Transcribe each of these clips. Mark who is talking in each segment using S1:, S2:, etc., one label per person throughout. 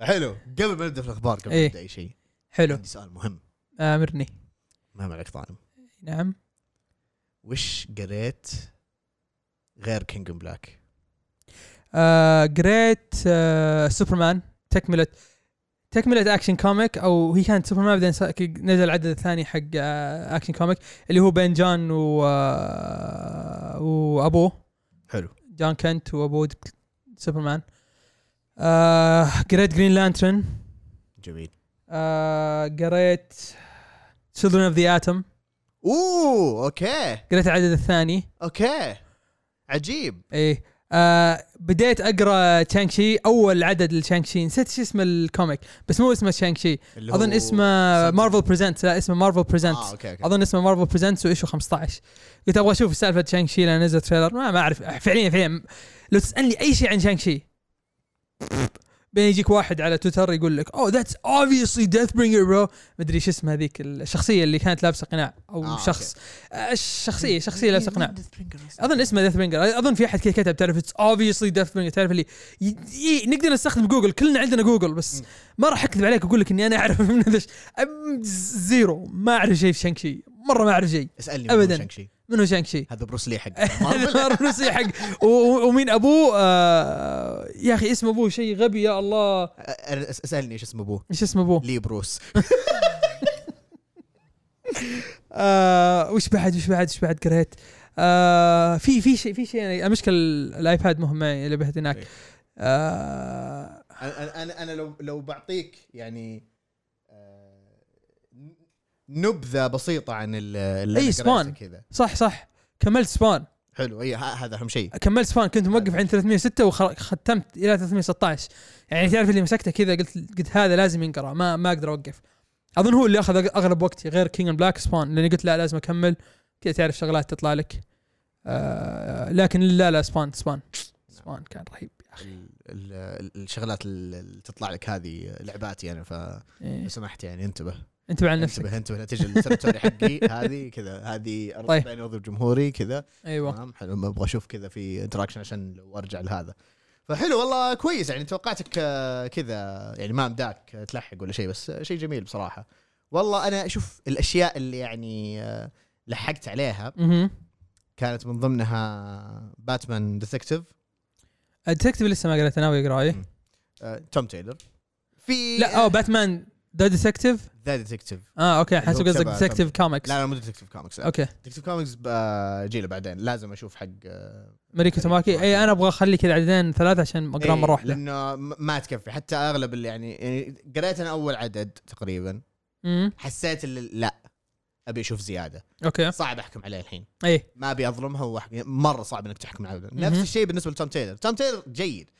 S1: حلو قبل ما نبدا في الاخبار قبل ما
S2: إيه.
S1: نبدا اي شيء
S2: حلو
S1: عندي سؤال مهم
S2: امرني
S1: مهم عليك طالب
S2: نعم
S1: وش قريت غير كينج بلاك؟
S2: آه قريت آه سوبرمان تكمله تكمله اكشن كوميك او هي كانت سوبرمان بعدين سا- نزل العدد الثاني حق آه اكشن كوميك اللي هو بين جان و آه وابوه
S1: حلو
S2: جان كنت وابوه د- سوبرمان آه قريت جرين لانترن
S1: جميل
S2: آه قريت تشيلدرن اوف ذا اتم
S1: اوه اوكي
S2: قريت العدد الثاني
S1: اوكي عجيب
S2: ايه آه بديت اقرا تشانغ شي اول عدد لتشانغ شي نسيت شو اسم الكوميك بس مو اسمه تشانغ شي
S1: اللي هو- آه،
S2: اظن اسمه
S1: سانتا.
S2: مارفل بريزنت لا اسمه مارفل بريزنت
S1: اه اوكي اوكي
S2: اظن اسمه مارفل بريزنت وايشو 15 قلت ابغى اشوف سالفه تشانغ شي لان نزل تريلر ما, ما اعرف فعليا فعليا لو تسالني اي شيء عن تشانغ شي بين يجيك واحد على تويتر يقول لك "Oh، اوه ذاتس اوبفيسلي ديث برينجر برو مدري شو اسمه هذيك الشخصيه اللي كانت لابسه قناع او
S1: آه،
S2: آه شخص آه، الشخصيه شخصيه لابسه قناع اظن اسمه ديث برينجر اظن في احد كذا كتب تعرف اتس اوبفيسلي ديث برينجر تعرف اللي ي... ي... نقدر نستخدم جوجل كلنا عندنا جوجل بس
S1: مم.
S2: ما راح اكذب عليك واقول لك اني انا اعرف من هذا الش- أم- زيرو ما اعرف شيء في شانك شي مره ما اعرف شيء
S1: اسالني
S2: أبداً.
S1: ابدا شانك شي
S2: من هو شانك شي
S1: هذا بروس لي حق
S2: هذا
S1: مارفل
S2: الروسي حق و- و- ومين ابوه آه... يا اخي اسم ابوه شيء غبي يا الله
S1: أ- أس- اسالني ايش اسم ابوه
S2: ايش اسم ابوه
S1: لي بروس
S2: آه وش بعد وش بعد وش بعد قريت آه في في شيء في شيء المشكله الايباد مهم معي اللي بهت هناك
S1: إيه.
S2: آه
S1: أنا- انا انا انا لو لو بعطيك يعني آه، نبذه بسيطه عن ال- اللي
S2: أي
S1: أنا
S2: سبان.
S1: قريته كذا
S2: صح صح كملت سبان
S1: حلو اي ه- هذا اهم شيء
S2: كملت سبان كنت
S1: أيوة.
S2: موقف عند 306 وختمت الى 316 يعني تعرف اللي مسكته كذا قلت قلت هذا لازم ينقرا ما ما اقدر اوقف اظن هو اللي اخذ اغلب وقتي غير كينج بلاك سبان لاني قلت لا لازم اكمل كذا تعرف شغلات تطلع لك آه لكن لا لا سبان سبان سبان كان رهيب يا اخي
S1: يعني ال- ال- الشغلات اللي تطلع لك هذه لعباتي انا فلو
S2: إيه.
S1: سمحت يعني انتبه
S2: انتبه على نفسك
S1: انتبه انتبه لا تجي التريتوري حقي هذه كذا هذه ارض
S2: طيب.
S1: بين ارض الجمهوري كذا
S2: ايوه
S1: تمام حلو ما ابغى اشوف كذا في انتراكشن عشان لو ارجع لهذا فحلو والله كويس يعني توقعتك آه، كذا يعني ما مداك آه، تلحق ولا شيء بس آه، شيء جميل بصراحه والله انا اشوف الاشياء اللي يعني آه، لحقت عليها
S2: اها
S1: كانت من ضمنها باتمان ديتكتيف
S2: الديتكتيف لسه ما قريته ناوي اقراه
S1: مم. آه، توم تايلر في
S2: لا اوه باتمان ذا ديتكتيف
S1: ذا ديتكتيف
S2: اه اوكي
S1: اللي هو
S2: احسب قصدك
S1: تبع-
S2: ديتكتيف كوميكس
S1: لا لا مو ديتكتيف كوميكس
S2: اوكي
S1: ديتكتيف كوميكس بجيله بعدين لازم اشوف حق آه،
S2: ماريكو توماكي اي انا ابغى اخلي كذا عددين ثلاثه عشان اقرا
S1: إيه،
S2: مره واحده
S1: لانه م- ما تكفي حتى اغلب اللي يعني, يعني قريت انا اول عدد تقريبا
S2: امم
S1: حسيت اللي لا ابي اشوف زياده
S2: اوكي
S1: صعب احكم عليه الحين
S2: اي
S1: ما ابي اظلمها وأحكم. مره صعب انك تحكم عليه نفس
S2: مهم.
S1: الشيء بالنسبه لتوم تايلر توم تايلر جيد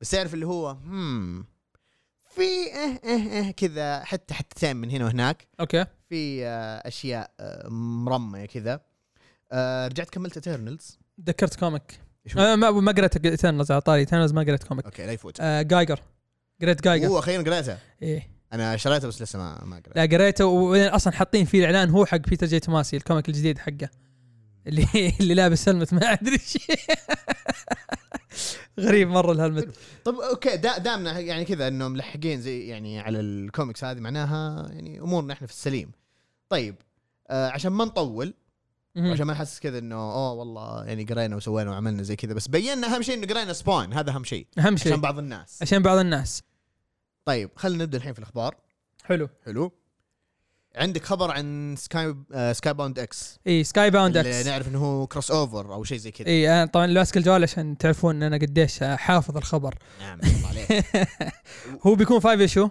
S1: بس تعرف اللي هو هم في اه اه اه كذا حتى حتتين من هنا وهناك
S2: اوكي
S1: في آه، اشياء آه، مرميه كذا آه، رجعت كملت اترنالز
S2: تذكرت كوميك آه ما ما قريت ايترنالز على طاري ايترنالز ما قريت كوميك
S1: اوكي لا يفوت
S2: آه جايجر قريت جايجر
S1: هو اخيرا قريته
S2: ايه
S1: انا شريته بس لسه ما ما قريته
S2: لا قريته وبعدين اصلا حاطين فيه الاعلان هو حق بيتر جي توماسي الكوميك الجديد حقه اللي اللي لابس هلمت ما ادري ايش غريب مره الهلمت
S1: طب اوكي دا دامنا يعني كذا انه ملحقين زي يعني على الكوميكس هذه معناها يعني امورنا احنا في السليم طيب آه عشان ما نطول
S2: مهم.
S1: عشان ما نحسس كذا انه اوه والله يعني قرينا وسوينا وعملنا زي كذا بس بينا اهم شيء انه قرينا سباين هذا اهم شيء
S2: اهم
S1: عشان
S2: شيء
S1: بعض الناس
S2: عشان بعض الناس
S1: طيب خلينا نبدا الحين في الاخبار
S2: حلو
S1: حلو عندك خبر عن سكاي آه سكاي باوند اكس
S2: اي سكاي باوند
S1: اللي
S2: اكس
S1: نعرف انه هو كروس اوفر او شيء زي كذا
S2: اي انا طبعا لاسك الجوال عشان تعرفون ان انا قديش حافظ الخبر
S1: نعم الله عليك
S2: هو بيكون فايف ايشو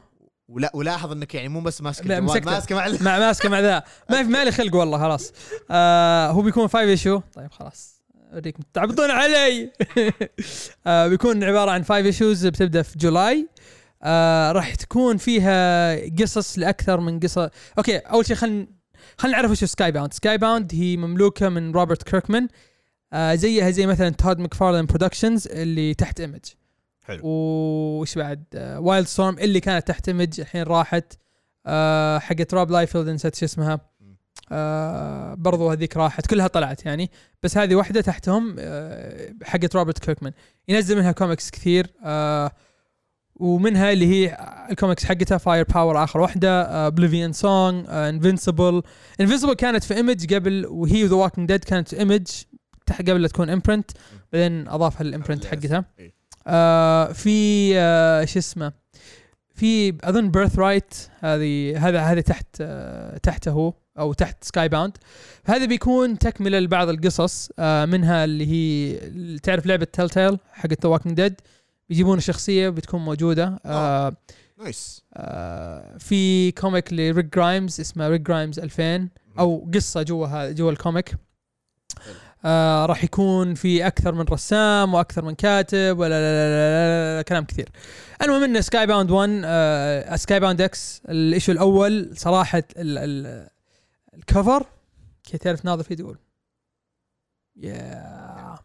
S1: ولا ولاحظ انك يعني مو بس ماسك
S2: لا،
S1: الجوال
S2: مسكته.
S1: ماسكه مع ال-
S2: مع ماسكه مع ذا ما في مالي خلق والله خلاص آه هو بيكون فايف ايشو طيب خلاص اوريك تعبطون علي آه بيكون عباره عن فايف ايشوز بتبدا في جولاي آه راح تكون فيها قصص لاكثر من قصه اوكي اول شيء خلينا خلينا نعرف وش سكاي باوند سكاي باوند هي مملوكه من روبرت كيركمان آه زيها زي مثلا تود ماكفارلان برودكشنز اللي تحت ايمج
S1: حلو.
S2: وش بعد وايلد ستورم اللي كانت تحت ايمج الحين راحت آه حقت راب لايفيلد نسيت شو اسمها آه برضو هذيك راحت كلها طلعت يعني بس هذه واحده تحتهم آه حقت روبرت كيركمان ينزل منها كوميكس كثير آه ومنها اللي هي الكوميكس حقتها فاير باور اخر واحده بليفيان سونج انفنسبل انفنسبل آه، كانت في ايمج قبل وهي ذا ووكينج ديد كانت في ايمج قبل لا تكون امبرنت بعدين اضافها الامبرنت
S1: اللي-
S2: حقتها
S1: إيه.
S2: آه في آه شو اسمه في اظن بيرث رايت هذه هذا هذا تحت آه تحته هو او تحت سكاي باوند هذا بيكون تكمله لبعض القصص آه منها اللي هي تعرف لعبه تيل تيل حقت ذا ووكينج ديد بيجيبون شخصيه بتكون موجوده آه
S1: نايس
S2: آه في كوميك لريك جرايمز اسمه ريك جرايمز 2000 او قصه جوا هذا جوا الكوميك آه راح يكون في اكثر من رسام واكثر من كاتب ولا لا لا لا لا لا كلام كثير المهم ان سكاي باوند 1 آه سكاي باوند اكس الايشو الاول صراحه ال ال الكفر كي تعرف ناظر فيه تقول يا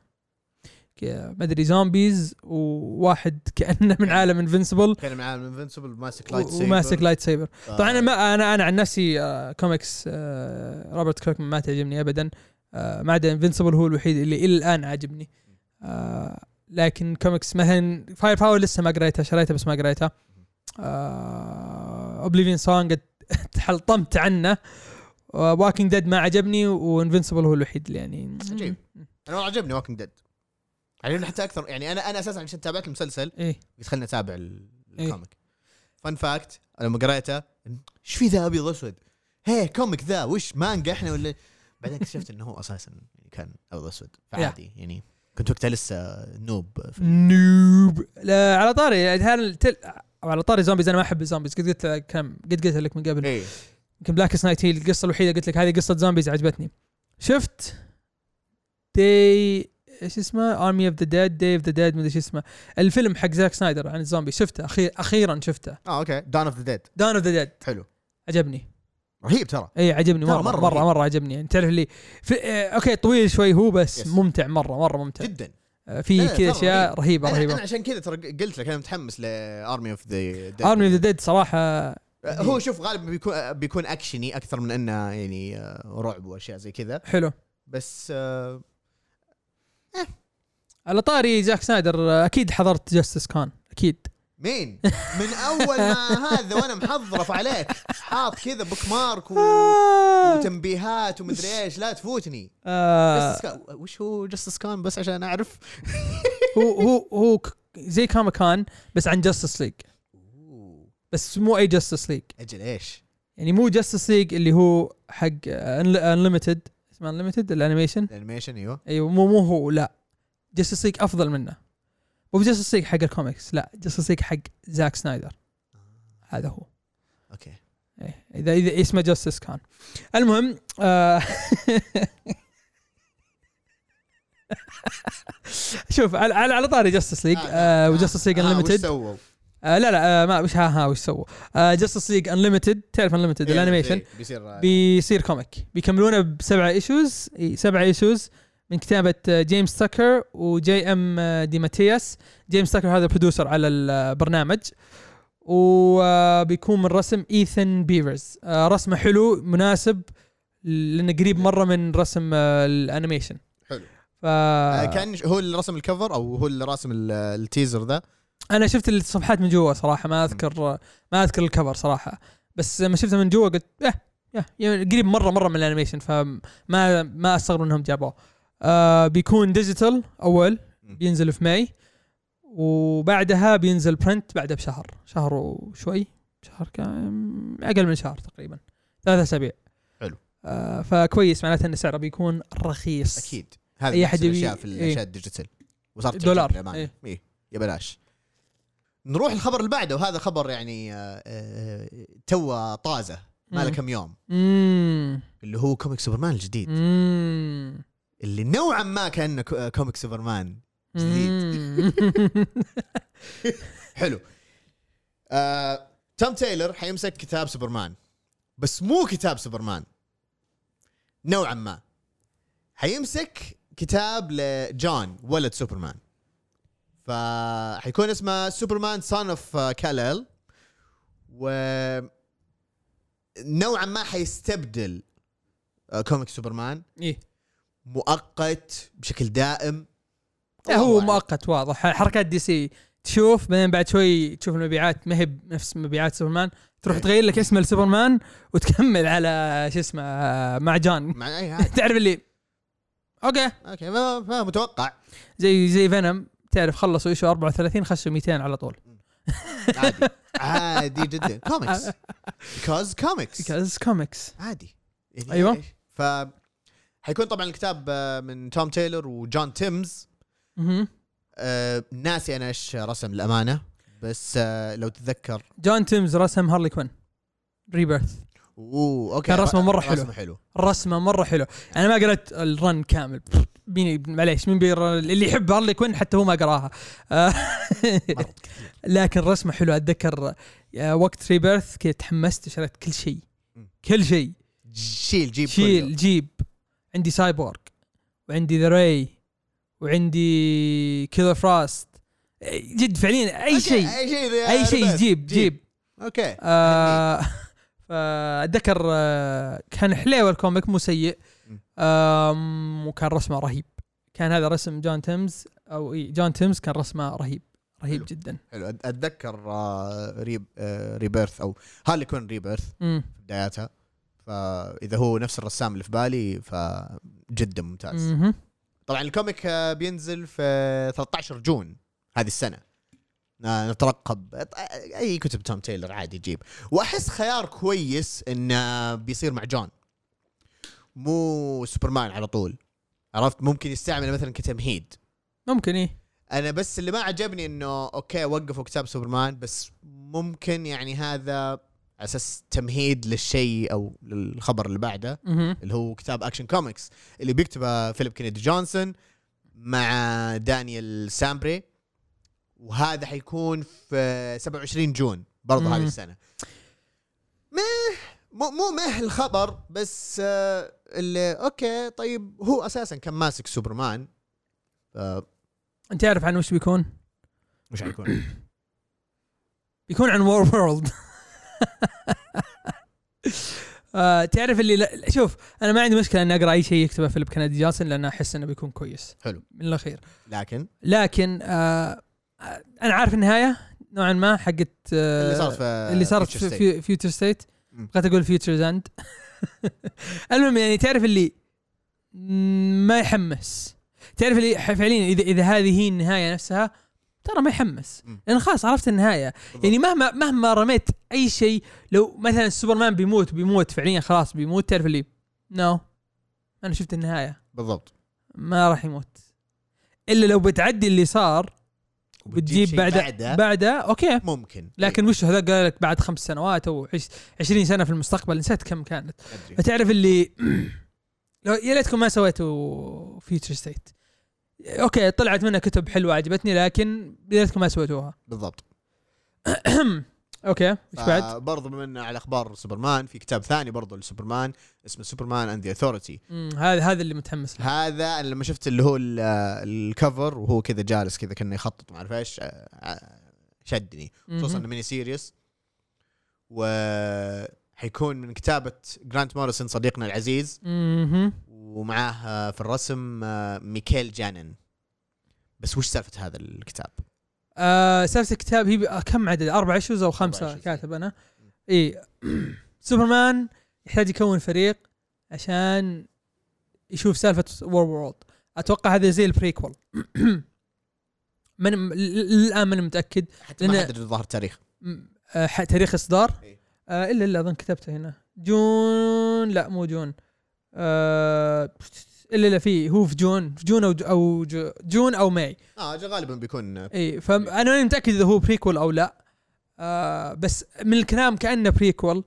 S2: ما ادري زومبيز وواحد كانه من عالم انفنسبل
S1: كان معاه انفنسبل ماسك لايت سيفر
S2: وماسك لايت سيبر
S1: آه،
S2: طبعا انا ما انا انا عن نفسي آه، كوميكس آه، روبرت كيركمان ما تعجبني ابدا آه، ما عدا انفنسبل هو الوحيد اللي الى الان عاجبني آه، لكن كوميكس مثلا فاير باور لسه ما قريتها شريتها بس ما قريتها اوبليفين سونج قد تحلطمت عنه واكينج ديد ما عجبني وانفنسبل هو الوحيد اللي يعني
S1: عجيب. انا والله عجبني واكينج ديد عجبني حتى اكثر يعني انا انا اساسا عشان تابعت المسلسل
S2: ايه
S1: قلت خليني اتابع ال-
S2: إيه.
S1: الكوميك فان فاكت لما قريته ايش في ذا ابيض اسود؟ هي كوميك ذا وش مانجا احنا ولا بعدين اكتشفت انه هو اساسا كان ابيض اسود فعادي يعني كنت وقتها لسه نوب
S2: Mm.
S1: في-
S2: نوب لا على طاري هل تل... على طاري زومبيز انا ما احب الزومبيز قد قلت لك كم قد قلت لك من قبل
S1: ايه
S2: يمكن بلاك نايت هي القصه الوحيده قلت لك هذه قصه زومبيز عجبتني شفت دي ايش اسمه ارمي اوف ذا ديد دي اوف ذا ديد مدري ايش اسمه الفيلم حق زاك سنايدر عن الزومبي شفته أخير اخيرا شفته
S1: اه اوكي دان اوف ذا ديد
S2: دان اوف ذا ديد
S1: حلو
S2: عجبني
S1: رهيب ترى
S2: اي عجبني
S1: ترى
S2: مره
S1: مرة
S2: مره مره,
S1: رهيب.
S2: مرة عجبني يعني تعرف اللي في آه اوكي طويل شوي هو بس
S1: Yes.
S2: ممتع مره مره ممتع
S1: جدا
S2: آه
S1: لا،
S2: في
S1: لا،
S2: كذا
S1: ترى
S2: اشياء
S1: رهيب.
S2: رهيبه
S1: انا طيب. أنا
S2: رهيبه
S1: عشان كذا ترى قلت لك انا متحمس لارمي اوف ذا ديد
S2: ارمي اوف ذا ديد صراحه
S1: أه، هو شوف غالبا بيكون بيكون اكشني اكثر من انه يعني آه، رعب واشياء زي كذا
S2: حلو
S1: بس آه،
S2: على طاري زاك سنايدر آه، اكيد حضرت جاستس كان اكيد
S1: مين؟ من اول ما هذا وانا محضرف عليك حاط كذا بوك مارك و... وتنبيهات ومدري ايش لا تفوتني
S2: آه
S1: آه. Justice Khan- وش هو جاستس كان بس عشان اعرف
S2: هو هو هو ك- زي كاما كان بس عن جاستس ليج
S1: أوه،
S2: بس مو اي جاستس ليج
S1: اجل ايش؟
S2: يعني مو جاستس ليج اللي هو حق انليمتد اسمه انليمتد الانيميشن
S1: الانيميشن ايوه
S2: ايوه مو مو هو لا جاستس ليج افضل منه مو جاستس ليج حق الكوميكس لا جاستس ليج حق زاك سنايدر هذا هو
S1: اوكي
S2: إيه، اذا اذا اسمه جاستس كان المهم آه شوف على على على طاري جاستس ليج
S1: آه،
S2: آه وجاستس ليج
S1: آه، وش
S2: انليمتد
S1: سووا؟
S2: آه لا لا آه ما وش ها ها وش سووا آه جاستس ليج انليمتد تعرف انليمتد
S1: إيه،
S2: الانيميشن
S1: زي- بيصير آه،
S2: بيصير كوميك بيكملونه بسبعه ايشوز سبعه ايشوز من كتابه آه، جيمس تاكر وجي ام آه، دي ماتياس جيمس تاكر هذا برودوسر على البرنامج وبيكون من رسم ايثن بيفرز آه، رسمه حلو مناسب لانه قريب مره من رسم آه، الانيميشن
S1: حلو.
S2: ف
S1: آه، كان هو اللي رسم الكفر او هو اللي راسم ال- التيزر ذا
S2: انا شفت الصفحات من جوا صراحه ما اذكر ما اذكر الكفر صراحه بس لما شفته من جوا قلت اه يا يعني قريب مره مره من الانيميشن فما ما استغرب انهم جابوه آه بيكون ديجيتال اول
S1: مم.
S2: بينزل في ماي وبعدها بينزل برنت بعدها بشهر شهر وشوي شهر كان اقل من شهر تقريبا ثلاثة اسابيع
S1: حلو.
S2: آه فكويس معناته ان سعره بيكون رخيص
S1: اكيد هذا
S2: أي
S1: أي
S2: أحد
S1: أحد
S2: يبي-
S1: الاشياء في
S2: إيه.
S1: الاشياء الديجيتال وصارت
S2: دولار،
S1: إيه. إيه. يا بلاش نروح الخبر اللي بعده وهذا خبر يعني آه، آه، تو طازه ما له
S2: مم.
S1: كم يوم
S2: امم
S1: اللي هو كوميك سوبرمان الجديد
S2: امم
S1: اللي نوعا ما كانه كو- آه، كوميك سوبرمان
S2: جديد
S1: حلو آه، توم تايلر حيمسك كتاب سوبرمان بس مو كتاب سوبرمان نوعا ما حيمسك كتاب لجون ولد سوبرمان فحيكون اسمه سوبرمان سون اوف كاليل و نوعا ما حيستبدل آه، كوميك سوبرمان
S2: ايه
S1: مؤقت بشكل دائم
S2: لا هو
S1: والله أعلم.
S2: مؤقت واضح حركات دي سي تشوف بعدين بعد شوي تشوف المبيعات ما هي بنفس مبيعات سوبرمان
S1: إيه.
S2: تروح تغير لك اسمه لسوبرمان وتكمل على شو اسمه آه، معجان
S1: مع اي عادي
S2: تعرف اللي اوكي
S1: اوكي ما, ما متوقع
S2: زي زي فينوم تعرف خلصوا ايشو 34 خسوا 200 على طول
S1: عادي عادي جدا كوميكس بيكوز كوميكس
S2: كاز كوميكس
S1: عادي يعني
S2: أيوة.
S1: إيش؟ ف حيكون طبعا الكتاب آه، من توم تايلور وجون تيمز
S2: مهم.
S1: آه، ناسي انا ايش رسم الامانه بس آه، لو تتذكر
S2: جون تيمز رسم هارلي كوين ريبيرث
S1: اوه اوكي
S2: كان رسمه مرة
S1: رسمه
S2: حلو.
S1: حلو
S2: الرسمه مره حلو انا ما قرأت الرن كامل مين معليش مين بير اللي يحب هارلي كوين حتى هو ما قراها آه،
S1: مرة كثير.
S2: لكن رسمه حلو اتذكر آه، وقت ريبيرث كذا تحمست وشريت كل شيء
S1: مم.
S2: كل شيء
S1: شيل جيب
S2: شيل جيب عندي سايبورغ وعندي ذا راي وعندي كيلر فراست جد فعليا اي
S1: كله.
S2: شيء
S1: اي شيء يا
S2: اي شيء
S1: ربيع.
S2: جيب جيب
S1: اوكي
S2: آه، فاتذكر آه، كان حليوه الكوميك مو سيء
S1: مم.
S2: آم، وكان رسمه رهيب كان هذا رسم جون تيمز او إي، جون تيمز كان رسمه رهيب رهيب
S1: حلو.
S2: جدا
S1: حلو أت- اتذكر آه، ريب آه، ريبيرث او هارلي كوين ريبيرث
S2: مم.
S1: في بداياتها فاذا هو نفس الرسام اللي في بالي فجدا ممتاز
S2: مهم.
S1: طبعا الكوميك آه، بينزل في 13 جون هذه السنه آه، نترقب آه، اي كتب توم تايلر عادي يجيب واحس خيار كويس انه بيصير مع جون مو سوبرمان على طول عرفت ممكن يستعمل مثلا كتمهيد
S2: ممكن ايه
S1: انا بس اللي ما عجبني انه اوكي وقفوا كتاب سوبرمان بس ممكن يعني هذا على اساس تمهيد للشيء او للخبر اللي بعده
S2: مهم.
S1: اللي هو كتاب اكشن كوميكس اللي بيكتبه فيليب كينيدي جونسون مع دانيال سامبري وهذا حيكون في 27 جون برضه
S2: مم.
S1: هذه السنه مه مو مو مه الخبر بس آه، اللي اوكي طيب هو اساسا كان ماسك سوبرمان آه،
S2: انت تعرف عن وش بيكون؟
S1: وش حيكون؟
S2: بيكون عن وور وورلد آه، تعرف اللي لا شوف انا ما عندي مشكله اني اقرا اي شيء يكتبه فيليب كندي جونسون لان احس انه بيكون كويس
S1: حلو.
S2: من الاخير
S1: لكن
S2: لكن آه آه، انا عارف النهايه نوعا ما حقت آه
S1: اللي صارت في
S2: اللي صارت
S1: Future
S2: في,
S1: State.
S2: في فيوتشر ستيت
S1: مم.
S2: بغيت اقول فيوتشرز اند المهم يعني تعرف اللي ما يحمس تعرف اللي ح- فعليا اذا اذا هذه هي النهايه نفسها ترى ما يحمس
S1: مم.
S2: لان خلاص عرفت النهايه
S1: بالضبط.
S2: يعني مهما مهما رميت اي شيء لو مثلا سوبرمان بيموت بيموت فعليا خلاص بيموت تعرف اللي نو no. انا شفت النهايه
S1: بالضبط
S2: ما راح يموت الا لو بتعدي اللي صار بتجيب
S1: شيء أه؟
S2: بعده بعده اوكي
S1: ممكن
S2: لكن وش هذا قال لك بعد خمس سنوات او عش- 20 سنه في المستقبل نسيت كم كانت
S1: إيه، أدري.
S2: فتعرف اللي لو يا ليتكم ما سويتوا فيوتشر ستيت اوكي طلعت منها كتب حلوه عجبتني لكن يا ليتكم ما سويتوها
S1: بالضبط
S2: اوكي وش
S1: آه.
S2: بعد؟
S1: برضه من على اخبار سوبرمان في كتاب ثاني برضه لسوبرمان اسمه سوبرمان اند ذا اثورتي
S2: مم، هذا هذا اللي متحمس له
S1: هذا انا لما شفت اللي هو ال- الكفر وهو كذا جالس كذا كانه يخطط ما اعرف ايش آه، آه، شدني خصوصا
S2: مهم.
S1: انه ميني سيريس و حيكون من كتابة جرانت موريسون صديقنا العزيز
S2: مهم.
S1: ومعاه آه، في الرسم آه، ميكيل جانن بس وش سالفة هذا الكتاب؟
S2: آه سالفه الكتاب هي ب- آه، كم عدد اربع ايشوز او
S1: أربع
S2: خمسه
S1: issues.
S2: كاتب انا اي سوبرمان يحتاج يكون فريق عشان يشوف سالفه وور وورلد اتوقع هذا زي البريكول من الان ماني متاكد
S1: حتى ما
S2: لأن-
S1: حدد ظهر تاريخ
S2: م- آه، ح- تاريخ اصدار
S1: إيه.
S2: آه الا الا اظن كتبته هنا جون لا مو جون آه الا لا في هو في جون في جون او او جو- جون او ماي
S1: اه ج- غالبا بيكون آه،
S2: اي فانا إيه، ماني متاكد اذا هو بريكول او لا آه بس من الكلام كانه بريكول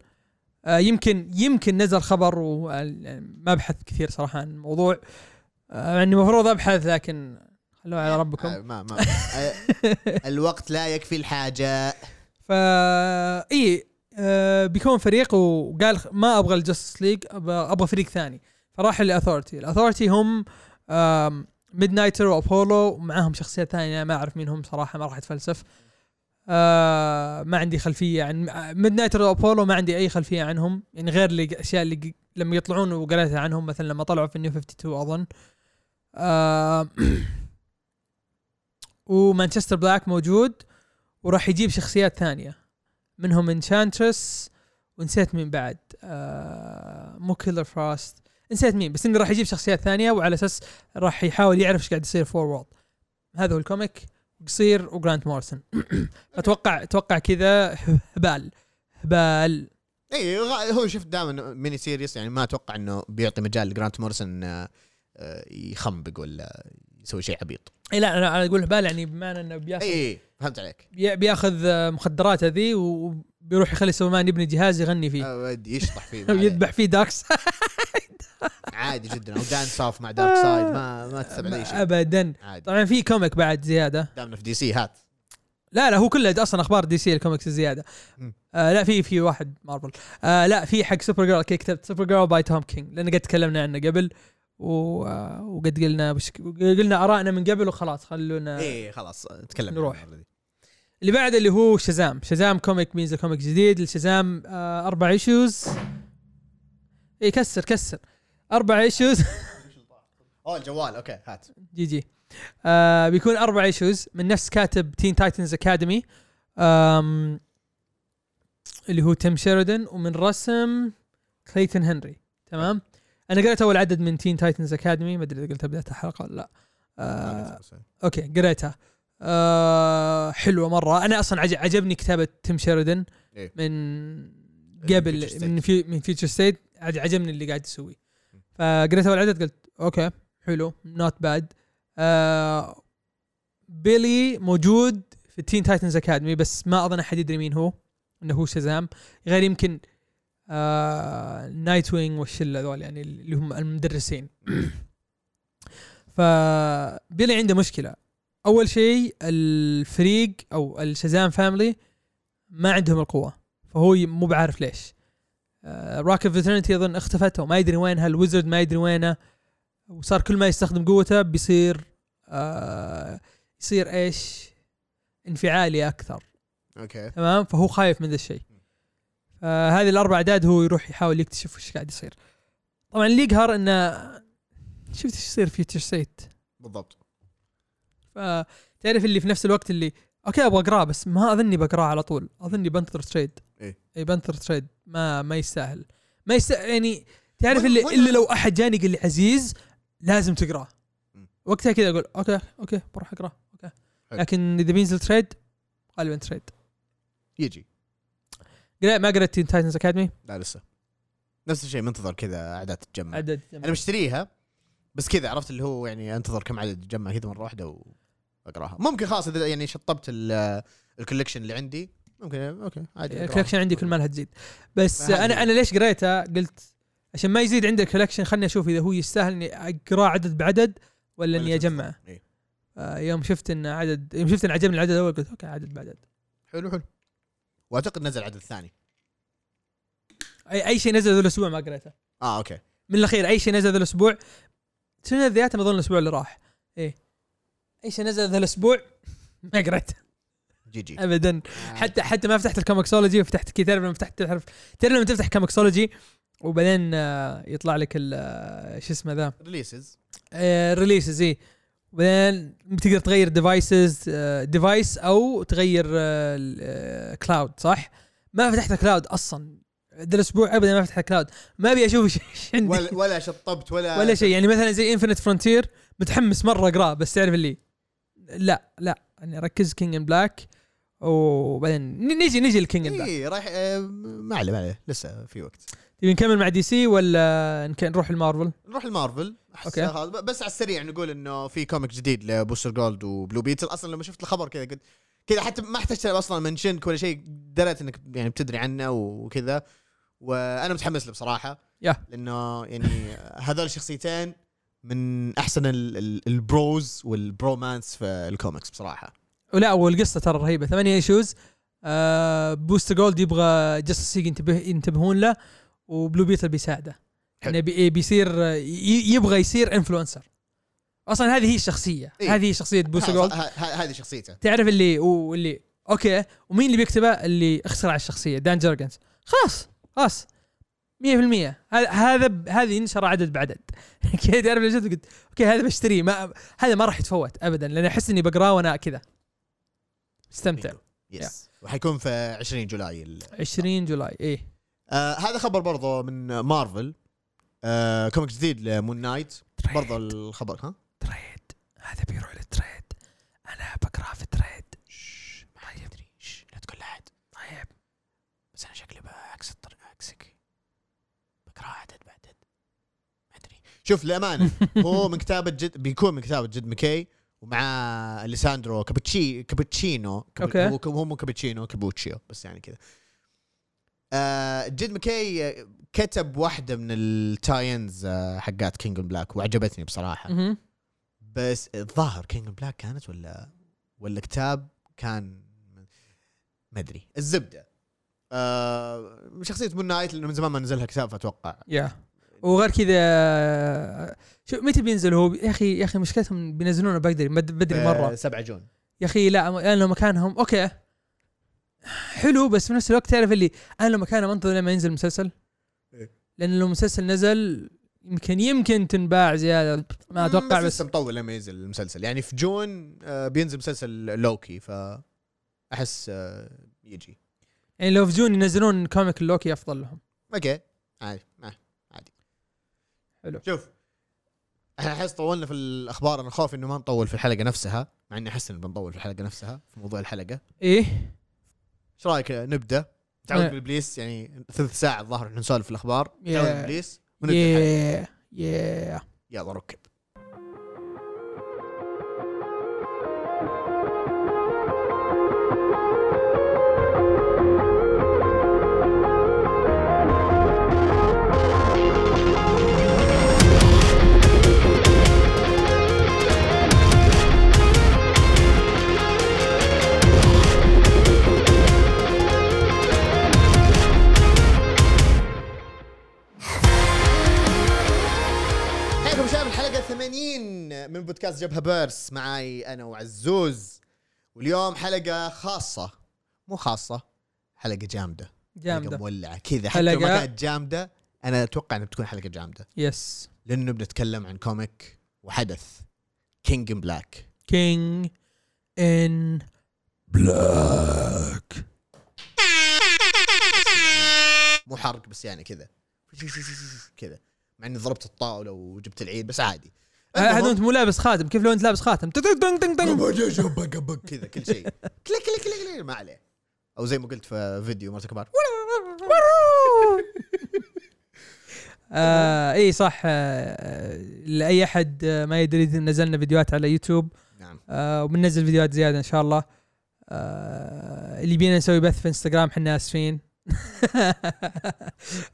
S2: آه يمكن يمكن نزل خبر وما بحث كثير صراحه عن الموضوع آه مع اني المفروض ابحث لكن خلوها على
S1: آه،
S2: ربكم
S1: ما ما آه، الوقت لا يكفي الحاجه
S2: فا اي آه بيكون فريق وقال خ- ما ابغى الجاستس ليج ابغى فريق ثاني فراح للاثورتي الاثورتي هم ميد نايتر وابولو ومعاهم شخصيات ثانيه ما اعرف مين هم صراحه ما راح اتفلسف آه ما عندي خلفيه عن ميد نايتر وابولو ما عندي اي خلفيه عنهم يعني غير اللي- الاشياء اللي ق- لما يطلعون وقريتها عنهم مثلا لما طلعوا في النيو 52 اظن آه ومانشستر بلاك موجود وراح يجيب شخصيات ثانيه منهم انشانترس ونسيت مين بعد آه مو كيلر فراست نسيت مين بس انه راح يجيب شخصيات ثانيه وعلى اساس راح يحاول يعرف ايش قاعد يصير فورورد هذا هو الكوميك قصير وجرانت مورسون اتوقع اتوقع كذا هبال هبال
S1: اي إيه، غ- هو شفت دائما ميني سيريس يعني ما اتوقع انه بيعطي مجال لجرانت مورسون آه، آه، يخنبق ولا يسوي شيء عبيط
S2: اي لا انا أنا اقول هبال يعني بمعنى انه بياخذ
S1: اي اي فهمت عليك
S2: بي- بياخذ آه، مخدرات ذي وبيروح يخلي سومان يبني جهاز يغني فيه
S1: آه، ودي يشطح فيه ما عليه.
S2: ويذبح فيه داكس
S1: عادي جدا او دانس اوف مع دارك سايد ما ما تسمع لي شيء
S2: ابدا
S1: عادي
S2: طبعا في كوميك بعد زياده
S1: دامنا في دي سي هات
S2: لا لا هو كله اصلا اخبار دي سي الكوميكس الزياده
S1: مم.
S2: آه لا في في واحد مارفل آه لا في حق سوبر جيرل كي كتبت سوبر جيرل باي توم كينج لان قد تكلمنا عنه قبل و... آه وقد قلنا بش... قلنا ارائنا من قبل وخلاص خلونا
S1: اي إيه، خلاص تكلم
S2: آه. نروح. اللي بعد اللي هو شزام شزام كوميك مينز كوميك جديد الشزام آه اربع ايشوز اي كسر كسر اربع ايشوز
S1: اوه الجوال اوكي هات
S2: جي جي آه بيكون اربع ايشوز من نفس كاتب تين تايتنز اكاديمي آم اللي هو تيم شيردن ومن رسم كليتن هنري تمام انا قريت اول عدد من تين تايتنز اكاديمي ما ادري اذا قلتها بدايه الحلقه ولا لا آه اوكي قريتها آه حلوه مره انا اصلا عج- عجبني كتابه تيم شيردن
S1: إيه.
S2: من
S1: من
S2: قبل
S1: Future State.
S2: من في من فيوتشر ستيت عجبني اللي قاعد يسويه فقريت اول عدد قلت اوكي حلو نوت باد آه بيلي موجود في تين تايتنز اكاديمي بس ما اظن احد يدري مين هو انه هو شازام غير يمكن آه نايت وينج والشله ذول يعني اللي هم المدرسين فبيلي عنده مشكله اول شيء الفريق او الشازام فاملي ما عندهم القوه فهو ي- مو بعارف ليش آه، راكب فيترنتي اظن اختفت وما يدري وينها الويزرد ما يدري وينه وصار كل ما يستخدم قوته بيصير آه يصير ايش انفعالي اكثر
S1: اوكي
S2: تمام فهو خايف من ذا الشيء فهذه الاربع اعداد هو يروح يحاول يكتشف وش قاعد يصير طبعا اللي يقهر انه شفت ايش يصير فيوتشر سيت
S1: بالضبط
S2: فتعرف اللي في نفس الوقت اللي اوكي ابغى اقراه بس ما اظني بقراه على طول اظني بنتظر تريد
S1: إيه.
S2: اي بنتظر تريد ما ما يستاهل ما يستاهل يعني تعرف اللي
S1: ولا-
S2: الا لو احد جاني قال لي عزيز لازم تقراه
S1: م.
S2: وقتها كذا اقول اوكي اوكي بروح اقراه اوكي
S1: حلو.
S2: لكن اذا بينزل تريد غالبا تريد
S1: يجي
S2: قريت ما قريت تين تايتنز اكاديمي
S1: لا لسه نفس الشيء منتظر كذا اعداد تتجمع
S2: عدد
S1: انا مشتريها بس كذا عرفت اللي هو يعني انتظر كم عدد يتجمع كذا مره واحده واقراها ممكن خلاص اذا يعني شطبت ال- الكوليكشن اللي عندي ممكن اوكي عادي أقراها.
S2: الكولكشن عندي كل ما لها تزيد بس
S1: ما حد
S2: انا
S1: يدري.
S2: انا ليش قريتها قلت عشان ما يزيد عندي الكولكشن خلني اشوف اذا هو يستاهل اني اقراه عدد بعدد
S1: ولا
S2: ولا اني
S1: تنتظر.
S2: اجمعه
S1: إيه.
S2: آه، يوم شفت ان عدد يوم شفت ان عجبني العدد الاول قلت اوكي عدد بعدد
S1: حلو حلو واعتقد نزل عدد ثاني
S2: اي اي شيء نزل ذا الاسبوع ما قريته
S1: اه اوكي
S2: من الاخير اي شيء نزل ذا الاسبوع سنة ذياتها اظن الاسبوع اللي راح ايه اي شيء نزل ذا الاسبوع ما قريته
S1: جي جي
S2: ابدا حتى حتى ما فتحت الكوميكسولوجي وفتحت كي تعرف لما فتحت تعرف تعرف لما تفتح كوميكسولوجي وبعدين آه، يطلع لك ال- آه، شو اسمه ذا
S1: ريليسز
S2: آه، ريليسز اي وبعدين تقدر إيه. تغير ديفايسز ديفايس او تغير آه، كلاود صح؟ ما فتحت كلاود اصلا ذا الاسبوع ابدا ما فتحت كلاود ما ابي اشوف إيش- ايش عندي
S1: ولا
S2: ولا,
S1: ولا شطبت ولا
S2: ولا شيء يعني مثلا زي انفنت فرونتير متحمس مره اقراه بس تعرف اللي لا لا يعني ركز كينج ان بلاك وبعدين ن- نجي نجي لكينج ان بلاك
S1: اي رايح آه، ما عليه ما عليه لسه في وقت
S2: تبي نكمل مع دي سي ولا نك- نروح المارفل؟
S1: نروح المارفل
S2: أوكي.
S1: اوكي هذا بس على السريع نقول انه في كوميك جديد لبوستر جولد وبلو بيتل اصلا لما شفت الخبر كذا قلت كذا حتى ما احتجت اصلا منشنك ولا شيء دريت انك يعني بتدري عنه وكذا وانا متحمس له بصراحه
S2: يا.
S1: لانه يعني هذول الشخصيتين من احسن ال- ال- البروز والبرومانس في الكوميكس بصراحه
S2: ولا والقصه ترى رهيبه ثمانية ايشوز آه بوست جولد يبغى جاستس ليج ينتبه ينتبهون له وبلو بيتل بيساعده يعني بي بيصير آه، ي- يبغى يصير انفلونسر اصلا هذه هي الشخصيه
S1: إيه.
S2: هذه هي شخصيه بوست
S1: خلاص،
S2: جولد
S1: ه- ه- هذه شخصيته
S2: تعرف اللي واللي اوكي ومين اللي بيكتبه اللي اخترع الشخصيه دان جرجنز خلاص خلاص 100% هذا هذا ب- هذه نشر عدد بعدد كذا تعرف ليش قلت اوكي هذا بشتريه ما هذا ما راح يتفوت ابدا لان احس اني بقراه وانا كذا استمتع
S1: يس وحيكون في 20 جولاي ال-
S2: 20 جولاي ايه
S1: آه هذا خبر برضه من مارفل آه كوميك جديد لمون نايت برضه الخبر ها
S2: تريد هذا بيروح للتريد انا بقراه في تريد طيب
S1: لا تقول لاحد
S2: طيب
S1: بس انا شكلي بعكس الطريق عكسك بقرا عدد بعدد ما ادري شوف للامانه هو من كتابه جد بيكون من كتابه جد مكي ومع اليساندرو كابتشي كابتشينو كاب-
S2: أوكي.
S1: هو هو مو كابتشينو كابوتشيو بس يعني كذا آه جد مكي آه، كتب واحده من التاينز آه حقات كينج بلاك وعجبتني بصراحه
S2: مهم.
S1: بس الظاهر كينج بلاك كانت ولا ولا كتاب كان ما ادري الزبده آه شخصيه مون نايت لانه من زمان ما نزلها كتاب فاتوقع
S2: يا وغير كذا شو متى بينزل هو يا اخي يا اخي مشكلتهم بينزلونه بدري مد- بدري مره
S1: آه، 7 جون
S2: يا اخي لا م- انا لو مكانهم اوكي حلو بس في نفس الوقت تعرف اللي انا لو مكانهم انتظر لما ينزل مسلسل
S1: إيه.
S2: لان لو مسلسل نزل يمكن يمكن تنباع زياده ما اتوقع بس
S1: لسه مطول لما ينزل المسلسل يعني في جون آه بينزل مسلسل لوكي ف احس آه يجي
S2: يعني لو في جون ينزلون كوميك لوكي افضل لهم
S1: اوكي عادي ما عادي
S2: حلو.
S1: شوف احنا احس طولنا في الاخبار انا خوفي انه ما نطول في الحلقه نفسها مع اني احس انه بنطول في الحلقه نفسها في موضوع الحلقه
S2: ايه
S1: ايش رايك نبدا تعود
S2: إيه.
S1: بالابليس يعني ثلث ساعه الظاهر احنا نسولف في الاخبار
S2: Yeah.
S1: تعود بالابليس ونبدا الحلقة.
S2: يا يا
S1: يلا ركب حياكم شباب الحلقه 80 من بودكاست جبهه بيرس معاي انا وعزوز واليوم حلقه خاصه مو خاصه حلقه جامده حلقه
S2: جامده
S1: مولعه كذا حتى لو ما
S2: حلقة-
S1: كانت جامده انا اتوقع انها بتكون حلقه جامده
S2: يس
S1: لانه بنتكلم عن كوميك وحدث كينج بلاك
S2: كينج ان بلاك
S1: مو حرق بس يعني كذا كذا مع اني ضربت الطاوله وجبت العيد بس عادي
S2: هذا انت مو لابس خاتم كيف لو انت لابس خاتم تك تك تك تك تك.
S1: كذا كل شيء كليك كليك كليك كليك ما عليه او زي ما قلت في فيديو مرة كبار
S2: آه اي صح آه لاي احد آه، ما يدري إذا نزلنا فيديوهات على يوتيوب
S1: نعم
S2: آه وبننزل فيديوهات زياده ان شاء الله آه اللي بينا نسوي بث في انستغرام احنا اسفين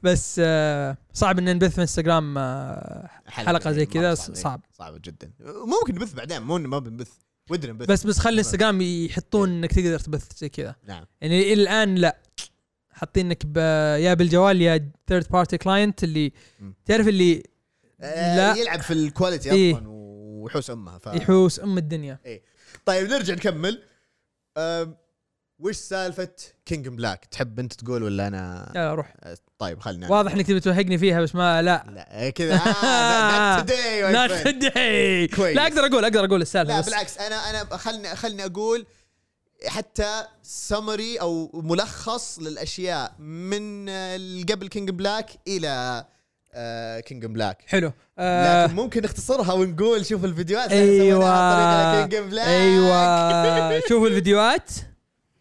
S2: بس آه صعب ان نبث في انستغرام آه حلقة زي
S1: يعني مرة
S2: كذا
S1: صعبة.
S2: صعب.
S1: صعب جدا ممكن نبث بعدين مو إنه ما بنبث ودنا نبث
S2: بس بس خلي انستغرام يحطون انك تقدر تبث زي كذا
S1: نعم
S2: يعني الى الان لا حاطينك ب- يا بالجوال يا ثيرد بارتي كلاينت اللي
S1: م.
S2: تعرف اللي
S1: آه،
S2: لا.
S1: يلعب في الكواليتي
S2: إيه.
S1: اصلا ويحوس امها ف...
S2: يحوس ام الدنيا
S1: طيب نرجع نكمل أم، وش سالفه كينج بلاك تحب انت تقول ولا انا
S2: يلا روح
S1: طيب خلنا
S2: واضح انك تبي توهقني فيها بس ما لا
S1: لا كذا آه not today my
S2: لا
S1: friend.
S2: تدعي
S1: كويس.
S2: لا اقدر اقول اقدر اقول السالفه
S1: لا
S2: بس
S1: بالعكس انا انا خلني خلني اقول حتى سمري او ملخص للاشياء من آه، اللي قبل كينج بلاك الى كينج بلاك
S2: حلو آه
S1: لكن ممكن نختصرها ونقول شوف الفيديوهات
S2: ايوه
S1: كينج بلاك
S2: ايوه شوفوا الفيديوهات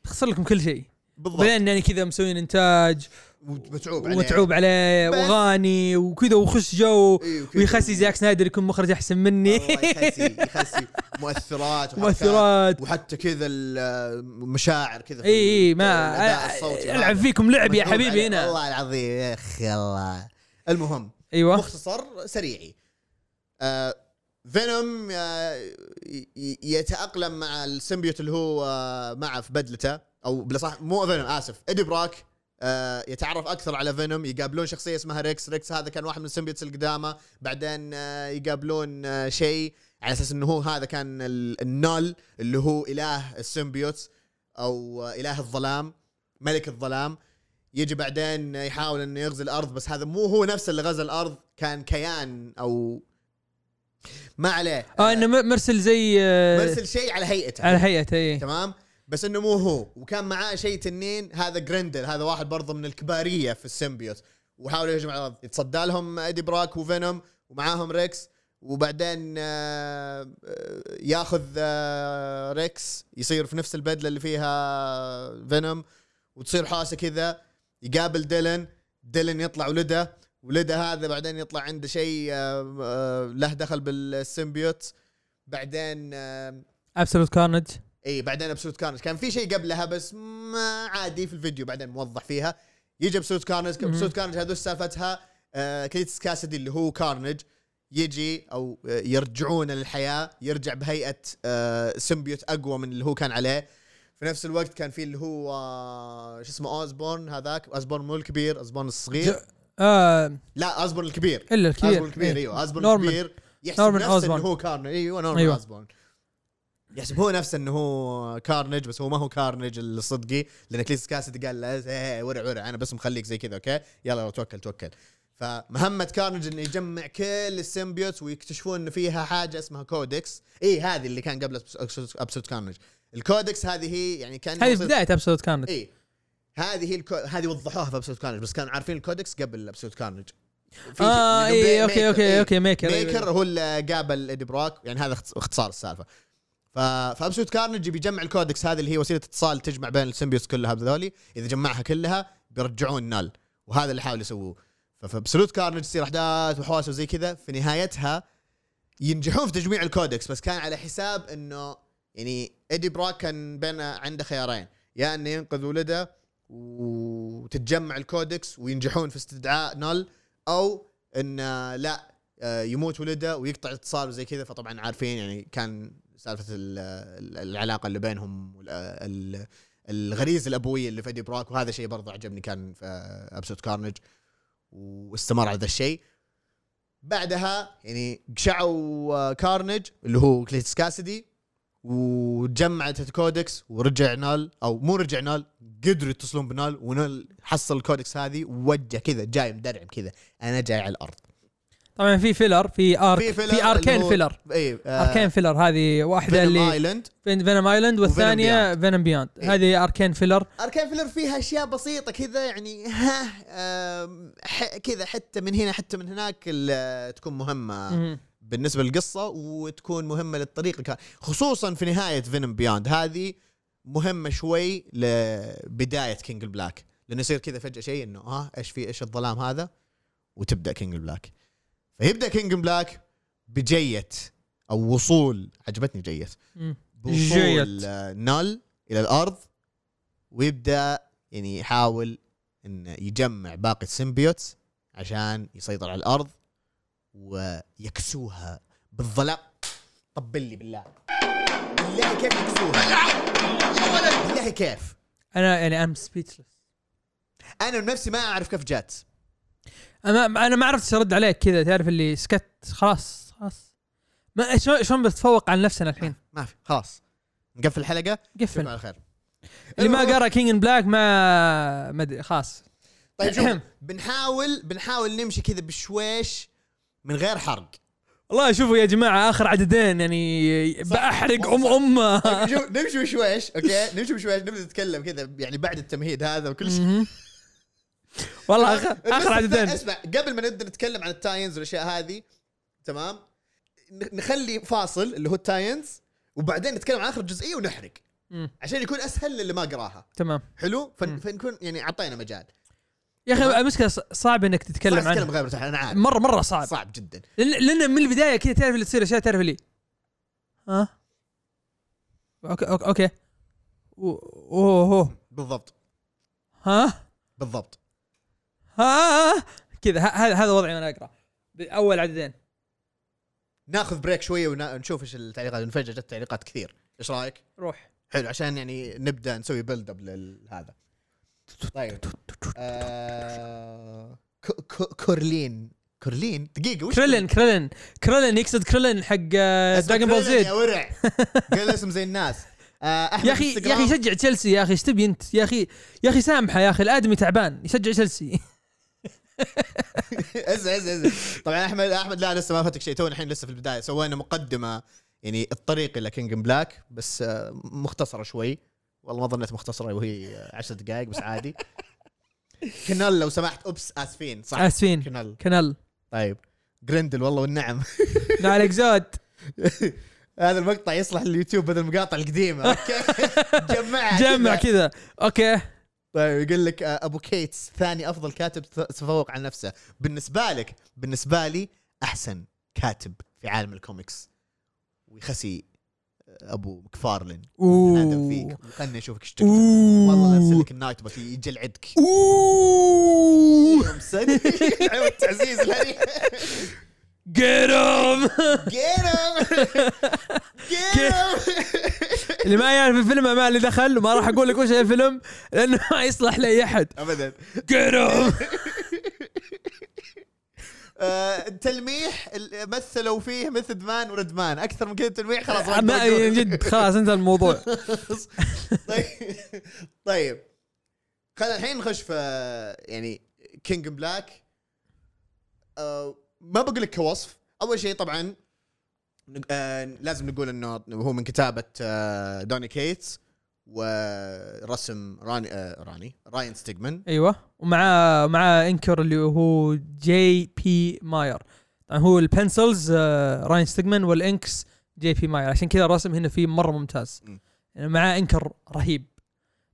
S2: تخسر لكم كل شيء
S1: بالضبط
S2: بعدين يعني كذا مسوين انتاج
S1: متعوب عليه
S2: ومتعوب عليه
S1: بس.
S2: واغاني وكذا وخش جو
S1: أيوة، كذا.
S2: ويخسي زاك سنايدر يكون مخرج احسن مني
S1: والله يخسي يخسي مؤثرات وحركات.
S2: مؤثرات.
S1: وحتى كذا المشاعر كذا في
S2: اي اي إيه، ما
S1: الأداء الصوتي
S2: أ-
S1: هذا.
S2: العب فيكم لعب يا
S1: متعوب
S2: حبيبي
S1: عليه.
S2: هنا
S1: والله العظيم يا اخي الله المهم
S2: ايوه
S1: مختصر سريعي آه فينوم آه ي- ي- يتأقلم مع السيمبيوت اللي هو آه معه في بدلته أو بالأصح مو فينوم آسف إدي براك آه يتعرف أكثر على فينوم يقابلون شخصية اسمها ريكس ريكس هذا كان واحد من السيمبيوتس القدامى بعدين آه يقابلون آه شيء على أساس أنه هو هذا كان ال- النول اللي هو إله السيمبيوتس أو آه إله الظلام ملك الظلام يجي بعدين يحاول انه يغزي الارض بس هذا مو هو نفسه اللي غزا الارض كان كيان او ما عليه
S2: اه انه م- مرسل زي آه،
S1: مرسل شيء على هيئته
S2: على هيئته اي
S1: تمام بس انه مو هو وكان معاه شيء تنين هذا جريندل هذا واحد برضه من الكباريه في السيمبيوت وحاول يهجم على الارض يتصدى لهم ايدي براك وفينوم ومعاهم ريكس وبعدين آه، آه، ياخذ آه، ريكس يصير في نفس البدله اللي فيها فينوم وتصير حاسه كذا يقابل ديلن ديلن يطلع ولده ولده هذا بعدين يطلع عنده شيء آه، آه، له دخل بالسيمبيوت بعدين آه،
S2: ابسولوت كارنج
S1: اي إيه، بعدين ابسولوت كارنج كان في شيء قبلها بس ما عادي في الفيديو بعدين موضح فيها يجي ابسولوت كارنج ابسولوت كارنج هذول سالفتها آه كليتس كاسدي اللي هو كارنج يجي او آه، يرجعون للحياه يرجع بهيئه آه سيمبيوت اقوى من اللي هو كان عليه في نفس الوقت كان في اللي هو آه شو اسمه اوزبورن هذاك اوزبورن مو الكبير اوزبورن الصغير
S2: ج- آه
S1: لا اوزبورن الكبير
S2: الا الكبير
S1: ازبون الكبير ايوه ازبون
S2: نورمان.
S1: الكبير يحسب
S2: نورمان
S1: نفسه
S2: أوزبورن.
S1: انه هو كارنج ايوه نورمان
S2: أيوة.
S1: أيوة. ازبون يحسب هو نفسه انه هو كارنج بس هو ما هو كارنج الصدقي لان كليس كاسد قال له "إيه، إيه، ورع ورع انا بس مخليك زي كذا اوكي يلا توكل توكل فمهمة كارنج انه يجمع كل السيمبيوتس ويكتشفون انه فيها حاجة اسمها كودكس اي هذه اللي كان قبل ابسود كارنج الكودكس هذه هي يعني كان
S2: هذه بدايه ابسولوت كارنج
S1: اي إيه. هذه هي الكو... هذه وضحوها في ابسود كارنج بس كانوا عارفين الكودكس قبل ابسود كارنج في-
S2: اه
S1: لأنه
S2: اي
S1: بي-
S2: اوكي
S1: ميكر،
S2: اوكي
S1: إيه.
S2: اوكي ميكر أيوة.
S1: ميكر هو اللي قابل ايدي براك يعني هذا اخت- اختصار السالفه ف... فابسود كارنج بيجمع الكودكس هذه اللي هي وسيله اتصال تجمع بين السيمبيوس كلها بذولي اذا جمعها كلها بيرجعون نال وهذا اللي حاول يسووه فابسولوت كارنج تصير احداث وحوسه وزي كذا في نهايتها ينجحون في تجميع الكودكس بس كان على حساب انه يعني ايدي براك كان بين عنده خيارين يا انه ينقذ ولده وتتجمع الكودكس وينجحون في استدعاء نال او ان لا آه، يموت ولده ويقطع اتصال وزي كذا فطبعا عارفين يعني كان سالفه ال- ال- العلاقه اللي بينهم وال- ال- الغريزه الابويه اللي في ايدي براك وهذا شيء برضه عجبني كان في ابسود كارنج واستمر على ذا الشيء بعدها يعني قشعوا آه، كارنج اللي هو كليتس كاسدي وجمعت الكودكس ورجع نال او مو رجع نال قدروا يتصلون بنال ونال حصل الكودكس هذه ووجه كذا جاي مدرعم كذا انا جاي على الارض
S2: طبعا في فيلر في ارك
S1: في
S2: في,
S1: فيلر اللي هو- إيه،
S2: اركين
S1: آه،
S2: فيلر
S1: اي
S2: اركين فيلر هذه واحده اللي
S1: ايلاند
S2: فينوم ايلاند والثانيه فينوم بياند
S1: إيه.
S2: هذه اركين فيلر
S1: اركان فيلر فيها اشياء بسيطه كذا يعني ها آم، ح- كذا حتى من هنا حتى من هناك ال- تكون مهمه
S2: مهم.
S1: بالنسبه للقصه وتكون مهمه للطريق الك- خصوصا في نهايه فينوم بياند هذه مهمه شوي لبدايه كينج بلاك لانه يصير كذا فجاه شيء انه اه ايش في ايش الظلام هذا وتبدا كينج بلاك فيبدا كينج بلاك بجيه او وصول عجبتني جيه
S2: مم.
S1: بوصول
S2: جيد.
S1: آه، نال الى الارض ويبدا يعني يحاول انه يجمع باقي السيمبيوتس عشان يسيطر على الارض ويكسوها بالظلام طبل لي بالله بالله كيف يكسوها بالله كيف
S2: انا يعني ام سبيتشلس
S1: انا من نفسي ما اعرف كيف جات
S2: انا انا ما عرفت ارد عليك كذا تعرف اللي سكت خلاص خلاص ما شلون شلون بتفوق على نفسنا الحين
S1: ما في خلاص نقفل الحلقه
S2: قفل
S1: اشوفكم على خير
S2: اللي ما قرا كينج ان بلاك ما ما ادري خلاص
S1: طيب شوف بنحاول بنحاول نمشي كذا بشويش من غير حرق
S2: والله شوفوا يا جماعه اخر عددين يعني بحرق ام امه
S1: طيب نشوف- نمشي بشويش اوكي نمشي بشويش نبدا نتكلم كذا يعني بعد التمهيد هذا وكل شيء
S2: مهم. والله اخر
S1: بس
S2: اخر عددين
S1: اسمع قبل ما نبدا نتكلم عن التاينز والاشياء هذه تمام ن- نخلي فاصل اللي هو التاينز وبعدين نتكلم عن اخر جزئيه ونحرق
S2: مم.
S1: عشان يكون اسهل للي ما قراها
S2: تمام
S1: حلو فن
S2: مم.
S1: فنكون يعني اعطينا مجال
S2: يا اخي المشكله ص- صعب انك تتكلم
S1: صح تتكلم
S2: عنه
S1: غير مرتاح انا عارف
S2: مره مره صعب
S1: صعب جدا
S2: لان لأن من البدايه كذا تعرف اللي تصير اشياء تعرف اللي ها اوكي اوكي اوكي و- اوه أوه.
S1: بالضبط
S2: ها
S1: بالضبط
S2: ها كذا ه- هذا هذا وضعي وانا اقرا اول عددين
S1: ناخذ بريك شويه ونشوف ايش التعليقات نفجأ جت تعليقات كثير ايش رايك؟
S2: روح
S1: حلو عشان يعني نبدا نسوي بيلد اب لهذا طيب آه، ك- ك- كورلين كورلين دقيقة وش
S2: كريلين كريلين كريلين يقصد كريلين حق آه،
S1: اسمه
S2: دراجون بول
S1: كريلين
S2: زد
S1: يا ورع قال اسم زي الناس آه، أحمد
S2: يا اخي يا
S1: إنستغرام.
S2: اخي شجع تشيلسي يا اخي ايش تبي انت يا اخي يا اخي سامحه يا اخي الادمي تعبان يشجع تشيلسي
S1: ازع ازع ازع طبعا احمد احمد لا لسه ما فاتك شيء تو الحين لسه في البدايه سوينا مقدمه يعني الطريق الى كينج بلاك بس آه، مختصره شوي والله ما ظنيت مختصره وهي آه، عشر دقائق بس عادي كنال لو سمحت اوبس اسفين صح
S2: اسفين
S1: كنال
S2: كنال
S1: طيب جرندل والله والنعم
S2: لا عليك زود
S1: هذا المقطع يصلح لليوتيوب بدل المقاطع القديمه اوكي جمعها
S2: جمع
S1: كذا.
S2: كذا اوكي
S1: طيب يقول لك آه، ابو كيتس ثاني افضل كاتب ت- تفوق على نفسه بالنسبه لك بالنسبه لي احسن كاتب في عالم الكوميكس ويخسي آه، ابو كفارلن هذا
S2: اوه
S1: فيك خلني اشوفك ايش تكتب. والله ارسل
S2: اوه
S1: لك النايت بس يجلعدك
S2: اوه
S1: صدق عيب التعزيز الهري
S2: جيت
S1: قيرم قيرم
S2: اللي ما يعرف الفيلم ما اللي دخل وما راح اقول لك وش الفيلم لانه ما يصلح لاي احد
S1: ابدا
S2: جيت
S1: آه، تلميح ال- مثلوا فيه مثل دمان وردمان اكثر من كذا تلميح خلاص ما
S2: ما
S1: أقدر أقول.
S2: جد خلاص انتهى الموضوع
S1: طيب طيب خلينا الحين نخش في يعني كينج بلاك آه، ما بقول لك كوصف اول شيء طبعا نق- آه، لازم نقول انه هو من كتابه آه، دوني كيتس ورسم راني آه، راني راين ستيجمان
S2: ايوه ومع مع انكر اللي هو جي بي ماير طبعا هو البنسلز آه، راين ستيجمان والانكس جي بي ماير عشان كذا الرسم هنا فيه مره ممتاز
S1: م.
S2: يعني مع انكر رهيب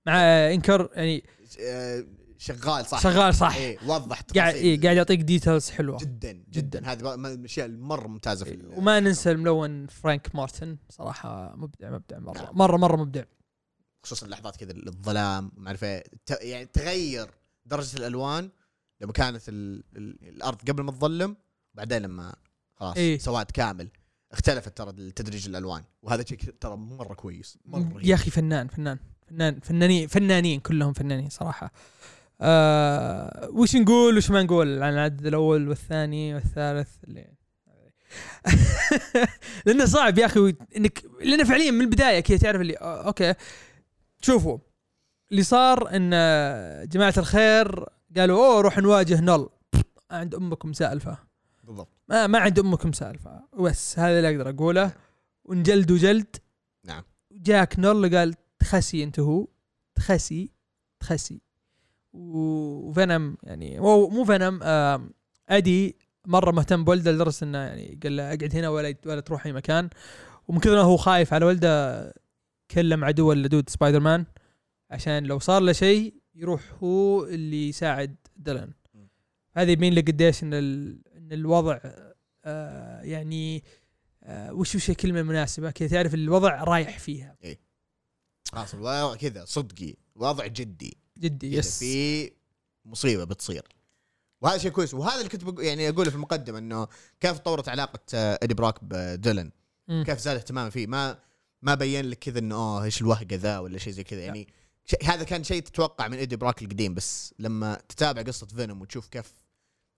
S2: مع آه، انكر يعني
S1: آه، شغال صح
S2: شغال صح
S1: ايه وضح
S2: قاعد
S1: تفاصيل
S2: إيه قاعد يعطيك ديتيلز حلوه
S1: جدا
S2: جداً. إيه،
S1: جدا هذه من الاشياء المره ممتازه في ال-
S2: وما ننسى الملون فرانك مارتن صراحه مبدع مبدع مره مره مره مبدع
S1: خصوصا لحظات كذا الظلام ما اعرف إيه، ت- يعني تغير درجه الالوان لما كانت ال... ال... الارض قبل ما تظلم بعدين لما خلاص
S2: إيه.
S1: إيه؟ سواد كامل اختلفت ترى تدريج الالوان وهذا شيء كذا ترى مره كويس مره
S2: يا
S1: رهيب.
S2: اخي فنان فنان فنان فنانين فنانين كلهم فنانين صراحه آه وش نقول وش ما نقول عن العدد الاول والثاني والثالث اللي لانه صعب يا اخي انك لانه فعليا من البدايه كذا تعرف اللي آه، اوكي شوفوا اللي صار ان آه، جماعه الخير قالوا اوه روح نواجه نل عند امكم سالفه
S1: بالضبط
S2: ما ما عند امكم سالفه بس هذا اللي اقدر اقوله ونجلد وجلد
S1: نعم.
S2: جاك نورل قال تخسي انت هو تخسي تخسي و- وفنم يعني مو مو فنم آم، ادي مره مهتم بولده لدرجه انه يعني قال له اقعد هنا ولا ولا تروح اي مكان ومن كثر ما هو خايف على ولده كلم عدوه اللدود سبايدر مان عشان لو صار له شيء يروح هو اللي يساعد دلن
S1: م.
S2: هذا يبين لك قديش ان ال- ان الوضع آه يعني آه وش وش الكلمه المناسبه كذا تعرف الوضع رايح فيها
S1: خلاص الوضع كذا صدقي وضع جدي
S2: جدي
S1: كذا
S2: يس
S1: في مصيبه بتصير وهذا شيء كويس وهذا اللي كنت بقو- يعني اقوله في المقدمه انه كيف تطورت علاقه آه، ايدي براك بديلن
S2: مم.
S1: كيف زاد اهتمامه فيه ما ما بين لك كذا انه اه ايش الوهقه ذا ولا شيء زي كذا يعني شيء هذا كان شيء تتوقع من ايدي براك القديم بس لما تتابع قصه فينوم وتشوف كيف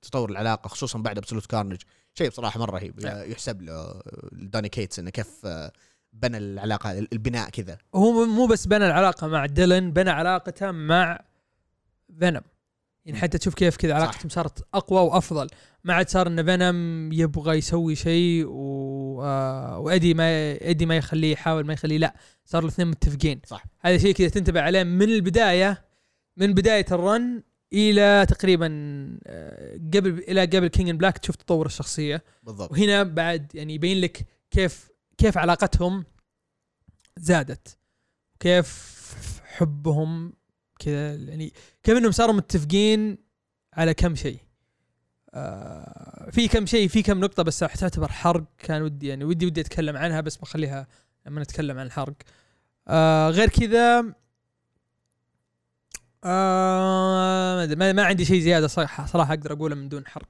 S1: تطور العلاقه خصوصا بعد ابسولوت كارنج شيء بصراحه مره رهيب
S2: نعم.
S1: يحسب له آه، داني كيتس انه كيف آه، بنى العلاقه البناء كذا
S2: هو مو بس بنى العلاقه مع ديلن بنى علاقته مع فينوم يعني حتى تشوف كيف كذا علاقتهم صارت اقوى وافضل ما عاد صار ان فينوم يبغى يسوي شيء و... آه... وادي ما ادي ما يخليه يحاول ما يخليه لا صاروا الاثنين متفقين
S1: صح.
S2: هذا شيء كذا تنتبه عليه من البدايه من بدايه الرن الى تقريبا آه، قبل الى قبل كينج بلاك تشوف تطور الشخصيه
S1: بالضبط
S2: وهنا بعد يعني يبين لك كيف كيف علاقتهم زادت وكيف حبهم كذا يعني كيف انهم صاروا متفقين على كم شيء آه في كم شيء في كم نقطة بس راح تعتبر حرق كان ودي يعني ودي ودي اتكلم عنها بس بخليها لما نتكلم عن الحرق آه غير كذا آه ما أدري، ما, ما عندي شيء زيادة صراحة صراحة اقدر اقوله من دون حرق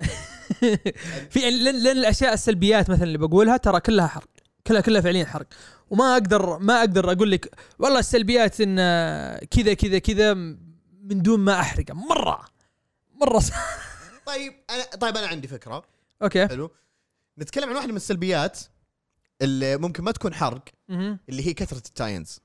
S2: في لان لأن الاشياء السلبيات مثلا اللي بقولها ترى كلها حرق كلها كلها فعليا حرق وما اقدر ما اقدر اقول لك والله السلبيات ان آه، كذا كذا كذا من دون ما احرقه مره مره صح.
S1: طيب انا طيب انا عندي فكره
S2: اوكي
S1: حلو نتكلم عن واحده من السلبيات اللي ممكن ما تكون حرق
S2: مهم.
S1: اللي هي كثره التاينز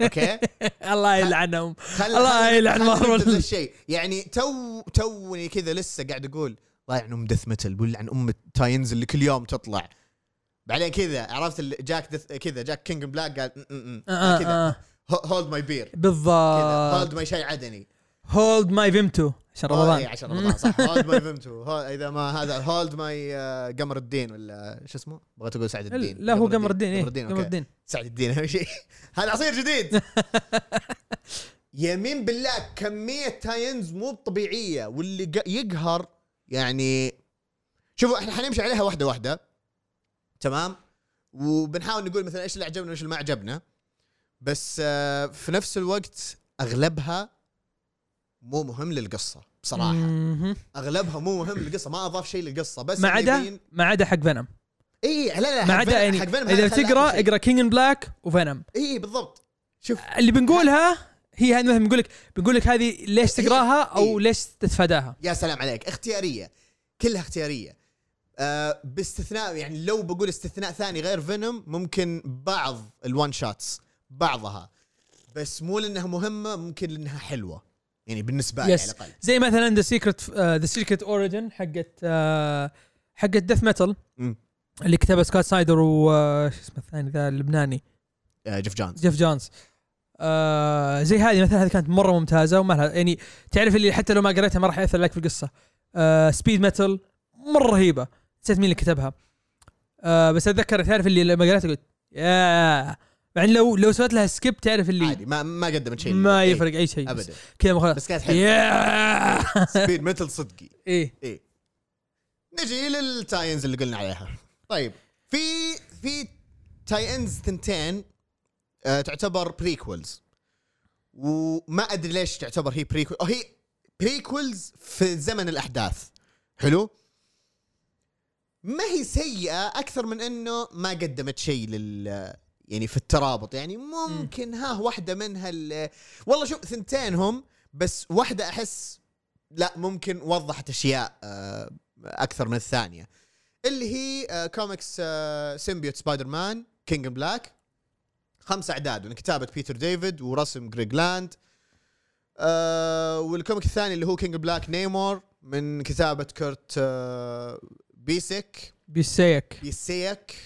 S1: اوكي
S2: الله يلعنهم
S1: خل
S2: الله
S1: خل-
S2: يلعن
S1: خل-
S2: مارفل.
S1: نبدأ ذا الشيء يعني تو توني كذا لسه قاعد اقول الله يعن ام دث متل ولا عن ام التاينز اللي كل يوم تطلع بعدين كذا عرفت اللي جاك دث كذا جاك كينج بلاك قال م- م- م.
S2: آه،
S1: كذا
S2: آه.
S1: هولد ماي بير هولد
S2: بالضبط
S1: ماي شيء عدني
S2: هولد ماي فيمتو عشان
S1: إيه،
S2: رمضان
S1: عشان رمضان صح هولد ماي فيمتو اذا ما هذا هولد ماي قمر الدين ولا شو اسمه بغيت اقول سعد الدين
S2: لا هو قمر الدين إيه، قمر
S1: أوكي.
S2: الدين
S1: سعد الدين اهم شيء هذا عصير جديد يمين بالله كميه تاينز مو طبيعيه واللي ق- يقهر يعني شوفوا احنا حنمشي عليها واحده واحده تمام وبنحاول نقول مثلا ايش اللي عجبنا وايش اللي ما عجبنا بس آه، في نفس الوقت اغلبها مو مهم للقصه بصراحه
S2: مهم.
S1: اغلبها مو مهم للقصه ما اضاف شيء للقصه بس
S2: ما
S1: إنه
S2: عدا
S1: يبين-
S2: ما عدا حق فنم
S1: اي لا لا
S2: ما
S1: حق
S2: عدا
S1: فيلم-
S2: يعني
S1: حق فيلم
S2: اذا
S1: هذا خلى
S2: بتقرا
S1: آخر شيء.
S2: اقرا كينج ان بلاك وفنم
S1: اي بالضبط شوف
S2: اللي بنقولها هي هذه مثلا بنقول لك بنقول لك هذه ليش تقراها او
S1: إيه.
S2: ليش تتفاداها
S1: يا سلام عليك اختياريه كلها اختياريه آه باستثناء يعني لو بقول استثناء ثاني غير فينوم ممكن بعض الوان شوتس بعضها بس مو لانها مهمه ممكن لانها حلوه يعني بالنسبه لي على
S2: يس
S1: الاقل
S2: زي مثلا ذا سيكرت ذا سيكرت اوريجن حقت آه، حقت ديث ميتال
S1: مم.
S2: اللي كتبها سكوت سايدر وش اسمه الثاني ذا اللبناني
S1: آه جيف جونز
S2: جيف جونز آه زي هذه مثلا هذه كانت مره ممتازه وما لها يعني تعرف اللي حتى لو ما قريتها ما راح ياثر لك في القصه آه سبيد ميتال مره رهيبه نسيت مين اللي كتبها آه بس اتذكر تعرف اللي لما قريتها قلت يا مع إن لو لو سويت لها سكيب تعرف اللي
S1: عادي ما ما قدمت شيء
S2: ما
S1: إيه،
S2: يفرق اي شيء بس
S1: ابدا
S2: كذا خلاص
S1: بس كانت حلوه
S2: يا
S1: سبيد متل صدقي
S2: ايه
S1: ايه نجي للتاينز اللي قلنا عليها طيب في في تاينز ثنتين آه تعتبر بريكولز وما ادري ليش تعتبر هي بريكول أو هي بريكولز في زمن الاحداث حلو ما هي سيئه اكثر من انه ما قدمت شيء لل يعني في الترابط يعني ممكن ها واحده منها ال- والله شوف ثنتين هم بس واحده احس لا ممكن وضحت اشياء آه، اكثر من الثانيه اللي هي آه، كوميكس آه، سيمبيوت سبايدر مان كينج بلاك خمس يعني اعداد من كتابه بيتر ديفيد ورسم جريج لاند آه، والكوميك الثاني اللي هو كينج بلاك نيمور من كتابه كرت آه، بيسك
S2: بيسيك
S1: بيسيك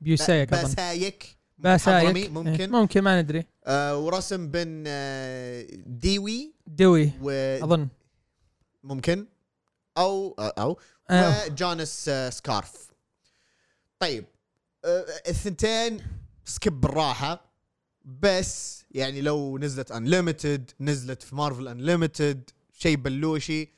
S2: بيسيك اظن
S1: باسايك
S2: باسايك إيه،
S1: ممكن
S2: ممكن ما ندري
S1: آه، ورسم بن آه، ديوي
S2: دوي
S1: وممكن
S2: اظن
S1: او آه، او
S2: آه.
S1: وجونس آه، سكارف طيب آه، الثنتين سكيب بالراحه بس يعني لو نزلت انليمتد نزلت في مارفل انليمتد شيء بلوشي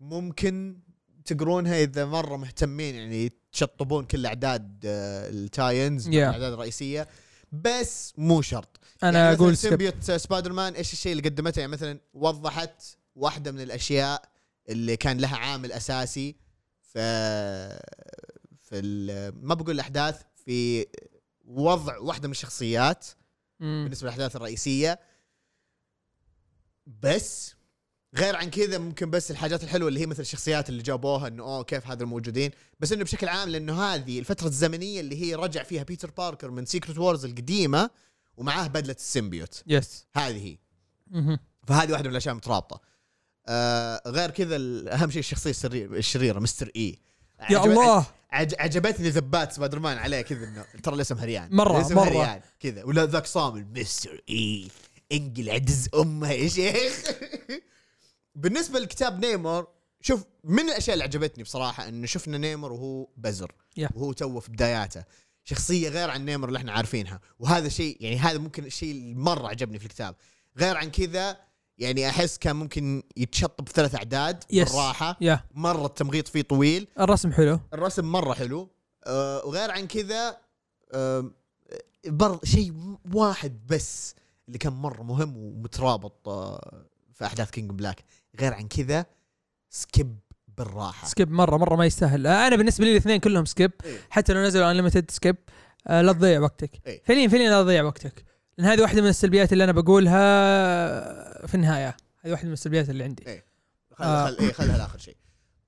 S1: ممكن تقرونها اذا مره مهتمين يعني تشطبون كل اعداد آه، التاينز
S2: Yeah.
S1: الاعداد الرئيسيه بس مو شرط
S2: انا
S1: يعني مثلاً
S2: اقول سكيب
S1: سيمبيوت سبايدر مان ايش الشيء اللي قدمته يعني مثلا وضحت واحده من الاشياء اللي كان لها عامل اساسي في في ال- ما بقول الاحداث في وضع واحده من الشخصيات
S2: مم.
S1: بالنسبه للاحداث الرئيسيه بس غير عن كذا ممكن بس الحاجات الحلوه اللي هي مثل الشخصيات اللي جابوها انه اوه كيف هذا الموجودين بس انه بشكل عام لانه هذه الفتره الزمنيه اللي هي رجع فيها بيتر باركر من سيكرت وورز القديمه ومعاه بدله السيمبيوت
S2: يس
S1: هذه هي
S2: مهم.
S1: فهذه واحده من الاشياء المترابطه آه غير كذا ال- اهم شيء الشخصيه السرير الشريره مستر E. اي
S2: يا الله
S1: عج... عجبتني ذبات سبايدر مان عليه كذا انه ترى الاسم هريان
S2: مرة-
S1: الاسم
S2: مرة.
S1: هريان كذا ولا ذاك صامل مستر اي انقل عجز امها يا شيخ بالنسبه لكتاب نيمور شوف من الاشياء اللي عجبتني بصراحه انه شفنا نيمور وهو بزر
S2: Yeah.
S1: وهو توه في بداياته شخصيه غير عن نيمور اللي احنا عارفينها وهذا شيء يعني هذا ممكن الشيء اللي مره عجبني في الكتاب غير عن كذا يعني احس كان ممكن يتشطب في ثلاث اعداد
S2: يس.
S1: بالراحه
S2: يا
S1: مره التمغيط فيه طويل
S2: يعني- الرسم حلو
S1: الرسم مره حلو آه، وغير عن كذا آه، برضه شيء واحد بس اللي كان مره مهم ومترابط آه، في احداث كينج بلاك غير عن كذا سكيب بالراحه
S2: سكيب مره مره ما يستاهل آه، انا بالنسبه لي الاثنين كلهم سكيب
S1: إيه.
S2: حتى لو نزلوا انليمتد سكيب آه، لا تضيع وقتك
S1: إيه.
S2: فعليا فعليا لا تضيع وقتك لان هذه واحده من السلبيات اللي انا بقولها في النهايه هذه واحده من السلبيات اللي عندي
S1: خل خل إيه خلها لاخر شيء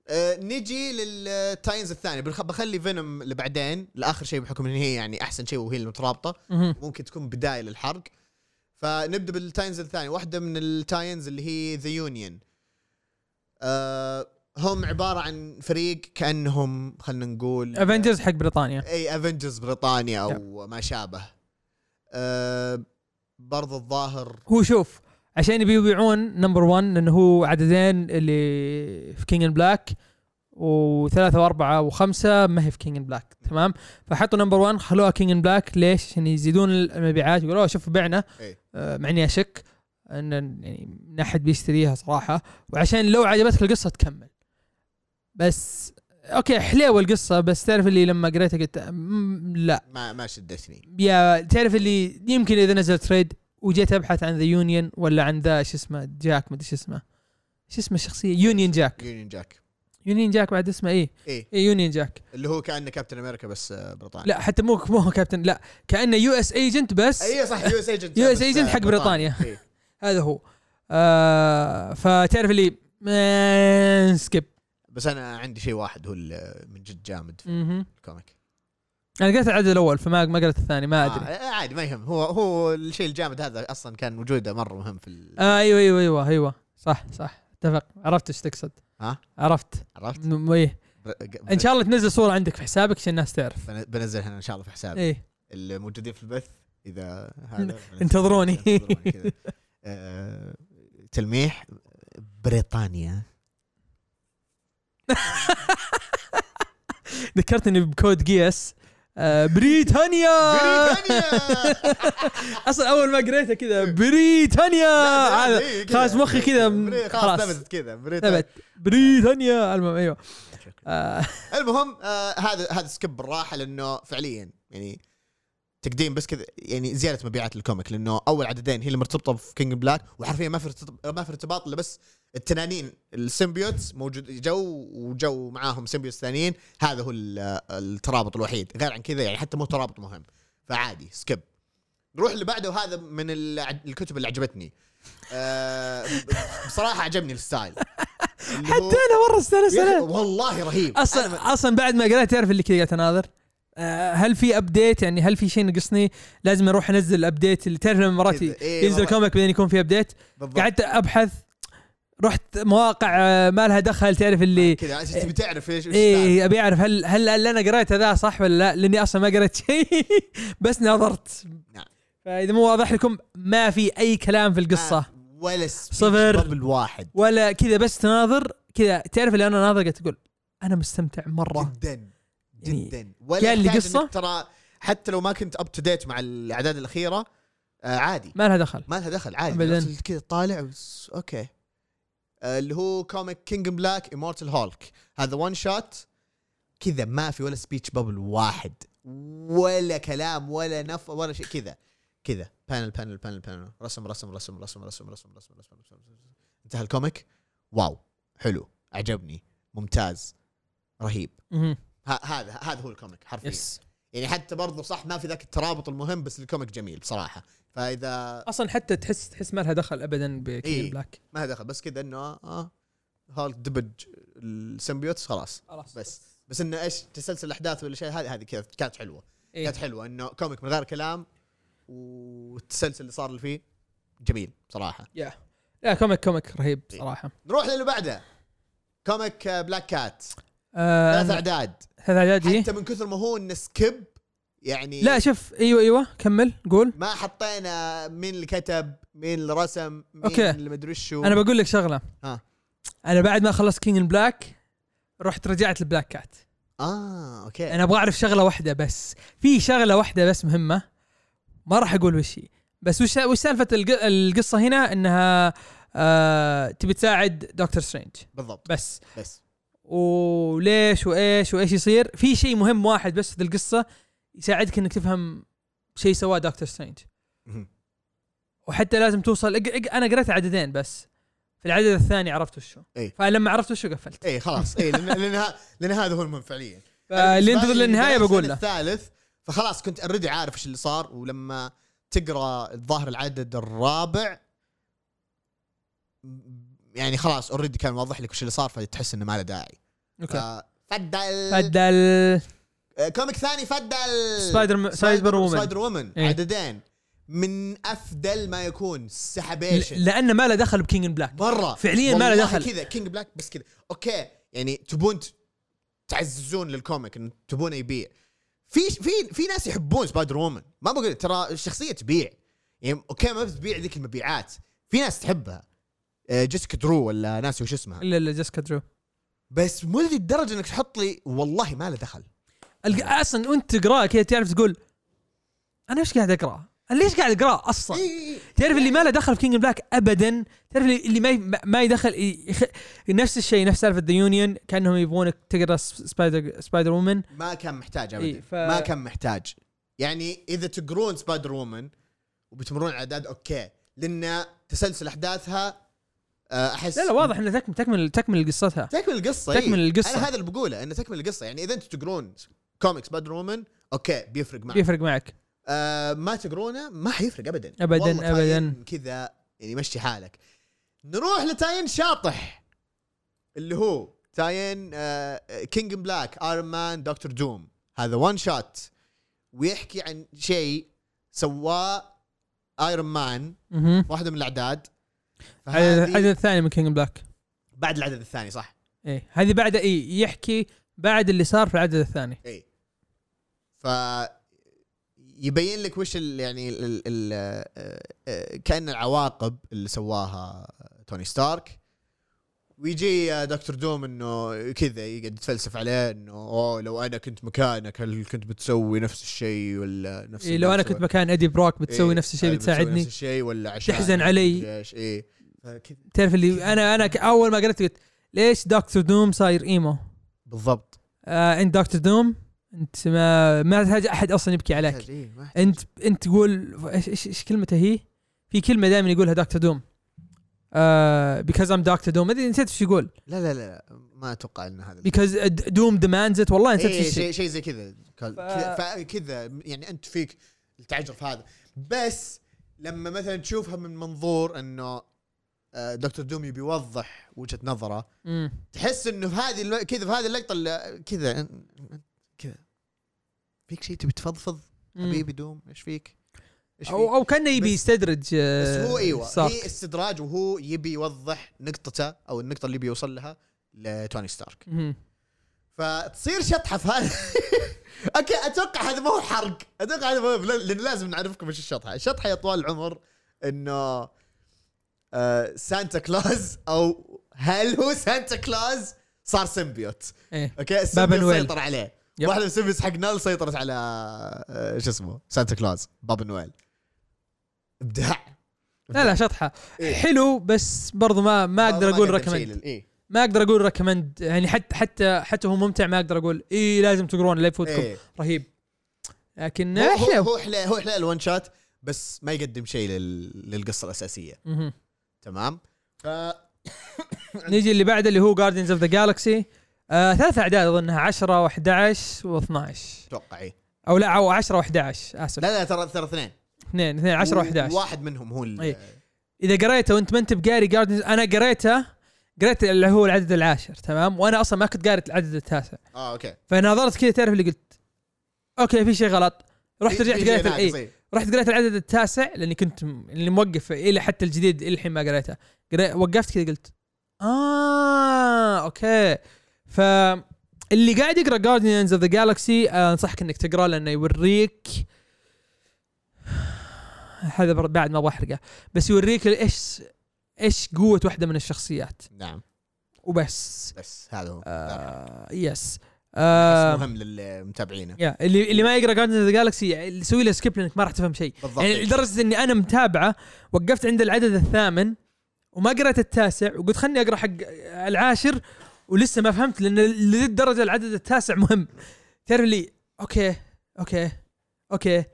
S1: آه، نجي للتاينز الثانيه بنخ- بخلي فينوم لبعدين لاخر شيء بحكم ان هي يعني احسن شيء وهي المترابطه
S2: مهم.
S1: ممكن تكون بدايه للحرق فنبدا بالتاينز الثانيه واحده من التاينز اللي هي ذا يونيون هم عباره عن فريق كانهم خلينا نقول
S2: افنجرز حق بريطانيا
S1: اي افنجرز بريطانيا
S2: نعم.
S1: او ما شابه أه برضو الظاهر
S2: هو شوف عشان يبي يبيعون نمبر 1 لانه هو عددين اللي في كينج اند بلاك وثلاثة وأربعة وخمسة ما هي في كينج اند بلاك تمام فحطوا نمبر 1 خلوها كينج اند بلاك ليش؟ عشان يزيدون المبيعات يقولوا "أوه، شوف بعنا
S1: إيه.
S2: آه، مع اني اشك ان يعني من احد بيشتريها صراحة وعشان لو عجبتك القصة تكمل بس اوكي حليوه القصة بس تعرف اللي لما قريتها قلت "أم، لا
S1: ما ما شدتني
S2: يا تعرف اللي يمكن اذا نزل تريد وجيت ابحث عن ذا يونيون ولا عن ذا شو اسمه جاك مدري شو اسمه شو اسمه الشخصيه يونيون جاك
S1: يونيون جاك
S2: يونيون جاك بعد اسمه ايه
S1: ايه
S2: ايه يونيون جاك
S1: اللي هو كانه كابتن امريكا بس آه، بريطاني
S2: لا حتى مو مو هو كابتن لا كانه يو اس ايجنت بس
S1: اي صح يو اس ايجنت
S2: US agent حق بريطانيا. هذا هو آه فتعرف اللي مان سكيب
S1: بس انا عندي شيء واحد هو اللي من جد جامد في
S2: مهم.
S1: الكوميك
S2: انا قريت العدد الاول فما ما قريت الثاني ما ادري
S1: آه عادي ما يهم هو هو الشيء الجامد هذا اصلا كان وجوده مره مهم في ال...
S2: آه ايوه ايوه ايوه ايوه صح صح اتفق عرفت ايش تقصد
S1: ها؟
S2: عرفت
S1: عرفت؟
S2: م- ايه
S1: بر-
S2: ان شاء الله تنزل صوره عندك في حسابك عشان الناس تعرف
S1: بن- بنزلها انا ان شاء الله في حسابي
S2: ايه
S1: اللي موجودين في البث اذا هذا بنزل-
S2: انتظروني.
S1: انتظروني كذا. آه، تلميح بريطانيا
S2: ذكرتني بكود جي اس آه بريتانيا
S1: بريطانيا
S2: اصلا اول ما قريته
S1: إيه.
S2: كذا بريتانيا آه، هذا خلاص مخي كذا م-
S1: خلاص
S2: خلاص.
S1: ثبتت كذا بريطانيا
S2: ثبت بريتانيا المهم ايوه
S1: شكراً.
S2: آه
S1: المهم آه، هذا هذا سكيب بالراحه لانه فعليا يعني تقديم بس كذا يعني زياده مبيعات الكوميك لانه اول عددين هي اللي مرتبطه في كينج بلاك وحرفيا ما في ارتط- ما في ارتباط الا بس التنانين السيمبيوتس موجود جو وجو معاهم سيمبيوتس ثانيين هذا هو ال- الترابط الوحيد غير عن كذا يعني حتى مو ترابط مهم فعادي سكيب نروح اللي بعده وهذا من الع- الكتب اللي عجبتني آه، ب- بصراحه عجبني الستايل اللي هو-
S2: حتى انا مره استانست
S1: يا أخي
S2: عليه.
S1: والله رهيب
S2: اصلا اصلا بعد ما قريت تعرف اللي كذا قاعد اناظر آه هل في ابديت يعني هل في شيء نقصني لازم اروح انزل الابديت اللي تعرف لما مرات
S1: كذا، إيه
S2: ينزل
S1: والله.
S2: كوميك بعدين يكون في ابديت
S1: بالضبط.
S2: قعدت ابحث رحت مواقع آه، ما لها دخل تعرف اللي
S1: كذا عشان
S2: إيه.
S1: تبي تعرف ايش ايش السالفة.
S2: ايه ابي اعرف هل هل اللي انا قريته ذا صح ولا لا لاني اصلا ما قريت شيء بس ناظرت
S1: نعم.
S2: فاذا مو واضح لكم ما في اي كلام في القصه
S1: ما- آه، ولا speech
S2: صفر.
S1: قبل واحد
S2: ولا كذا بس تناظر كذا تعرف اللي انا ناظر قاعد تقول انا مستمتع مره
S1: جدا
S2: يعني
S1: جدا ولا
S2: كان لي
S1: يحتاج
S2: قصة؟
S1: إنك ترى حتى لو ما كنت اب تو ديت مع الاعداد الاخيره آه عادي
S2: ما لها دخل
S1: ما لها دخل عادي
S2: أبداً.
S1: بس كذا طالع بس اوكي آه اللي هو كوميك كينج بلاك امورتال هولك هذا وان شوت كذا ما في ولا سبيتش بابل واحد ولا كلام ولا نف ولا شيء كذا كذا بانل بانل بانل بانل رسم رسم رسم رسم رسم رسم رسم رسم رسم, رسم. انتهى الكوميك واو حلو عجبني ممتاز رهيب
S2: مهم.
S1: ه- هذا هذا هو الكوميك حرفيا
S2: يس
S1: يعني حتى برضو صح ما في ذاك الترابط المهم بس الكوميك جميل بصراحه فاذا
S2: اصلا حتى تحس تحس ما لها دخل ابدا بكين
S1: إيه.
S2: بلاك
S1: ما لها دخل بس كذا انه اه هالك دبج السيمبيوتس خلاص
S2: خلاص
S1: بس بس انه ايش تسلسل الاحداث ولا شيء هذه هذه كذا كانت حلوه
S2: إيه.
S1: كانت حلوه انه كوميك من غير كلام والتسلسل اللي صار اللي فيه جميل صراحه
S2: يا لا كوميك كوميك رهيب
S1: إيه.
S2: صراحه
S1: نروح للي بعده كوميك آه، بلاك كات
S2: آه،
S1: ثلاث اعداد
S2: هذا اعدادي
S1: حتى من كثر ما هو انه سكيب يعني
S2: لا شوف ايوه ايوه كمل قول
S1: ما حطينا مين اللي كتب مين اللي رسم مين
S2: أوكي.
S1: اللي مدري شو
S2: انا بقول لك شغله
S1: ها.
S2: انا بعد ما خلصت كينج ان بلاك رحت رجعت لبلاك كات
S1: اه اوكي
S2: انا ابغى اعرف شغله واحده بس في شغله واحده بس مهمه ما راح اقول وش هي بس وش وش سالفه الق- القصه هنا انها آه تبي تساعد دكتور سترينج
S1: بالضبط
S2: بس
S1: بس
S2: وليش وايش وايش يصير في شيء مهم واحد بس في القصه يساعدك انك تفهم شيء سواه دكتور سترينج
S1: مهم.
S2: وحتى لازم توصل اق- اق- انا قريت عددين بس في العدد الثاني عرفت وشو
S1: إيه.
S2: فلما عرفت وشو قفلت
S1: اي إيه، خلاص اي لان لان, ه- لأن هذا هو المهم فعليا أنا
S2: فاللي
S1: بالنسبة
S2: ينتظر
S1: لي
S2: للنهايه
S1: بداية
S2: بقول له
S1: الثالث فخلاص كنت اوريدي عارف ايش اللي صار ولما تقرا الظاهر العدد الرابع يعني خلاص اوريدي كان واضح لك ايش اللي صار فتحس انه ما له داعي
S2: اوكي
S1: آه، فدل
S2: بدل
S1: آه، كوميك ثاني فدل
S2: سبايدر م- سايبر وومن.
S1: سبايدر وومن
S2: إيه.
S1: عددين من افدل ما يكون سحبيشن
S2: لان ما له دخل بكينج بلاك
S1: مره
S2: فعلياً ما له
S1: والله
S2: دخل.
S1: كذا كينج بلاك بس كذا اوكي يعني تبون ت- تعززون للكوميك إن تبونه يبيع في في في ناس يحبون سبايدر وومن ما بقول ترى الشخصيه تبيع يعني اوكي ما بتبيع ذيك المبيعات في ناس تحبها آه، جيسيكا درو ولا ناس وش اسمها
S2: الا الا جيسكا درو
S1: بس مو لذي الدرجه انك تحط لي والله ما له دخل
S2: الق- اصلا وانت تقراه كذا تعرف تقول انا ايش قاعد اقراه؟ انا ليش قاعد اقراه اصلا؟
S1: إي- إي-
S2: تعرف اللي ما له دخل في كينج بلاك ابدا تعرف اللي اللي ما ي- ما يدخل ي- يخ... نفس الشيء نفس سالفه ذا يونيون كانهم يبغونك تقرا س- سبايدر سبايدر وومن
S1: ما كان محتاج ابدا
S2: إيه، ف-
S1: ما كان محتاج يعني اذا تقرون سبايدر وومن وبتمرون اعداد اوكي لان تسلسل احداثها آه، احس
S2: لا لا واضح انه تكمل تكمل تكمل قصتها
S1: تكمل القصه إيه.
S2: تكمل القصة.
S1: انا هذا اللي بقوله انه تكمل القصه يعني اذا انتم تقرون كوميكس سبايدر وومن اوكي بيفرق معك
S2: يفرق معك
S1: آه ما تقرونه ما حيفرق ابدا
S2: أبداً،
S1: والله
S2: أبداً.
S1: تاين كذا يعني مشي حالك نروح لتاين شاطح اللي هو تاين آه كينج بلاك ايرون مان دكتور دوم هذا وان شوت ويحكي عن شيء سواه ايرون مان
S2: اها
S1: واحده من الاعداد فهذه
S2: العدد الثاني من كينج بلاك
S1: بعد العدد الثاني صح
S2: ايه هذه بعد اي يحكي بعد اللي صار في العدد الثاني
S1: اي إيه. ف يبين لك وش ال يعني ال ال ال آه، آه، كان العواقب اللي سواها توني ستارك ويجي آه، دكتور دوم انه كذا يقعد يتفلسف عليه انه اوه لو انا كنت مكانك هل كنت بتسوي نفس الشيء ولا نفس إيه. أيوة،
S2: إيه لو انا كنت مكان ادي بروك بتسوي نفس الشيء بتساعدني
S1: نفس الشيء ولا عشان إيه.
S2: تحزن علي.
S1: اي فكذا
S2: تعرف اللي انا انا ك- اول ما قريت قلت ليش دكتور دوم صاير ايمو؟
S1: بالضبط
S2: آه انت دكتور دوم انت ما ما تحتاج احد اصلا يبكي عليك
S1: إيه، ما أحتاج.
S2: انت انت تقول ايش ايش ايش كلمته هي؟ في كلمه دائما يقولها آه، دكتور دوم بيكوز ام دكتور دوم ما ادري نسيت ايش يقول
S1: لا لا لا ما اتوقع ان هذا
S2: بيكوز دوم ديماندز ات والله نسيت
S1: اي
S2: ايش
S1: إيه، شيء
S2: هي.
S1: شيء زي كذا كذا- فكذا يعني انت فيك التعجرف هذا بس لما مثلا تشوفها من منظور انه آه، دكتور دوم يبي يوضح وجهه نظره
S2: مم.
S1: تحس انه في هذه الو- كذا في هذه اللقطه اللي- كذا أن- أن- كذا فيك شيء تبي تفضفض
S2: مم.
S1: حبيبي دوم ايش فيك؟ ايش فيك؟
S2: او او كانه يبي
S1: بس-
S2: يستدرج
S1: بس
S2: آه،
S1: هو ايوه
S2: ستارك.
S1: هي استدراج وهو يبي يوضح نقطته او النقطه اللي بيوصل لها لتوني ستارك
S2: مم.
S1: فتصير شطحه في هذا اوكي اتوقع هذا ما هو حرق اتوقع هذا ما هو لان لازم نعرفكم ايش الشطحه الشطحه يا طوال العمر انه آه سانتا كلاز او هل هو سانتا كلاز صار سيمبيوت
S2: ايه
S1: اوكي السيمبيوت
S2: نويل.
S1: سيطر عليه
S2: يب.
S1: واحده من السيمبيوتس حق نال سيطرت على آه، شو اسمه سانتا كلاز بابا نويل ابداع
S2: لا لا شطحه
S1: إيه.
S2: حلو بس برضو ما ما اقدر اقول ريكومند
S1: اي
S2: ما اقدر اقول ريكومند يعني حتى حتى حتى هو ممتع ما اقدر اقول اي لازم تقرون لا يفوتكم
S1: إيه.
S2: رهيب لكن
S1: هو هو-
S2: حلو
S1: هو حلو هو حلو الون شوت بس ما يقدم شيء لل- للقصه الاساسيه
S2: مهم.
S1: تمام ف
S2: نيجي اللي بعده اللي هو جاردينز اوف ذا جالكسي آه، ثلاث اعداد اظنها 10 و11 و12
S1: اتوقع ايه
S2: او لا او 10 و11 اسف
S1: لا لا ترى ترى اثنين
S2: اثنين اثنين 10 و11
S1: واحد منهم هو ال-
S2: إيه. اذا قريته وانت ما انت بقاري جاردينز انا قريته قريت اللي هو العدد العاشر تمام وانا اصلا ما كنت قاري العدد التاسع
S1: اه اوكي
S2: فنظرت كذا تعرف اللي قلت اوكي في شيء غلط رحت
S1: في-
S2: رجعت
S1: في شيء
S2: قريت
S1: ناقص،
S2: اي
S1: إيه.
S2: رحت قريت العدد التاسع لاني كنت م- اللي موقف الى حتى الجديد الى الحين ما قريته قري... وقفت كذا قلت اه اوكي ف اللي قاعد يقرا جارديانز اوف ذا جالكسي انصحك انك تقرا لانه يوريك هذا بر- بعد ما ابغى احرقه بس يوريك ايش ايش قوه واحده من الشخصيات
S1: نعم
S2: وبس
S1: بس هذا هو
S2: آه يس
S1: بس
S2: آه
S1: مهم للمتابعين
S2: يا اللي اللي ما يقرا جارديانز اوف ذا جالكسي سوي له سكيب لانك ما راح تفهم شيء
S1: بالضبط
S2: يعني لدرجه اني انا متابعه وقفت عند العدد الثامن وما قرأت التاسع وقلت خلني اقرا حق العاشر ولسه ما فهمت لان لذي الدرجه العدد التاسع مهم تعرف لي اوكي اوكي اوكي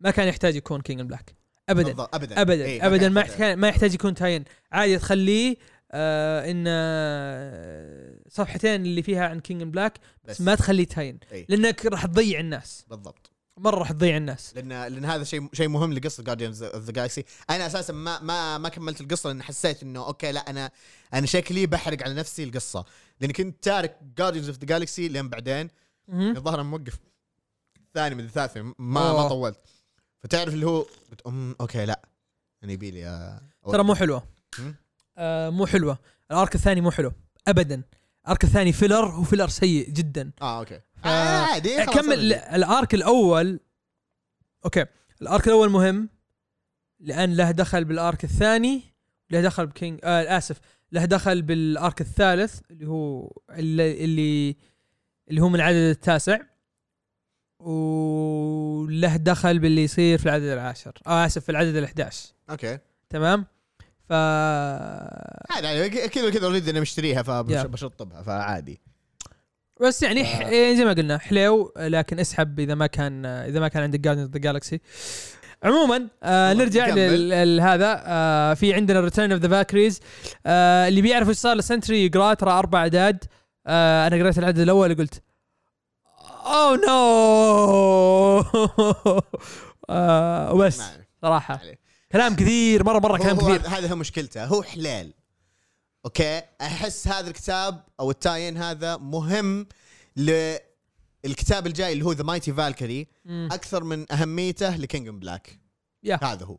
S2: ما كان يحتاج يكون كينج بلاك ابدا
S1: بالضبط، ابدا
S2: ابدا
S1: إيه،
S2: ابدا ما
S1: كان-
S2: يحتاج ما يحتاج يكون تاين عادي تخليه آه ان آه، صفحتين اللي فيها عن كينج بلاك
S1: بس
S2: ما تخليه تاين
S1: إيه.
S2: لانك راح تضيع الناس
S1: بالضبط
S2: مره راح تضيع الناس
S1: لان لان هذا شيء شيء مهم لقصه جارديانز اوف ذا جالكسي انا اساسا ما ما ما كملت القصه لان حسيت انه اوكي لا انا انا شكلي بحرق على نفسي القصه لان كنت تارك جارديانز اوف ذا جالكسي لين بعدين
S2: مهم.
S1: الظاهر أنا موقف ثاني من الثالث ما ما
S2: أوه.
S1: طولت فتعرف اللي هو قلت أم، اوكي لا انا يبي لي آه،
S2: ترى مو حلوه
S1: مم.
S2: آه مو حلوه الارك الثاني مو حلو ابدا الارك الثاني فيلر هو فيلر سيء جدا
S1: اه اوكي
S2: آه،
S1: آه، عادي خلاص
S2: اكمل
S1: أبدي.
S2: الارك الاول اوكي الارك الاول مهم لان له دخل بالارك الثاني له دخل بكينج آه اسف له دخل بالارك الثالث اللي هو اللي اللي, اللي هو من العدد التاسع وله دخل باللي يصير في العدد العاشر آه اسف في العدد ال11
S1: اوكي
S2: تمام ف
S1: عادي عادي كذا كذا اوريدي انا مشتريها
S2: يا.
S1: فبشطبها فعادي
S2: بس يعني
S1: آه.
S2: ح... يعني زي ما قلنا حليو لكن اسحب اذا ما كان اذا ما كان عندك جاردنز ذا جالكسي عموما آه
S1: والله
S2: نرجع
S1: نكمل.
S2: لل- لهذا آه في عندنا ريتيرن اوف ذا فاكريز آه اللي بيعرف ايش صار لسنتري يقرا ترى اربع اعداد آه انا قريت العدد "Oh الاول قلت اوه نو آه وبس
S1: ما أعرف.
S2: صراحه
S1: عليه.
S2: كلام كثير مره مره
S1: هو- هو
S2: كلام كثير
S1: نعم. هذا هو مشكلته هو حلال اوكي احس هذا الكتاب او التاين هذا مهم للكتاب الجاي اللي هو ذا مايتي فالكري
S2: مم.
S1: اكثر من اهميته لكينج بلاك
S2: يا.
S1: هذا هو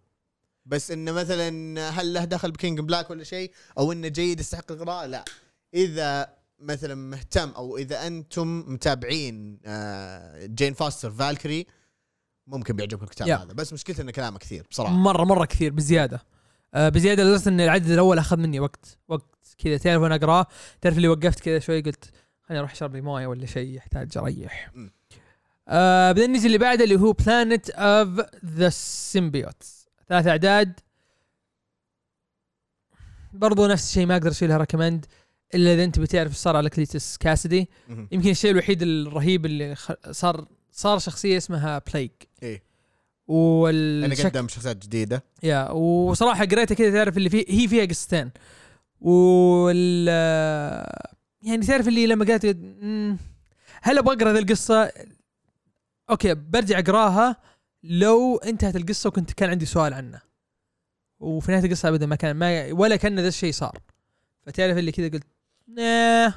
S1: بس انه مثلا هل له دخل بكينج بلاك ولا شيء او انه جيد يستحق القراءه لا اذا مثلا مهتم او اذا انتم متابعين آه، جين فاستر فالكري ممكن بيعجبكم الكتاب
S2: يا.
S1: هذا بس مشكلته انه كلامه كثير بصراحه
S2: مره مره كثير بزياده آه، بزياده لدرجه ان العدد الاول اخذ مني وقت وقت كذا تعرف وانا اقراه تعرف اللي وقفت كذا شوي قلت خليني اروح اشرب لي مويه ولا شيء يحتاج اريح
S1: مم.
S2: آه بعدين نجي اللي بعده اللي هو بلانت اوف ذا سيمبيوتس ثلاث اعداد برضو نفس الشيء ما اقدر اشيلها ريكومند الا اذا انت بتعرف ايش صار على كليتس كاسدي
S1: مهم.
S2: يمكن الشيء الوحيد الرهيب اللي خ... صار صار شخصيه اسمها بلايك
S1: إيه. انا
S2: والشك
S1: قدم شخصيات جديده
S2: يا وصراحه قريتها كذا تعرف اللي فيه هي فيها قصتين وال يعني تعرف اللي لما قالت "مم، هل ابغى اقرا ذي القصه اوكي برجع اقراها لو انتهت القصه وكنت كان عندي سؤال عنه وفي نهايه القصه ابدا ما كان ما ولا كان ذا الشيء صار فتعرف اللي كذا قلت "ناه،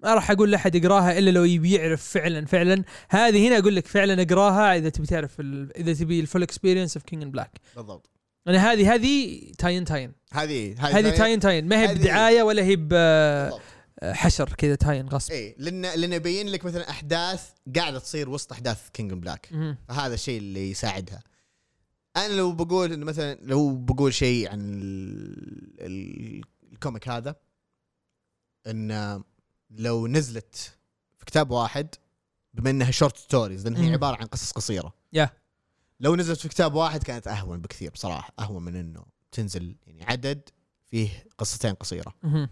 S2: ما راح اقول لاحد يقراها الا لو يبي يعرف فعلا فعلا هذه هنا اقول لك فعلا اقراها اذا تبي تعرف ال... اذا تبي الفول اكسبيرينس اوف كينج بلاك
S1: بالضبط
S2: انا هذه هذه تاين تاين
S1: هذه
S2: هذه تاين تاين ما هي
S1: هذه-
S2: بدعايه ولا هي ب
S1: بالضبط.
S2: حشر كذا تاين غصب
S1: اي لان لان يبين إيه، لك مثلا احداث قاعده تصير وسط احداث كينج بلاك
S2: مهم.
S1: فهذا الشيء اللي يساعدها انا لو بقول انه مثلا لو بقول شيء عن ال- ال- الكوميك هذا ان لو نزلت في كتاب واحد بما انها شورت ستوريز لان هي
S2: مم.
S1: عباره عن قصص قصيره
S2: Yeah.
S1: لو نزلت في كتاب واحد كانت اهون بكثير بصراحه اهون من انه تنزل يعني عدد فيه قصتين قصيره
S2: مهم.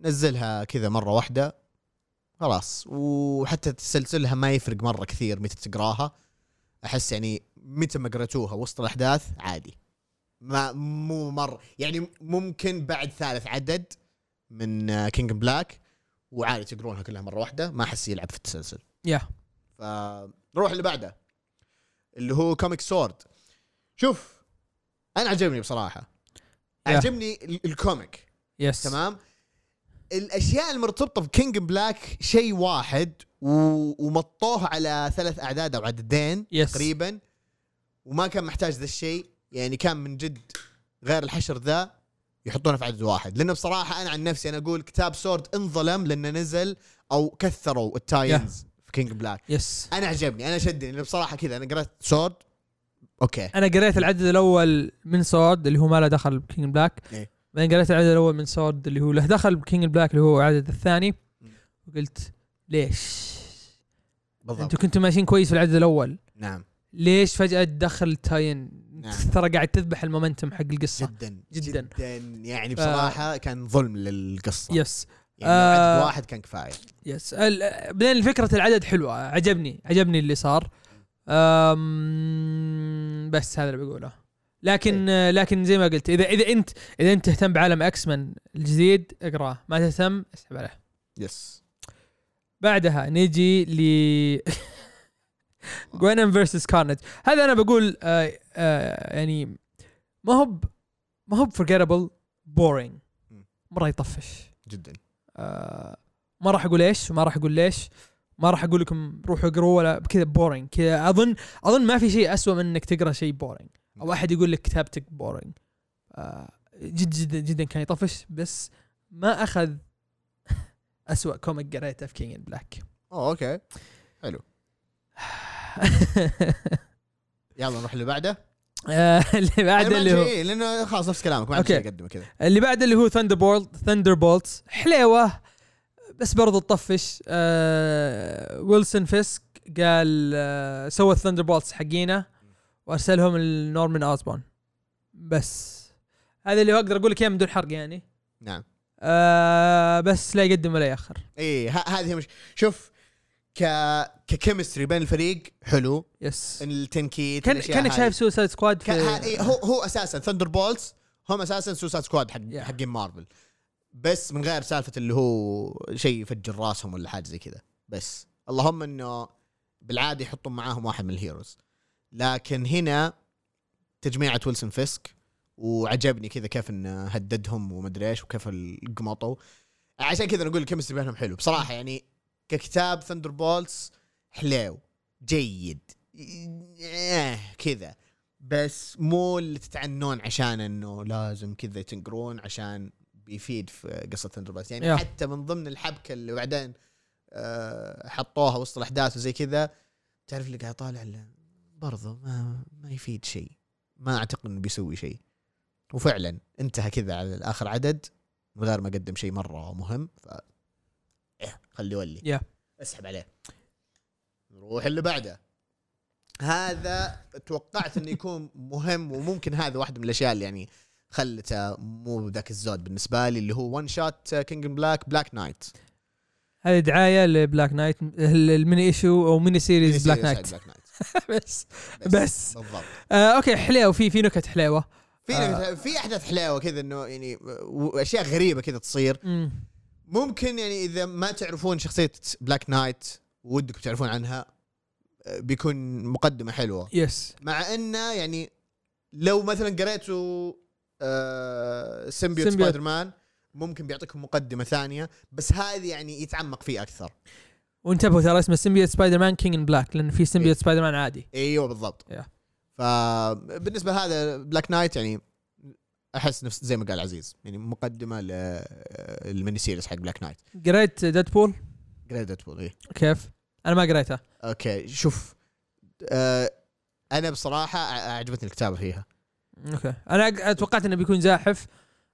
S1: نزلها كذا مره واحده خلاص وحتى تسلسلها ما يفرق مره كثير متى تقراها احس يعني متى ما قريتوها وسط الاحداث عادي ما مو مره يعني ممكن بعد ثالث عدد من كينج بلاك وعادي تقرونها كلها مره واحده ما احس يلعب في التسلسل
S2: يا
S1: فنروح اللي بعده اللي هو كوميك سورد شوف انا عجبني بصراحه
S2: يا.
S1: عجبني ال- الكوميك
S2: يس
S1: تمام الاشياء المرتبطه بكينج بلاك شيء واحد و... ومطوه على ثلاث اعداد او عددين
S2: يس
S1: تقريبا وما كان محتاج ذا الشيء يعني كان من جد غير الحشر ذا يحطونه في عدد واحد لانه بصراحه انا عن نفسي انا اقول كتاب سورد انظلم لانه نزل او كثروا التاينز في كينج بلاك
S2: يس
S1: انا عجبني انا شدني لانه بصراحه كذا انا قرأت سورد اوكي
S2: انا قريت العدد الاول من سورد اللي هو ما له دخل بكينج بلاك
S1: إيه.
S2: بعدين قريت العدد الاول من سورد اللي هو له دخل بكينج بلاك اللي هو العدد الثاني
S1: مم.
S2: وقلت ليش
S1: بالضبط
S2: انتم كنتم ماشيين كويس في العدد الاول
S1: نعم
S2: ليش فجاه تدخل تاين
S1: نعم.
S2: ترى قاعد تذبح المومنتم حق القصه
S1: جدا
S2: جداً. آه.
S1: جدا يعني بصراحه كان ظلم للقصه
S2: يس
S1: يعني لو عدد
S2: آه.
S1: واحد كان كفايه
S2: يس ال- بعدين فكرة العدد حلوة عجبني عجبني اللي صار أم بس هذا اللي بقوله لكن لكن زي ما قلت اذا اذا انت اذا انت تهتم بعالم اكس مان الجديد اقراه ما تهتم اسحب عليه
S1: يس
S2: بعدها نيجي ل جوينم فيرسس كارنج هذا انا بقول آه آه يعني ما هو ب- ما هو فورجيتبل بورينج مره يطفش
S1: جدا
S2: آه ما راح اقول ايش وما راح اقول ليش ما راح اقول لكم روحوا اقروا ولا كذا بورينج كذا اظن اظن ما في شيء أسوأ من انك تقرا شيء بورينج او احد يقول لك كتابتك بورينج آه جد جدا جدا كان يطفش بس ما اخذ أسوأ كوميك قريته في كينج بلاك
S1: اوه اوكي يلا نروح اللي بعده إيه،
S2: آه، اللي بعده اللي هو
S1: شيء لانه خلاص نفس كلامك ما عندي
S2: أوكي.
S1: شيء اقدمه كذا
S2: اللي بعده اللي هو ثاندر بولت ثاندر بولت حليوه بس برضو تطفش آه ويلسون فيسك قال آه سوى الثاندر بولتس حقينا وارسلهم لنورمان اوزبون بس هذا اللي اقدر اقول لك اياه من دون حرق يعني
S1: نعم
S2: آه بس لا يقدم ولا ياخر
S1: اي إيه، ه- هذه هي مش شوف ك ككيمستري بين الفريق حلو
S2: يس
S1: التنكيت
S2: كان
S1: الأشياء
S2: كانك
S1: هذه.
S2: شايف سوسايد سكواد في
S1: ك- ها- إيه، هو هو اساسا ثندر بولز هم اساسا سوسايد سكواد حق
S2: Yeah.
S1: حقين مارفل بس من غير سالفه اللي هو شيء يفجر راسهم ولا حاجه زي كذا بس اللهم انه بالعاده يحطون معاهم واحد من الهيروز لكن هنا تجميعة ويلسون فيسك وعجبني كذا كيف انه هددهم ومدري ايش وكيف قمطوا عشان كذا نقول الكيمستري بينهم حلو بصراحه يعني ككتاب ثندر بولز حلو جيد إيه، كذا بس مو اللي تتعنون عشان انه لازم كذا تنقرون عشان بيفيد في قصه ثندر بولز يعني
S2: يا.
S1: حتى من ضمن الحبكه اللي بعدين آه، حطوها وسط الاحداث وزي كذا تعرف اللي قاعد طالع ال- برضه ما, ما يفيد شيء ما اعتقد انه بيسوي شيء وفعلا انتهى كذا على اخر عدد من غير ما قدم شيء مره مهم ف إيه، خليه يولي
S2: يا.
S1: اسحب عليه نروح اللي بعده هذا توقعت انه يكون مهم وممكن هذا واحد من الاشياء اللي يعني خلته مو ذاك الزود بالنسبه لي اللي هو ون شوت كينج بلاك بلاك نايت
S2: هذه دعايه لبلاك نايت الميني ايشو او ميني سيريز بلاك نايت
S1: بلاك نايت
S2: بس بس.
S1: بالضبط
S2: آه اوكي حليوه في في نكت حليوه
S1: في
S2: آه.
S1: في احداث حلاوه كذا انه يعني واشياء غريبه كذا تصير
S2: مم.
S1: ممكن يعني اذا ما تعرفون شخصيه بلاك نايت ودكم تعرفون عنها آه، بيكون مقدمه حلوه
S2: يس
S1: مع انه يعني لو مثلا قريتوا آه سيمبيوت
S2: سيمبيوت.
S1: سبايدر مان ممكن بيعطيكم مقدمه ثانيه بس هذه يعني يتعمق فيه اكثر
S2: وانتبهوا ترى اسمه سيمبيوت سبايدر مان كينج ان بلاك لان في سيمبيوت سبايدر مان عادي
S1: ايوه بالضبط
S2: Yeah.
S1: فبالنسبه لهذا بلاك نايت يعني احس نفس زي ما قال عزيز يعني مقدمه للميني سيريز حق بلاك نايت
S2: قريت ديدبول
S1: جريدت بول إيه.
S2: كيف؟ انا ما قريته
S1: اوكي شوف آه انا بصراحه ع- عجبتني الكتابه فيها
S2: اوكي انا أق- توقعت انه بيكون زاحف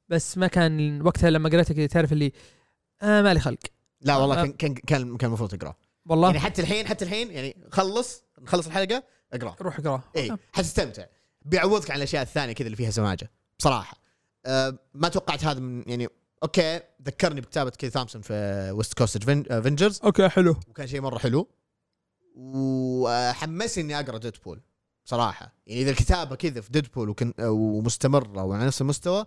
S2: بس ما كان وقتها لما قريته كذا تعرف اللي آه مالي خلق
S1: لا والله
S2: آه.
S1: كان كان كان كان المفروض تقراه
S2: والله
S1: يعني حتى الحين حتى الحين يعني خلص نخلص الحلقه اقراه
S2: روح اقراه
S1: اي حتستمتع بيعوضك عن الاشياء الثانيه كذا اللي فيها سماجه بصراحه آه ما توقعت هذا من يعني اوكي ذكرني بكتابه كي ثامسون في ويست كوست افنجرز
S2: اوكي حلو
S1: وكان شيء مره حلو وحمسني اني اقرا ديدبول بصراحه يعني اذا الكتابه كذا في ديدبول وكن ومستمره وعلى نفس المستوى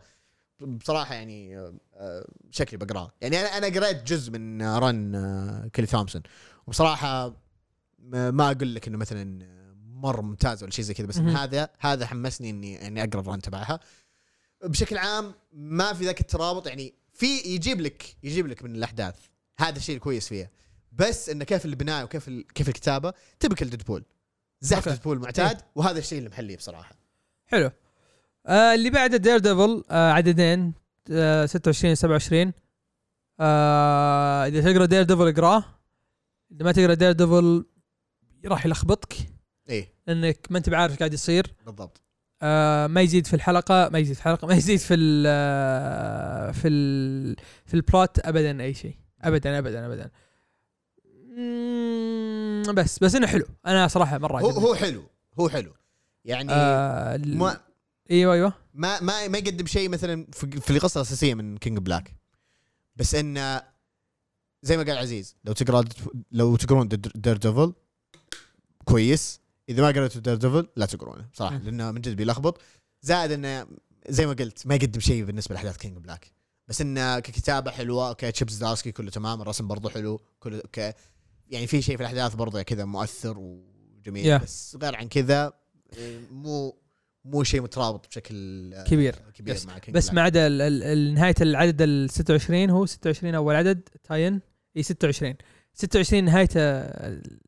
S1: بصراحه يعني آه، آه، شكلي بقراه يعني انا انا قريت جزء من آه، رن آه، كيلي ثامسون وبصراحه ما ما اقول لك انه مثلا مره ممتاز ولا شيء زي كذا بس إن
S2: مهم.
S1: هذا هذا حمسني اني اني اقرا الرن تبعها بشكل عام ما في ذاك الترابط يعني في يجيب لك يجيب لك من الاحداث هذا الشيء الكويس فيها بس انه كيف البناء وكيف ال... كيف الكتابه تبكل ديدبول زحف
S2: أوكي.
S1: ديدبول معتاد وهذا الشيء اللي محليه بصراحه
S2: حلو آه اللي بعده دير ديفل آه عددين آه 26 27 آه اذا تقرا دير ديفل اقراه اذا ما تقرا دير ديفل راح يلخبطك
S1: ايه
S2: لانك ما انت بعارف إيش قاعد يصير
S1: بالضبط
S2: آه، ما يزيد في الحلقه ما يزيد في الحلقه ما يزيد في ال آه، في ال في البلوت ابدا اي شيء ابدا ابدا ابدا مم، بس بس انه حلو انا صراحه مره
S1: هو
S2: عجبني.
S1: هو حلو هو حلو يعني آه
S2: طيب. آه ال-
S1: ما
S2: ايوه ايوه
S1: ما ما, ما يقدم شيء مثلا في, في القصه الاساسيه من كينج بلاك بس انه زي ما قال عزيز لو تقرا ديد- لو تقرون دير ديفل كويس اذا ما قريتوا دير ديفل لا تقرونه صراحه
S2: مم.
S1: لانه من جد بيلخبط زائد انه زي ما قلت ما يقدم شيء بالنسبه لاحداث كينج بلاك بس انه ككتابه حلوه اوكي تشيبس دارسكي كله تمام الرسم برضه حلو كله اوكي يعني في شيء في الاحداث برضه كذا مؤثر وجميل
S2: Yeah.
S1: بس غير عن كذا إيه، مو مو شيء مترابط بشكل آه،
S2: كبير.
S1: كبير
S2: بس-
S1: مع King
S2: بس
S1: Black.
S2: ما عدا ال- ال- ال- نهايه العدد ال 26 هو 26 اول عدد تاين اي 26 26 نهايته ال-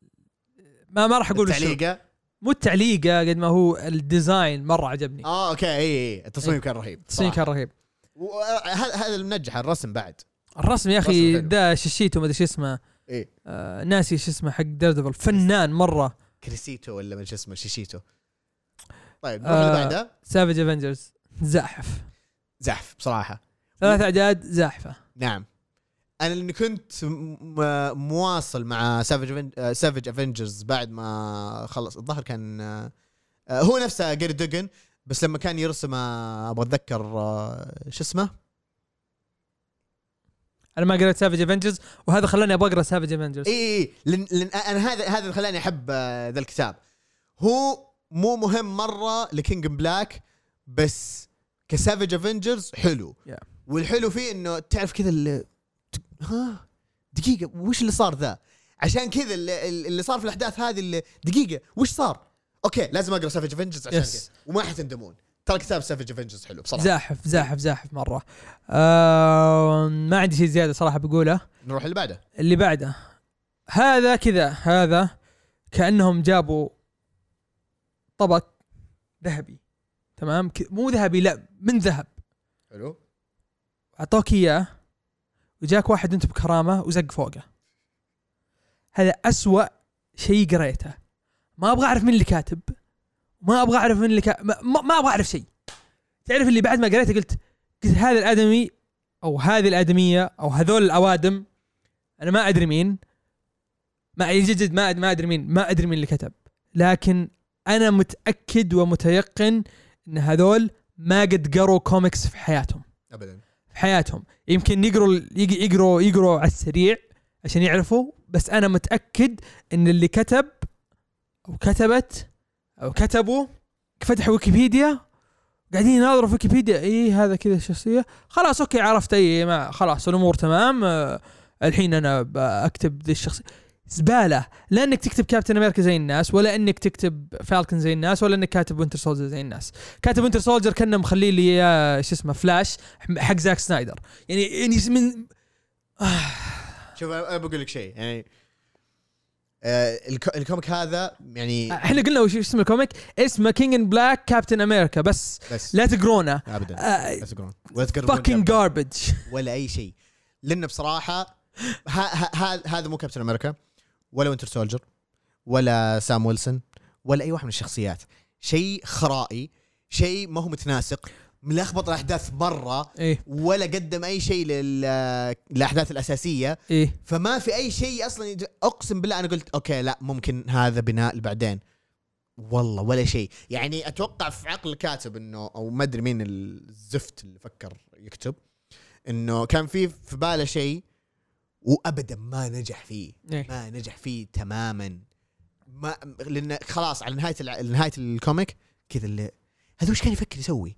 S2: ما ما راح اقول وش هو.
S1: التعليقه
S2: مو التعليقه قد ما هو الديزاين مره عجبني
S1: اه اوكي اي اي التصميم كان رهيب
S2: إيه.
S1: آه.
S2: التصميم كان رهيب
S1: هذا هذا اللي منجح الرسم بعد
S2: الرسم يا
S1: الرسم
S2: اخي
S1: حلو. إيه.
S2: ده ششيتو ما ادري شو اسمه
S1: اي
S2: آه ناسي شو اسمه حق دردبل فنان مره
S1: كريسيتو ولا من شو اسمه شيشيتو طيب نروح
S2: آه.
S1: اللي بعده
S2: سافج افنجرز زاحف
S1: زحف بصراحه
S2: ثلاث اعداد زاحفه
S1: نعم انا اللي كنت م- م- مواصل مع سافج سافج افنجرز بعد ما خلص الظهر كان آه، آه، هو نفسه جيري دوجن بس لما كان يرسم آه، ابغى اتذكر آه، شو اسمه
S2: انا ما قريت سافج افنجرز وهذا خلاني ابغى اقرا سافج افنجرز
S1: اي اي لان لان انا هذا هذا اللي خلاني احب آه، ذا الكتاب هو مو مهم مره لكينج بلاك بس كسافج افنجرز حلو
S2: Yeah.
S1: والحلو فيه انه تعرف كذا اللي ها دقيقه وش اللي صار ذا عشان كذا اللي, اللي صار في الاحداث هذه اللي دقيقه وش صار اوكي لازم اقرا سافج افنجرز عشان
S2: Yes.
S1: كذا وما حتندمون ترى كتاب سافج افنجرز حلو بصراحه
S2: زاحف زاحف زاحف مره آه ما عندي شيء زياده صراحه بقوله
S1: نروح اللي بعده
S2: اللي بعده هذا كذا هذا كانهم جابوا طبق ذهبي تمام ك- مو ذهبي لا من ذهب
S1: حلو
S2: اعطوك اياه وجاك واحد انت بكرامه وزق فوقه هذا أسوأ شيء قريته ما ابغى اعرف مين اللي كاتب ما ابغى اعرف مين اللي كا... ما, ما- ما ابغى اعرف شيء تعرف اللي بعد ما قريته قلت قلت هذا الادمي او هذه الادميه او هذول الاوادم انا ما ادري مين ما يجد ما أد- ما ادري مين ما ادري مين اللي كتب لكن انا متاكد ومتيقن ان هذول ما قد قروا كوميكس في حياتهم
S1: ابدا
S2: في حياتهم يمكن يقروا يق- يقروا يقروا على السريع عشان يعرفوا بس انا متاكد ان اللي كتب او كتبت او كتبوا فتحوا ويكيبيديا قاعدين يناظروا في ويكيبيديا اي هذا كذا الشخصيه خلاص اوكي عرفت اي ما خلاص الامور تمام آه، الحين انا بكتب ذي الشخصيه زباله لا انك تكتب كابتن امريكا زي الناس ولا انك تكتب فالكن زي الناس ولا انك كاتب وينتر سولجر زي الناس كاتب وينتر سولجر كانه مخليه لي إياه شو اسمه فلاش حق زاك سنايدر يعني يعني من
S1: شوف انا أنا بقول لك شيء يعني آه الكو- الكوميك هذا يعني
S2: احنا قلنا وش اسم الكوميك اسمه كينج ان بلاك كابتن امريكا بس
S1: بس
S2: لا آه، تقرونه
S1: ابدا لا تقرون ولا تقرون
S2: فاكينج
S1: ولا-
S2: جاربج
S1: ولا اي شيء لان بصراحه ها- ها- ها- هذا مو كابتن امريكا ولا وينتر سولجر ولا سام ويلسون ولا اي واحد من الشخصيات شيء خرائي شيء ما هو متناسق ملخبط الاحداث مره
S2: ايه
S1: ولا قدم اي شيء لل- للاحداث الاساسيه
S2: ايه
S1: فما في اي شيء اصلا يد- اقسم بالله انا قلت اوكي لا ممكن هذا بناء لبعدين والله ولا شيء يعني اتوقع في عقل الكاتب انه او ما ادري مين الزفت اللي فكر يكتب انه كان في في باله شيء وابدا ما نجح فيه
S2: ايه
S1: ما نجح فيه تماما ما لان خلاص على نهايه الع- نهايه الكوميك كذا اللي هذا وش كان يفكر يسوي؟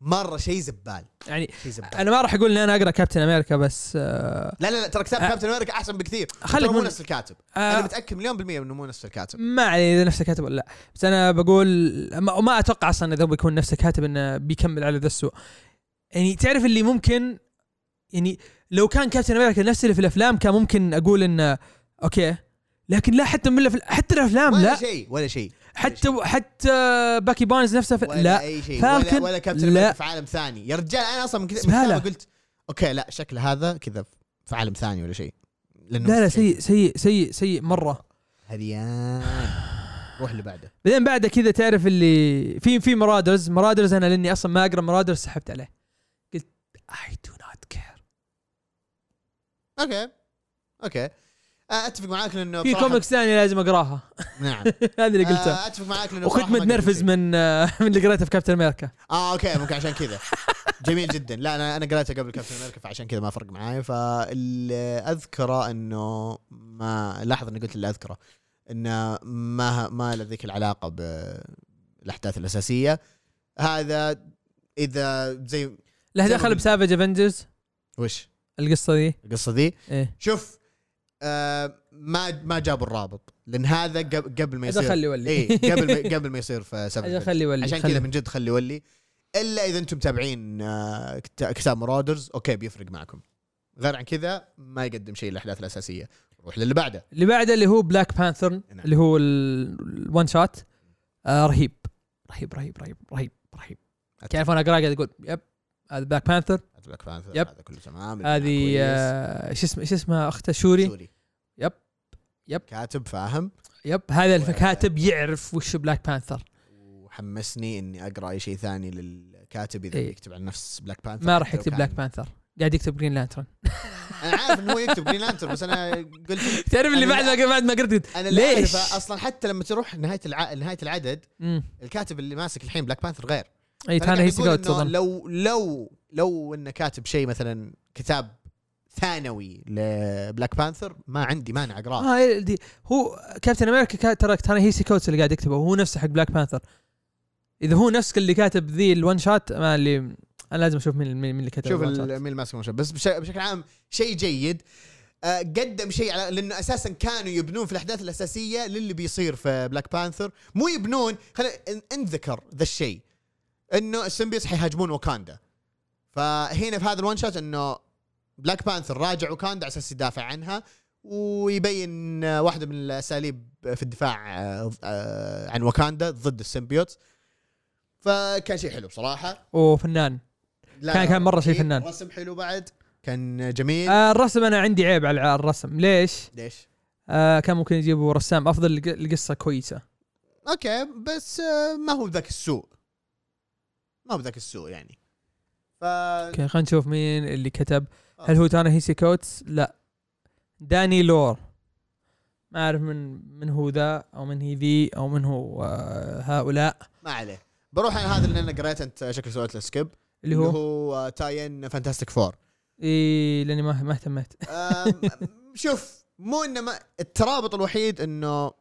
S1: مره شيء زبال
S2: يعني
S1: شيء زبال
S2: انا ما راح اقول ان انا اقرا كابتن امريكا بس آه
S1: لا لا لا ترى كتاب
S2: أ-
S1: كابتن امريكا احسن بكثير
S2: خليك
S1: ترى مو
S2: من
S1: نفس الكاتب انا
S2: آه
S1: متاكد مليون بالميه انه مو نفس الكاتب
S2: ما علي اذا نفسه كاتب ولا لا بس انا بقول ما, ما اتوقع اصلا اذا هو بيكون نفسه كاتب انه بيكمل على ذا السوء يعني تعرف اللي ممكن يعني لو كان كابتن امريكا نفس اللي في الافلام كان ممكن اقول انه اوكي لكن لا حتى من الأفل- حتى الافلام
S1: ولا
S2: نعم، لا
S1: شيء ولا شيء
S2: حتى حتى باكي باينز نفسه في
S1: ولا
S2: لا
S1: اي شيء
S2: فالكن-
S1: ولا, ولا كابتن
S2: لا.
S1: امريكا في عالم ثاني يا رجال انا اصلا من كذا من
S2: زبالة.
S1: كتابه قلت اوكي لا شكل هذا كذا في عالم ثاني ولا شيء لانه
S2: لا لا
S1: مستحيل.
S2: سيء سيء سيء سيء مره
S1: هريان روح اللي بعده
S2: بعدين بعده كذا تعرف اللي في في مرادرز مرادرز انا لاني اصلا ما اقرا مرادرز سحبت عليه قلت اي دو نوت كير
S1: اوكي اوكي آه، اتفق معاك لانه
S2: في
S1: بصراحة-
S2: كوميكس ثانيه لازم اقراها
S1: نعم
S2: هذا اللي قلته
S1: آه، اتفق معاك لانه
S2: وكنت
S1: بصراحة ما قدم
S2: متنرفز
S1: شيء.
S2: من آه، من اللي قريته في كابتن امريكا
S1: اه اوكي ممكن عشان كذا جميل جدا لا انا انا قريته قبل كابتن امريكا فعشان كذا ما فرق معاي فاللي اذكره انه ما لاحظ اني قلت اللي اذكره انه ما ما له ذيك العلاقه بالاحداث الاساسيه هذا اذا زي
S2: له
S1: زي ما
S2: دخل
S1: قلت.
S2: بسافج افنجرز
S1: وش
S2: القصه دي
S1: القصه ذي
S2: ايه
S1: شوف آه، آه ما ما جابوا الرابط لان هذا قب- قبل ما
S2: اجل
S1: يصير
S2: خلي يولي
S1: اي إيه، قبل ما قبل ما يصير في
S2: اجل
S1: 7
S2: خلي يولي
S1: عشان
S2: خلي.
S1: كذا من جد خلي يولي الا اذا انتم متابعين آه، كت- كتاب مرادرز اوكي بيفرق معكم غير عن كذا ما يقدم شيء الاحداث الاساسيه روح للي بعده
S2: اللي بعده اللي هو بلاك بانثر
S1: نعم.
S2: اللي هو الون شوت آه رهيب رهيب رهيب رهيب رهيب رهيب كيف انا اقرا قاعد اقول يب هذا بلاك بانثر
S1: بلاك بانثر
S2: يب.
S1: هذا كله تمام
S2: هذه
S1: كويس.
S2: آه، ايش اسمه ايش اسمها اخته شوري
S1: سوري
S2: يب. يب.
S1: كاتب فاهم
S2: يب هذا
S1: و-
S2: الكاتب يعرف وش بلاك بانثر
S1: وحمسني اني اقرا اي شيء ثاني للكاتب اذا
S2: إيه.
S1: يكتب عن نفس بلاك بانثر
S2: ما راح
S1: حتى لو
S2: يكتب
S1: كان-
S2: بلاك بانثر قاعد يكتب جرين لانترن
S1: انا عارف انه هو يكتب جرين لانترن بس انا قلت
S2: تعرف اللي
S1: أنا
S2: بعد ما بعد ما قريت قلت
S1: انا
S2: ليش؟
S1: ليش؟ اصلا حتى لما تروح نهايه الع... نهايه العدد
S2: مم. إيه،
S1: الكاتب اللي ماسك الحين بلاك بانثر غير فأنا
S2: اي تانا
S1: قاعد
S2: هيسي
S1: أقول
S2: جوت
S1: إنه
S2: تظن
S1: لو لو لو انه كاتب شيء مثلا كتاب ثانوي لبلاك بانثر ما عندي مانع اقراه
S2: اه إيه، دي هو كابتن امريكا كا- ترى ترى هيسي كوتس اللي قاعد يكتبه وهو نفسه حق بلاك بانثر اذا هو نفس اللي كاتب ذي الون شوت ما اللي انا لازم اشوف مين مين اللي كتب
S1: شوف
S2: الون
S1: ال-
S2: شوت
S1: مين ماسك المنشأ بس بش... بشكل عام شيء جيد آه، قدم شيء على لانه اساسا كانوا يبنون في الاحداث الاساسيه للي بيصير في بلاك بانثر مو يبنون خلينا انذكر ذا الشيء انه السمبيوس حيهاجمون واكاندا فهنا في هذا الون شوت انه بلاك بانثر راجع واكاندا على اساس يدافع عنها ويبين آه، واحده من الاساليب في الدفاع آه، آه، عن واكاندا ضد السمبيوت فكان شيء حلو بصراحه
S2: وفنان
S1: لا
S2: كان-
S1: لا،
S2: كان مرة شيء
S1: رهيب.
S2: فنان.
S1: رسم حلو بعد كان جميل
S2: آه الرسم انا عندي عيب على الرسم ليش؟
S1: ليش؟
S2: آه كان ممكن يجيبوا رسام افضل الق- القصه كويسه
S1: اوكي بس آه، ما هو ذاك السوء ما هو ذاك السوء يعني ف
S2: اوكي خلينا نشوف مين اللي كتب
S1: آه.
S2: هل هو تانا هيسي كوتس؟ لا داني لور ما اعرف من من هو ذا او من هي ذي او من هو آه هؤلاء
S1: ما عليه بروح على هذا اللي انا قريته انت شكل سويت له سكيب
S2: اللي هو
S1: هو تاين فانتاستيك فور
S2: اي لاني ما ما اهتميت
S1: آم، شوف مو انه ما الترابط الوحيد انه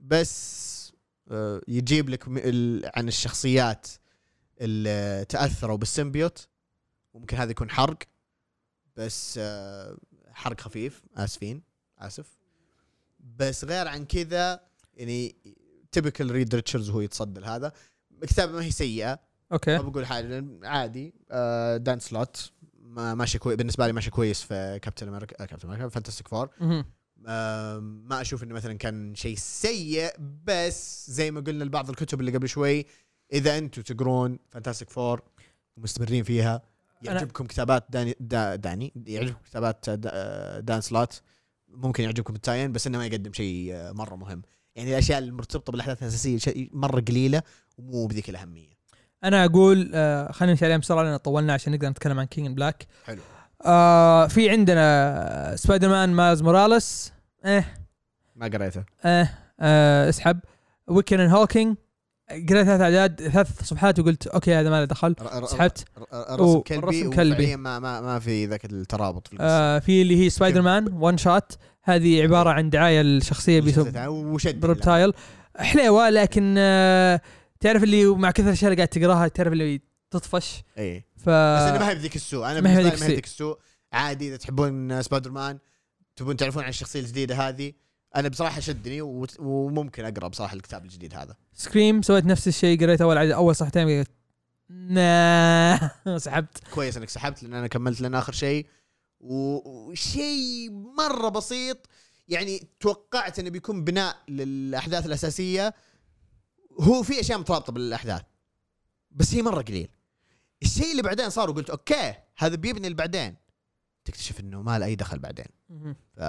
S1: بس آه، يجيب لك م- ال- عن الشخصيات اللي تاثروا بالسيمبيوت ممكن هذا يكون حرق بس آه، حرق خفيف اسفين اسف بس غير عن كذا يعني تبكل ريد ريتشاردز وهو يتصدى لهذا الكتابه ما هي سيئه
S2: اوكي
S1: ما بقول حاجه لأن عادي آه دان سلوت ما- ماشي كويس بالنسبه لي ماشي كويس في كابتن امريكا آه كابتن امريكا فانتستيك فور
S2: مهم.
S1: آه ما اشوف انه مثلا كان شيء سيء بس زي ما قلنا لبعض الكتب اللي قبل شوي اذا انتم تقرون فانتستيك فور ومستمرين فيها يعجبكم كتابات داني دا داني يعجبكم كتابات دا آه، دان سلوت ممكن يعجبكم التاين بس انه ما يقدم شيء آه، مره مهم يعني الاشياء المرتبطه بالاحداث الاساسيه شيء مره قليله ومو بذيك الاهميه
S2: انا اقول آه خلينا نمشي عليهم بسرعه لان طولنا عشان نقدر نتكلم عن كينج بلاك
S1: حلو
S2: آه في عندنا سبايدر مان ماز موراليس إيه,
S1: ما قريته
S2: اه اه اسحب ويكن اند هوكينج قريت ثلاث اعداد ثلاث صفحات وقلت اوكي هذا ما له دخل
S1: ر- ر-
S2: سحبت
S1: ر- رسم
S2: و-
S1: كلبي
S2: رسم
S1: رسم
S2: كلبي.
S1: كلبي ما ما ما في ذاك الترابط في القصه
S2: آه في اللي هي سبايدر مان ون شوت هذه عباره عن دعايه لشخصيه بيسب
S1: آه وشد
S2: بربتايل حليوه لكن آه تعرف اللي مع كثر الاشياء اللي قاعد تقراها تعرف اللي تطفش
S1: اي إيه. بس
S2: ف
S1: انا ما هي بذيك السوء انا
S2: آه، ما
S1: ما
S2: هي
S1: هي
S2: بذيك
S1: ما هي بذيك السوء عادي اذا تحبون سبايدر مان تبون تعرفون عن الشخصيه الجديده هذه انا بصراحه شدني وت- وممكن اقرا بصراحه الكتاب الجديد هذا
S2: سكريم سويت نفس الشيء قريت اول عدد اول صفحتين قلت نا سحبت
S1: كويس انك سحبت لان انا كملت لنا اخر شيء و- وشيء مره بسيط يعني توقعت انه بيكون بناء للاحداث الاساسيه هو في اشياء مترابطه بالاحداث بس هي مره قليل الشيء اللي بعدين صار وقلت اوكي هذا بيبني اللي بعدين تكتشف انه ما له اي دخل بعدين ف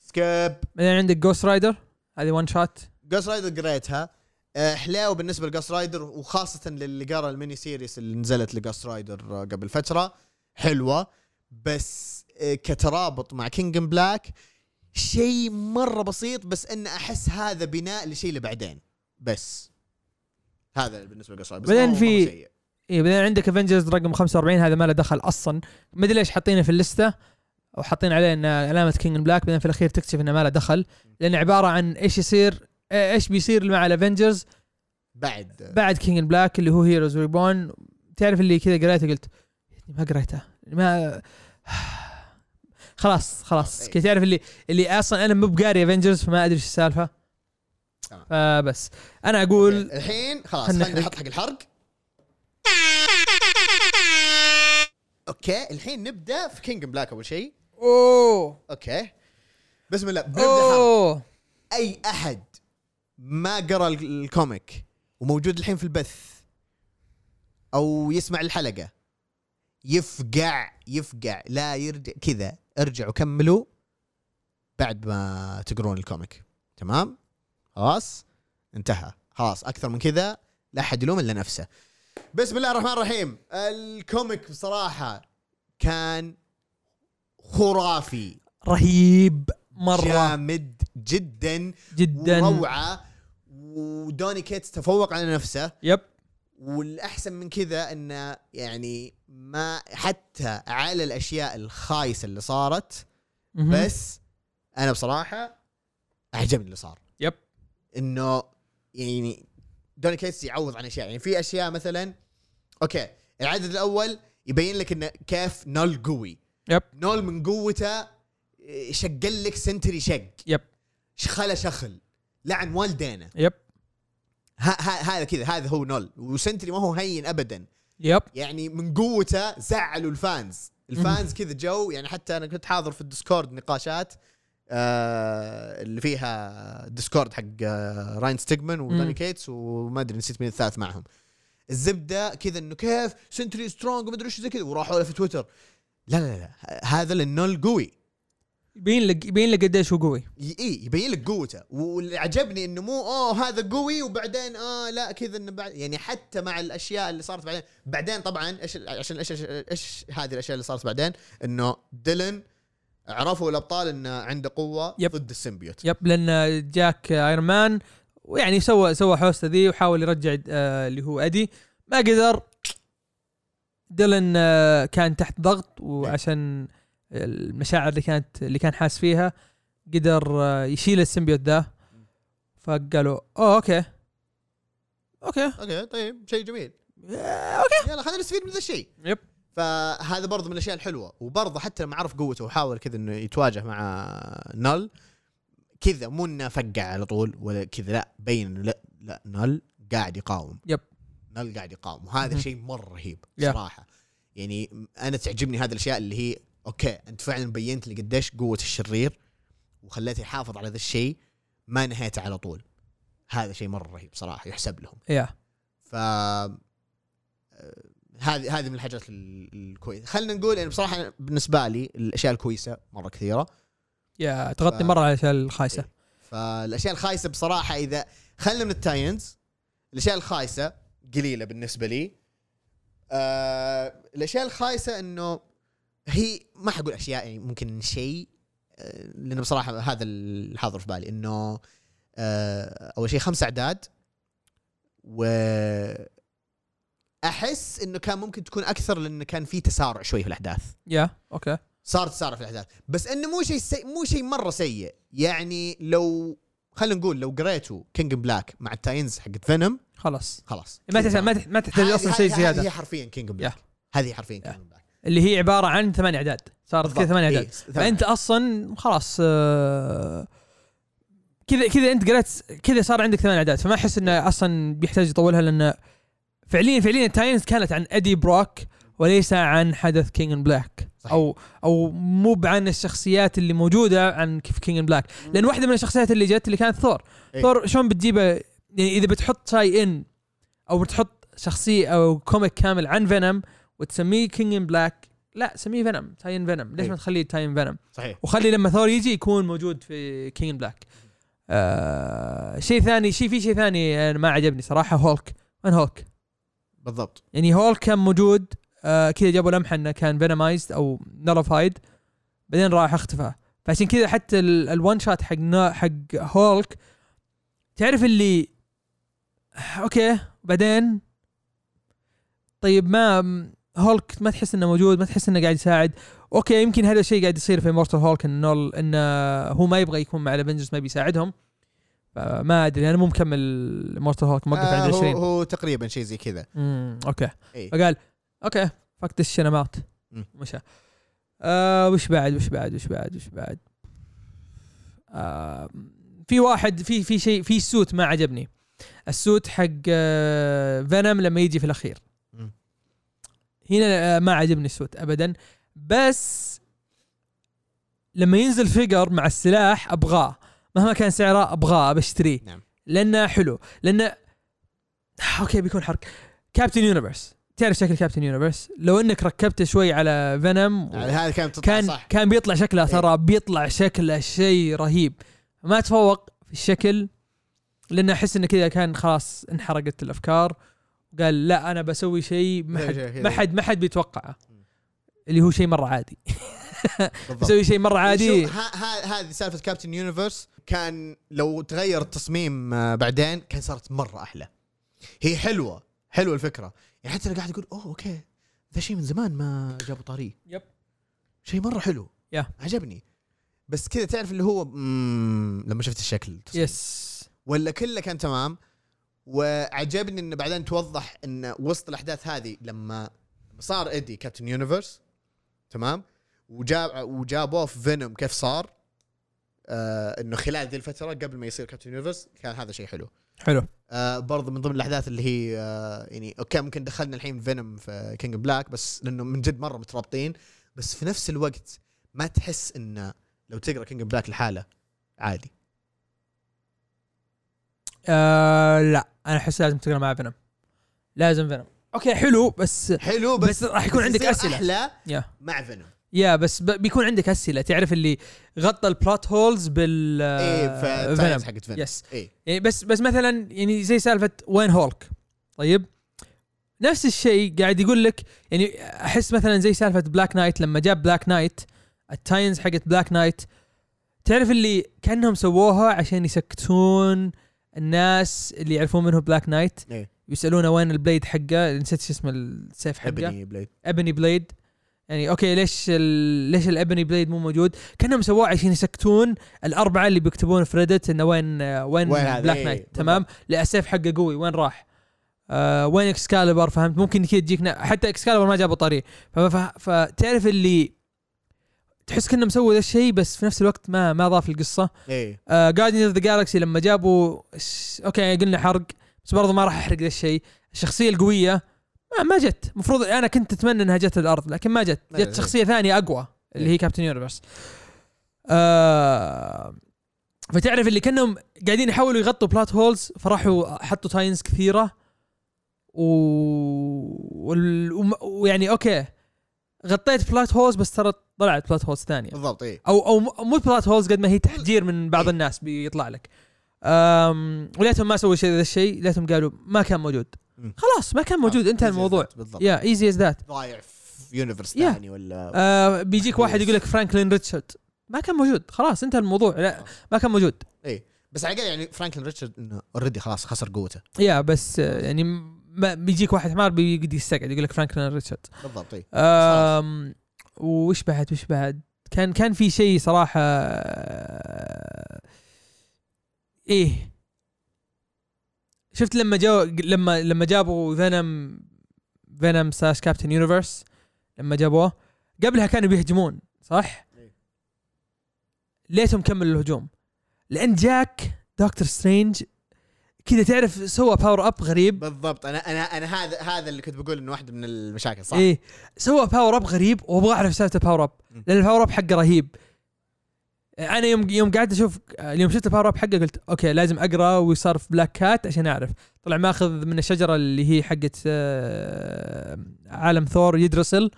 S1: سكيب
S2: بعدين عندك جوست رايدر هذه ون شوت
S1: جوست رايدر قريتها آه، حلاوه بالنسبه لجوست رايدر وخاصه للي قرا الميني سيريس اللي نزلت لجوست رايدر آه، قبل فتره حلوه بس آه، كترابط مع كينجن بلاك شيء مره بسيط بس ان احس هذا بناء لشيء اللي بعدين بس هذا بالنسبه لجوست رايدر بس
S2: بعدين
S1: مو-
S2: في-
S1: مو سيء.
S2: اي إيه، بعدين عندك افنجرز رقم 45 هذا ما له دخل اصلا ما ادري ليش حاطينه في اللسته وحاطين عليه انه علامه كينج بلاك بعدين في الاخير تكتشف انه ما له دخل لان عباره عن ايش يصير آه، ايش بيصير مع الافنجرز
S1: بعد آه،
S2: بعد كينج بلاك اللي هو هيروز ريبون تعرف اللي كذا قريته قلت ما قريته ما خلاص خلاص
S1: إيه.
S2: كي تعرف اللي اللي اصلا انا مو بقاري افنجرز فما ادري ايش السالفه
S1: تمام.
S2: فبس انا اقول
S1: الحين خلاص
S2: خلنا
S1: خلينا نحط
S2: نحرق.
S1: حق الحرق اوكي الحين نبدا في كينج بلاك اول شيء
S2: اوه
S1: اوكي بسم الله بنبدا حرق.
S2: اوه
S1: اي احد ما قرا ال- الكوميك وموجود الحين في البث او يسمع الحلقه يفقع يفقع لا يرجع كذا ارجعوا كملوا بعد ما تقرون الكوميك تمام خلاص انتهى خلاص اكثر من كذا لا احد يلوم الا نفسه بسم الله الرحمن الرحيم الكوميك بصراحه كان خرافي
S2: رهيب مره
S1: جامد جدا
S2: جدا
S1: وروعه ودوني كيتس تفوق على نفسه
S2: يب
S1: والاحسن من كذا انه يعني ما حتى على الاشياء الخايسه اللي صارت
S2: مهم.
S1: بس انا بصراحه اعجبني اللي صار
S2: يب
S1: انه يعني دوني كيتس يعوض عن اشياء يعني في اشياء مثلا اوكي العدد الاول يبين لك انه كيف نول قوي
S2: يب
S1: نول من قوته إيه، شقل لك سنتري شق
S2: يب
S1: شخله شخل لعن والدينا
S2: يب
S1: ه- ه- هذا كذا هذا هو نول وسنتري ما هو هين ابدا
S2: يب
S1: يعني من قوته زعلوا الفانز الفانز كذا جو يعني حتى انا كنت حاضر في الديسكورد نقاشات آه اللي فيها ديسكورد حق آه راين ستيجمان
S2: مم.
S1: وداني كيتس وما ادري نسيت مين الثالث معهم الزبده كذا انه كيف سنتري سترونج وما ادري ايش زي كذا وراحوا له في تويتر لا لا لا ه- هذا النول قوي
S2: يبين لك يبين لك قديش هو قوي
S1: ي- اي يبين لك قوته واللي عجبني انه مو اوه هذا قوي وبعدين اه لا كذا انه بعد يعني حتى مع الاشياء اللي صارت بعدين بعدين طبعا ايش عشان ايش إيش- ايش هذه الاشياء اللي صارت بعدين انه ديلن عرفوا الابطال انه عنده قوه
S2: يب.
S1: ضد السيمبيوت
S2: يب لان جاك ايرون مان ويعني سوى سوى حوسته ذي وحاول يرجع آه، اللي هو ادي ما قدر ديلن آه، كان تحت ضغط وعشان المشاعر اللي كانت اللي كان حاس فيها قدر آه، يشيل السيمبيوت ذا فقالوا اوه اوكي اوكي
S1: اوكي طيب شيء جميل
S2: آه، اوكي
S1: يلا خلينا نستفيد من ذا الشيء
S2: يب
S1: فهذا برضه من الاشياء الحلوه وبرضه حتى لما عرف قوته وحاول كذا انه يتواجه مع نل كذا مو انه فقع على طول ولا كذا لا بين إنه لا لا نل قاعد يقاوم
S2: يب.
S1: نل قاعد يقاوم وهذا
S2: مهم.
S1: شيء مره رهيب
S2: Yeah.
S1: صراحه يعني انا تعجبني هذه الاشياء اللي هي اوكي انت فعلا بينت لي قديش قوه الشرير وخليته يحافظ على ذا الشيء ما نهيته على طول هذا شيء مره رهيب صراحه يحسب لهم
S2: يا
S1: ف آه، هذه هذه من الحاجات ال- الكويسه خلينا نقول يعني بصراحه أنا بالنسبه لي الاشياء الكويسه مره كثيره
S2: يا تغطي
S1: ف-
S2: مره على الاشياء الخايسه
S1: إيه. فالاشياء الخايسه بصراحه اذا خلينا من التاينز الاشياء الخايسه قليله بالنسبه لي آه الاشياء الخايسه انه هي ما حقول اشياء يعني ممكن شيء آه، لانه بصراحه هذا اللي حاضر في بالي انه آه اول شيء خمس اعداد و احس انه كان ممكن تكون اكثر لانه كان في تسارع شوي في الاحداث
S2: يا اوكي
S1: صار تسارع في الاحداث بس انه مو شيء سي... مو شيء مره سيء يعني لو خلينا نقول لو قريتوا كينج بلاك مع التاينز حقت فينوم
S2: خلاص
S1: خلاص
S2: ما تحتاج ما تحتاج- ما تحتاج
S1: هذه-
S2: اصلا
S1: هذه-
S2: شيء
S1: هذه
S2: زياده
S1: هي حرفيا كينج
S2: يا.
S1: بلاك هذه حرفيا
S2: يا.
S1: كينج بلاك
S2: اللي هي عباره عن ثمان اعداد صارت كذا ثمان اعداد
S1: فانت
S2: فانت اصلا خلاص آه، كذا كذا انت قرأت كذا صار عندك ثمان اعداد فما احس انه اصلا بيحتاج يطولها لان فعليا فعليا التاينز كانت عن ادي بروك وليس عن حدث كينج ان بلاك
S1: صحيح.
S2: او او مو عن الشخصيات اللي موجوده عن كيف كينج ان بلاك لان واحده من الشخصيات اللي جت اللي كانت ثور
S1: إيه.
S2: ثور شلون بتجيبه يعني اذا بتحط تاي ان او بتحط شخصيه او كوميك كامل عن فينوم وتسميه كينج ان بلاك لا سميه فينوم تاي ان فينوم ليش
S1: إيه.
S2: ما تخليه تاي ان فينوم
S1: صحيح
S2: وخلي لما ثور يجي يكون موجود في كينج إن بلاك آه شيء ثاني شيء في شيء ثاني أنا ما عجبني صراحه هولك وين هولك
S1: بالضبط
S2: يعني هولك كان موجود آه كذا جابوا لمحه انه كان فينمايزد او نرفايد بعدين راح اختفى فعشان كذا حتى ال- الون شوت حق نا- حق هولك تعرف اللي اوكي بعدين طيب ما م- هولك ما تحس انه موجود ما تحس انه قاعد يساعد اوكي يمكن هذا الشيء قاعد يصير في مورتال هولك انه ال- انه هو ما يبغى يكون مع الافنجرز ما بيساعدهم فما ادري انا مو مكمل مورتال هولك موقف
S1: آه
S2: عند
S1: هو,
S2: 20
S1: هو تقريبا شيء زي كذا
S2: Mm, امم اوكي
S1: إيه.
S2: فقال اوكي فكت الشنمات
S1: مم.
S2: مشى آه وش بعد وش بعد وش بعد وش بعد آه في واحد في في شيء في سوت ما عجبني السوت حق آه فينوم لما يجي في الاخير
S1: مم.
S2: هنا آه ما عجبني السوت ابدا بس لما ينزل فيجر مع السلاح ابغاه مهما كان سعره ابغاه بشتريه
S1: نعم.
S2: لانه حلو لانه اوكي بيكون حرق كابتن يونيفرس تعرف شكل كابتن يونيفرس لو انك ركبته شوي على فينوم
S1: يعني هذا كان تطلع
S2: كان
S1: صح إيه.
S2: كان بيطلع شكله ترى بيطلع شكله شيء رهيب ما تفوق في الشكل لان احس انه كذا كان خلاص انحرقت الافكار قال لا انا بسوي شيء ما
S1: زي
S2: حد
S1: شيء كذا.
S2: ما حد ما حد بيتوقعه اللي هو شيء مره عادي
S1: بالضبط.
S2: بسوي شيء مره عادي
S1: شوف، ها- ها- هذه سالفه كابتن يونيفرس كان لو تغير التصميم آه، بعدين كان صارت مره احلى هي حلوه حلوه الفكره يعني حتى انا قاعد اقول اوه اوكي ذا شيء من زمان ما جابوا طاريه
S2: يب.
S1: شيء مره حلو
S2: يا.
S1: عجبني بس كذا تعرف اللي هو مم، لما شفت الشكل التصميم.
S2: يس
S1: ولا كله كان تمام وعجبني انه بعدين توضح ان وسط الاحداث هذه لما صار ايدي كابتن يونيفرس تمام وجاب وجابوه في فينوم كيف صار آه انه خلال ذي الفتره قبل ما يصير كابتن يونيفرس كان هذا شيء حلو
S2: حلو
S1: آه برضه من ضمن الاحداث اللي هي آه يعني اوكي ممكن دخلنا الحين فينوم في كينج بلاك بس لانه من جد مره مترابطين بس في نفس الوقت ما تحس انه لو تقرا كينج بلاك لحاله عادي
S2: آه لا انا احس لازم تقرا مع فينوم لازم فينوم اوكي حلو بس
S1: حلو بس
S2: بس راح يكون عندك
S1: يصير
S2: اسئله
S1: احلى
S2: يا.
S1: مع فينوم
S2: يا بس ب- بيكون عندك اسئله تعرف اللي غطى البلوت هولز بال
S1: ايه
S2: فينوم.
S1: فالتايمز حقت فينوم
S2: يس
S1: ايه
S2: يعني بس بس مثلا يعني زي سالفه وين هولك طيب نفس الشيء قاعد يقول لك يعني احس مثلا زي سالفه بلاك نايت لما جاب بلاك نايت التاينز حقت بلاك نايت تعرف اللي كانهم سووها عشان يسكتون الناس اللي يعرفون منه بلاك نايت
S1: إيه.
S2: يسالونه وين البليد حقه نسيت شو اسمه السيف حقه
S1: حبني بليد
S2: ابني بليد يعني اوكي ليش ال... ليش الابني بليد مو موجود؟ كانهم سووه عشان يسكتون الاربعه اللي بيكتبون في ريدت انه وين آه، وين,
S1: وين
S2: وين
S1: هذا؟
S2: بلاك
S1: إيه،
S2: نايت
S1: بالضبط.
S2: تمام؟ لا السيف حقه قوي وين راح؟ آه وين اكسكالبر فهمت؟ ممكن كذا تجيك نا- حتى اكسكالبر ما جابوا طريق ف... ف... فتعرف اللي تحس كنا مسوي ذا الشيء بس في نفس الوقت ما ما ضاف القصه
S1: ايه
S2: جاردينز اوف ذا جالكسي لما جابوا س- اوكي قلنا حرق بس برضه ما راح احرق ذا الشيء الشخصيه القويه ما, ما جت المفروض انا كنت اتمنى انها جت الارض لكن ما جت
S1: ما جت.
S2: جت شخصيه ثانيه اقوى اللي هي كابتن يونيفرس آه فتعرف اللي كانهم قاعدين يحاولوا يغطوا بلات هولز فراحوا حطوا تاينز كثيره و... وال... وم- ويعني اوكي غطيت بلات هولز بس ترى طلعت بلات هولز ثانيه
S1: بالضبط ايه
S2: او او م- مو بلات هولز قد ما هي تحجير من بعض الناس بيطلع لك أم وليتهم ما سووا شيء ذا الشيء ليتهم قالوا ما كان موجود
S1: مم.
S2: خلاص ما كان موجود انتهى الموضوع
S1: بالضبط
S2: يا ايزي از ذات
S1: ضايع في يونيفرس
S2: يا.
S1: ثاني ولا
S2: آه، بيجيك واحد يقول لك فرانكلين ريتشارد ما كان موجود خلاص انتهى الموضوع لا ما كان موجود
S1: بس على الأقل يعني فرانكلين ريتشارد انه اوريدي خلاص خسر قوته
S2: يا بس آه، يعني ما بيجيك واحد حمار بيقعد يستقعد يقول لك فرانكلين ريتشارد
S1: بالضبط ايه
S2: أم وش بعد وش بعد كان كان في شيء صراحه ايه شفت لما جو لما لما جابوا فينوم فينوم ساش كابتن يونيفرس لما جابوه قبلها كانوا بيهجمون صح؟
S1: إيه.
S2: ليتهم كملوا الهجوم لان جاك دكتور سترينج كذا تعرف سوى باور اب غريب
S1: بالضبط انا انا انا هذا هذا اللي كنت بقول انه واحده من المشاكل صح؟
S2: ايه سوى باور اب غريب وابغى اعرف سالفه الباور اب
S1: مم.
S2: لان الباور اب حقه رهيب انا يوم يوم قعدت اشوف يوم شفت الباور اب حقه قلت اوكي لازم اقرا وصار في بلاك كات عشان اعرف طلع ماخذ من الشجره اللي هي حقت آه، عالم ثور يدرسل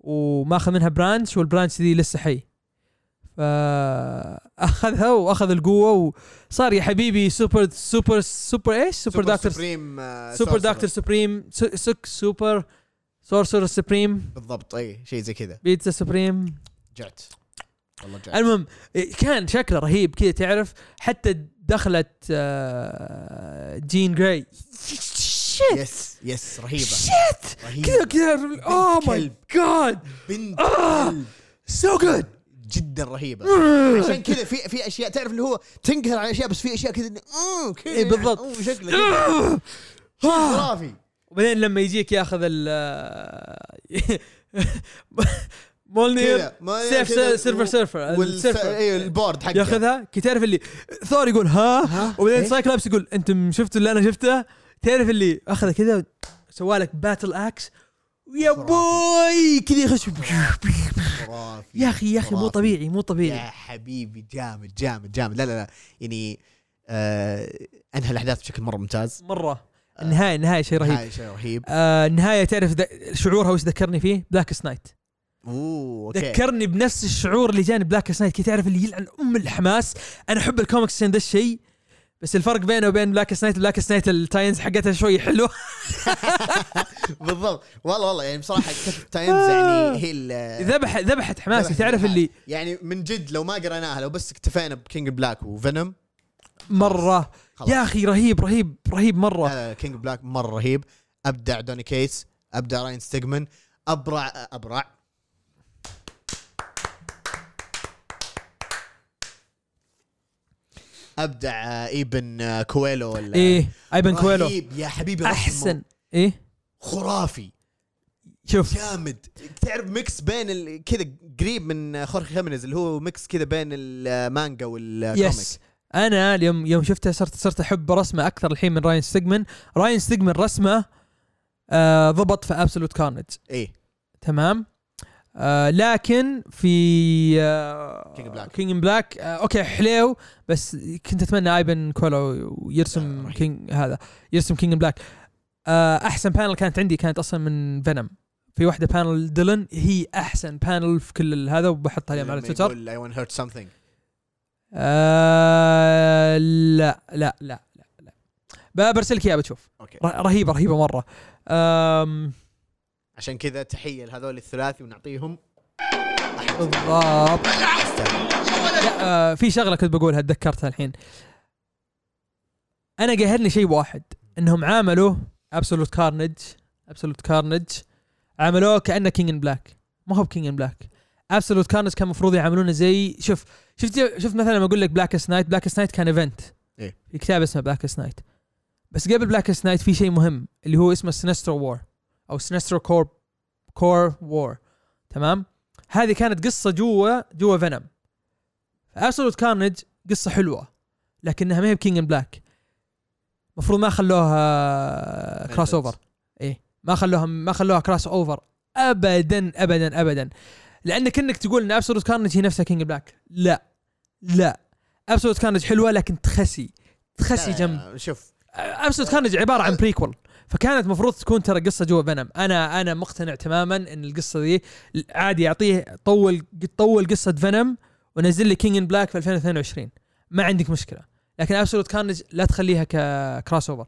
S2: وماخذ منها برانش والبرانش دي لسه حي فاخذها واخذ القوه وصار يا حبيبي سوبر سوبر سوبر ايش سوبر دكتور
S1: سوبريم آه،
S2: سوبر
S1: سورسرر.
S2: دكتور سوبريم سو- سك سوبر سورسر سوبريم
S1: بالضبط ايه شيء زي كذا
S2: بيتزا سوبريم
S1: جعت والله جعت
S2: المهم إيه، كان شكله رهيب كذا تعرف حتى دخلت آه، جين جراي شيت
S1: يس يس رهيبه
S2: شيت
S1: رهيبه
S2: كذا كذا oh اوه ماي
S1: كلب.
S2: جاد
S1: بنت
S2: آه.
S1: كلب.
S2: سو جود
S1: جدا رهيبه
S2: Mm.
S1: عشان كذا في في اشياء تعرف اللي هو تنقهر على اشياء بس في اشياء كذا إنه، أمم، كذا
S2: إيه، بالضبط. Ah.
S1: أمم، شكله كذا خرافي
S2: وبعدين لما يجيك ياخذ ال آه، مولنير
S1: كذا، ما-
S2: سيف
S1: كذا،
S2: سيرفر
S1: و-
S2: سيرفر
S1: والس-
S2: السيرفر
S1: ايوه البورد حقه
S2: ياخذها كي تعرف اللي ثور يقول ها
S1: ها؟
S2: آه. وبعدين
S1: إيه؟
S2: سايكلابس يقول انتم شفتوا اللي انا شفته تعرف اللي اخذه كذا سوالك باتل اكس يا
S1: خرافي.
S2: بوي كذا يخش
S1: خرافي
S2: يا اخي يا اخي مو
S1: خرافي.
S2: طبيعي مو طبيعي
S1: يا حبيبي جامد جامد جامد لا لا لا يعني آه انهى الاحداث بشكل مره ممتاز
S2: مره النهايه النهايه شيء رهيب
S1: هاي شيء رهيب
S2: آه النهايه تعرف ذا- شعورها وش ذكرني فيه بلاك سنايت
S1: اوه اوكي
S2: ذكرني بنفس الشعور اللي جاني بلاك سنايت كي تعرف اللي يلعن ام الحماس انا احب الكوميكس عشان ذا الشيء بس الفرق بينه وبين بلاك سنايت بلاك سنايت التاينز حقتها شوي حلوه
S1: بالضبط والله والله يعني بصراحه كتف تايمز
S2: آه.
S1: يعني هي ال-
S2: ذبح ذبحت حماسي
S1: ذبحت
S2: تعرف
S1: الحال.
S2: اللي
S1: يعني من جد لو ما قريناها لو بس اكتفينا بكينج بلاك وفينوم
S2: مره
S1: خلاص. آه،
S2: يا اخي رهيب رهيب رهيب مره
S1: لا، لا، كينج بلاك مره رهيب ابدع دوني كيتس ابدع راين ستيجمن ابرع ابرع ابدع آه، ايبن آه، كويلو ولا
S2: ايه ايبن كويلو
S1: رهيب يا حبيبي رحمه.
S2: احسن ايه
S1: خرافي
S2: شوف
S1: جامد تعرف ميكس بين ال- كذا قريب من آه، خورخي خيمينيز اللي هو ميكس كذا بين آه، المانجا والكوميك
S2: يس انا اليوم يوم شفته صرت صرت احب رسمه اكثر الحين من راين ستيجمن راين ستيجمن رسمه آه ضبط في ابسولوت كارنج
S1: ايه
S2: تمام آه لكن في آه
S1: King in Black.
S2: كينج بلاك آه اوكي حليو بس كنت اتمنى ايبن كولو
S1: لا،
S2: يرسم
S1: آه، رهيب.
S2: كينج هذا يرسم كينج بلاك آه احسن بانل كانت عندي كانت اصلا من فينم في واحده بانل ديلن هي احسن بانل في كل هذا وبحطها اليوم على
S1: لما
S2: تويتر
S1: يقول I want hurt something
S2: آه لا لا لا لا لا برسلك اياها بتشوف
S1: اوكي
S2: ر- رهيبه رهيبه مره آم
S1: عشان كذا تحيه لهذول الثلاثي ونعطيهم
S2: بالضبط لا، آه، في شغله كنت بقولها تذكرتها الحين انا قاهرني شيء واحد انهم عاملوا ابسولوت كارنج ابسولوت كارنج عملوه كانه كينج ان بلاك ما هو بكينج ان بلاك ابسولوت كارنج كان المفروض يعملونه زي شوف شفت شفت مثلا لما اقول لك بلاك سنايت بلاك سنايت كان ايفنت
S1: إيه.
S2: في كتاب اسمه بلاك سنايت بس قبل بلاك سنايت في شيء مهم اللي هو اسمه سينسترو وور او سينسترو كور كور وور تمام هذه كانت قصه جوا جوا فينوم ابسولوت كارنج قصه حلوه لكنها ما هي بكينج ان بلاك المفروض ما خلوها كراس اوفر ايه ما خلوها ما خلوها كراس اوفر ابدا ابدا ابدا لان كانك تقول ان ابسولوت كارنج هي نفسها كينج بلاك لا لا ابسولوت كارنج حلوه لكن تخسي تخسي
S1: لا، لا،
S2: جنب
S1: لا، شوف
S2: ابسولوت كارنج عباره عن بريكول فكانت مفروض تكون ترى قصه جوا فينوم انا انا مقتنع تماما ان القصه دي عادي اعطيه طول طول قصه فينوم ونزل لي كينج ان بلاك في 2022 ما عندك مشكله لكن ابسولوت كارنج لا تخليها ككراس اوفر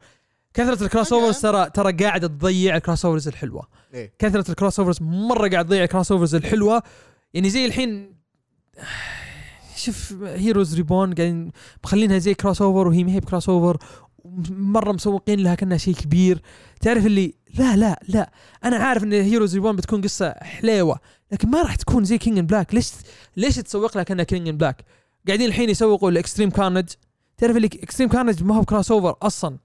S2: كثره الكراس
S1: أوكي.
S2: اوفرز ترى ترى قاعده تضيع الكراس اوفرز الحلوه
S1: ايه
S2: كثره الكروس اوفرز مره قاعد تضيع الكروس اوفرز الحلوه يعني زي الحين شوف هيروز ريبون قاعدين مخلينها زي كروس اوفر وهي ما هي بكروس اوفر مره مسوقين لها كانها شيء كبير تعرف اللي لا لا لا انا عارف ان هيروز ريبون بتكون قصه حليوه لكن ما راح تكون زي كينج ان بلاك ليش ليش تسوق لها كانها كينج ان بلاك قاعدين الحين يسوقوا الاكستريم كارنج تعرف اللي اكستريم كارنج ما هو كراس اوفر اصلا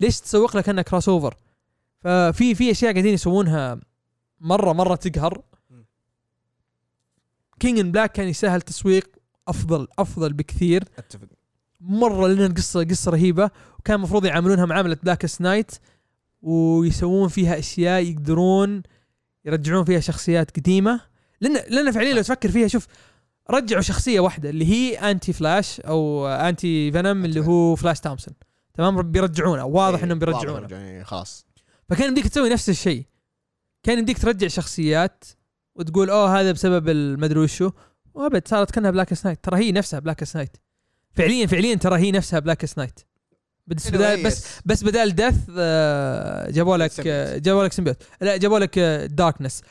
S2: ليش تسوق لها كانها كراس اوفر ففي في اشياء قاعدين يسوونها مره مره تقهر كينج ان بلاك كان يسهل تسويق افضل افضل بكثير
S1: اتفق
S2: مره لان القصه قصه رهيبه وكان المفروض يعاملونها معامله بلاك نايت ويسوون فيها اشياء يقدرون يرجعون فيها شخصيات قديمه لان لان فعليا لو تفكر فيها شوف رجعوا شخصيه واحده اللي هي انتي فلاش او انتي فينوم اللي هو فلاش تامسون تمام بيرجعونه واضح
S1: إيه،
S2: انهم
S1: واضح
S2: بيرجعونه
S1: إنهم يعني خلاص
S2: فكان يمديك تسوي نفس الشيء كان يمديك ترجع شخصيات وتقول اوه هذا بسبب المدري وشو وابد صارت كانها بلاك سنايت ترى هي نفسها بلاك سنايت فعليا فعليا ترى هي نفسها بلاك سنايت بس بدال
S1: إيه،
S2: بس بس بدال دث آه، جابوا لك آه، جابوا لك سيمبيوت لا جابوا لك داركنس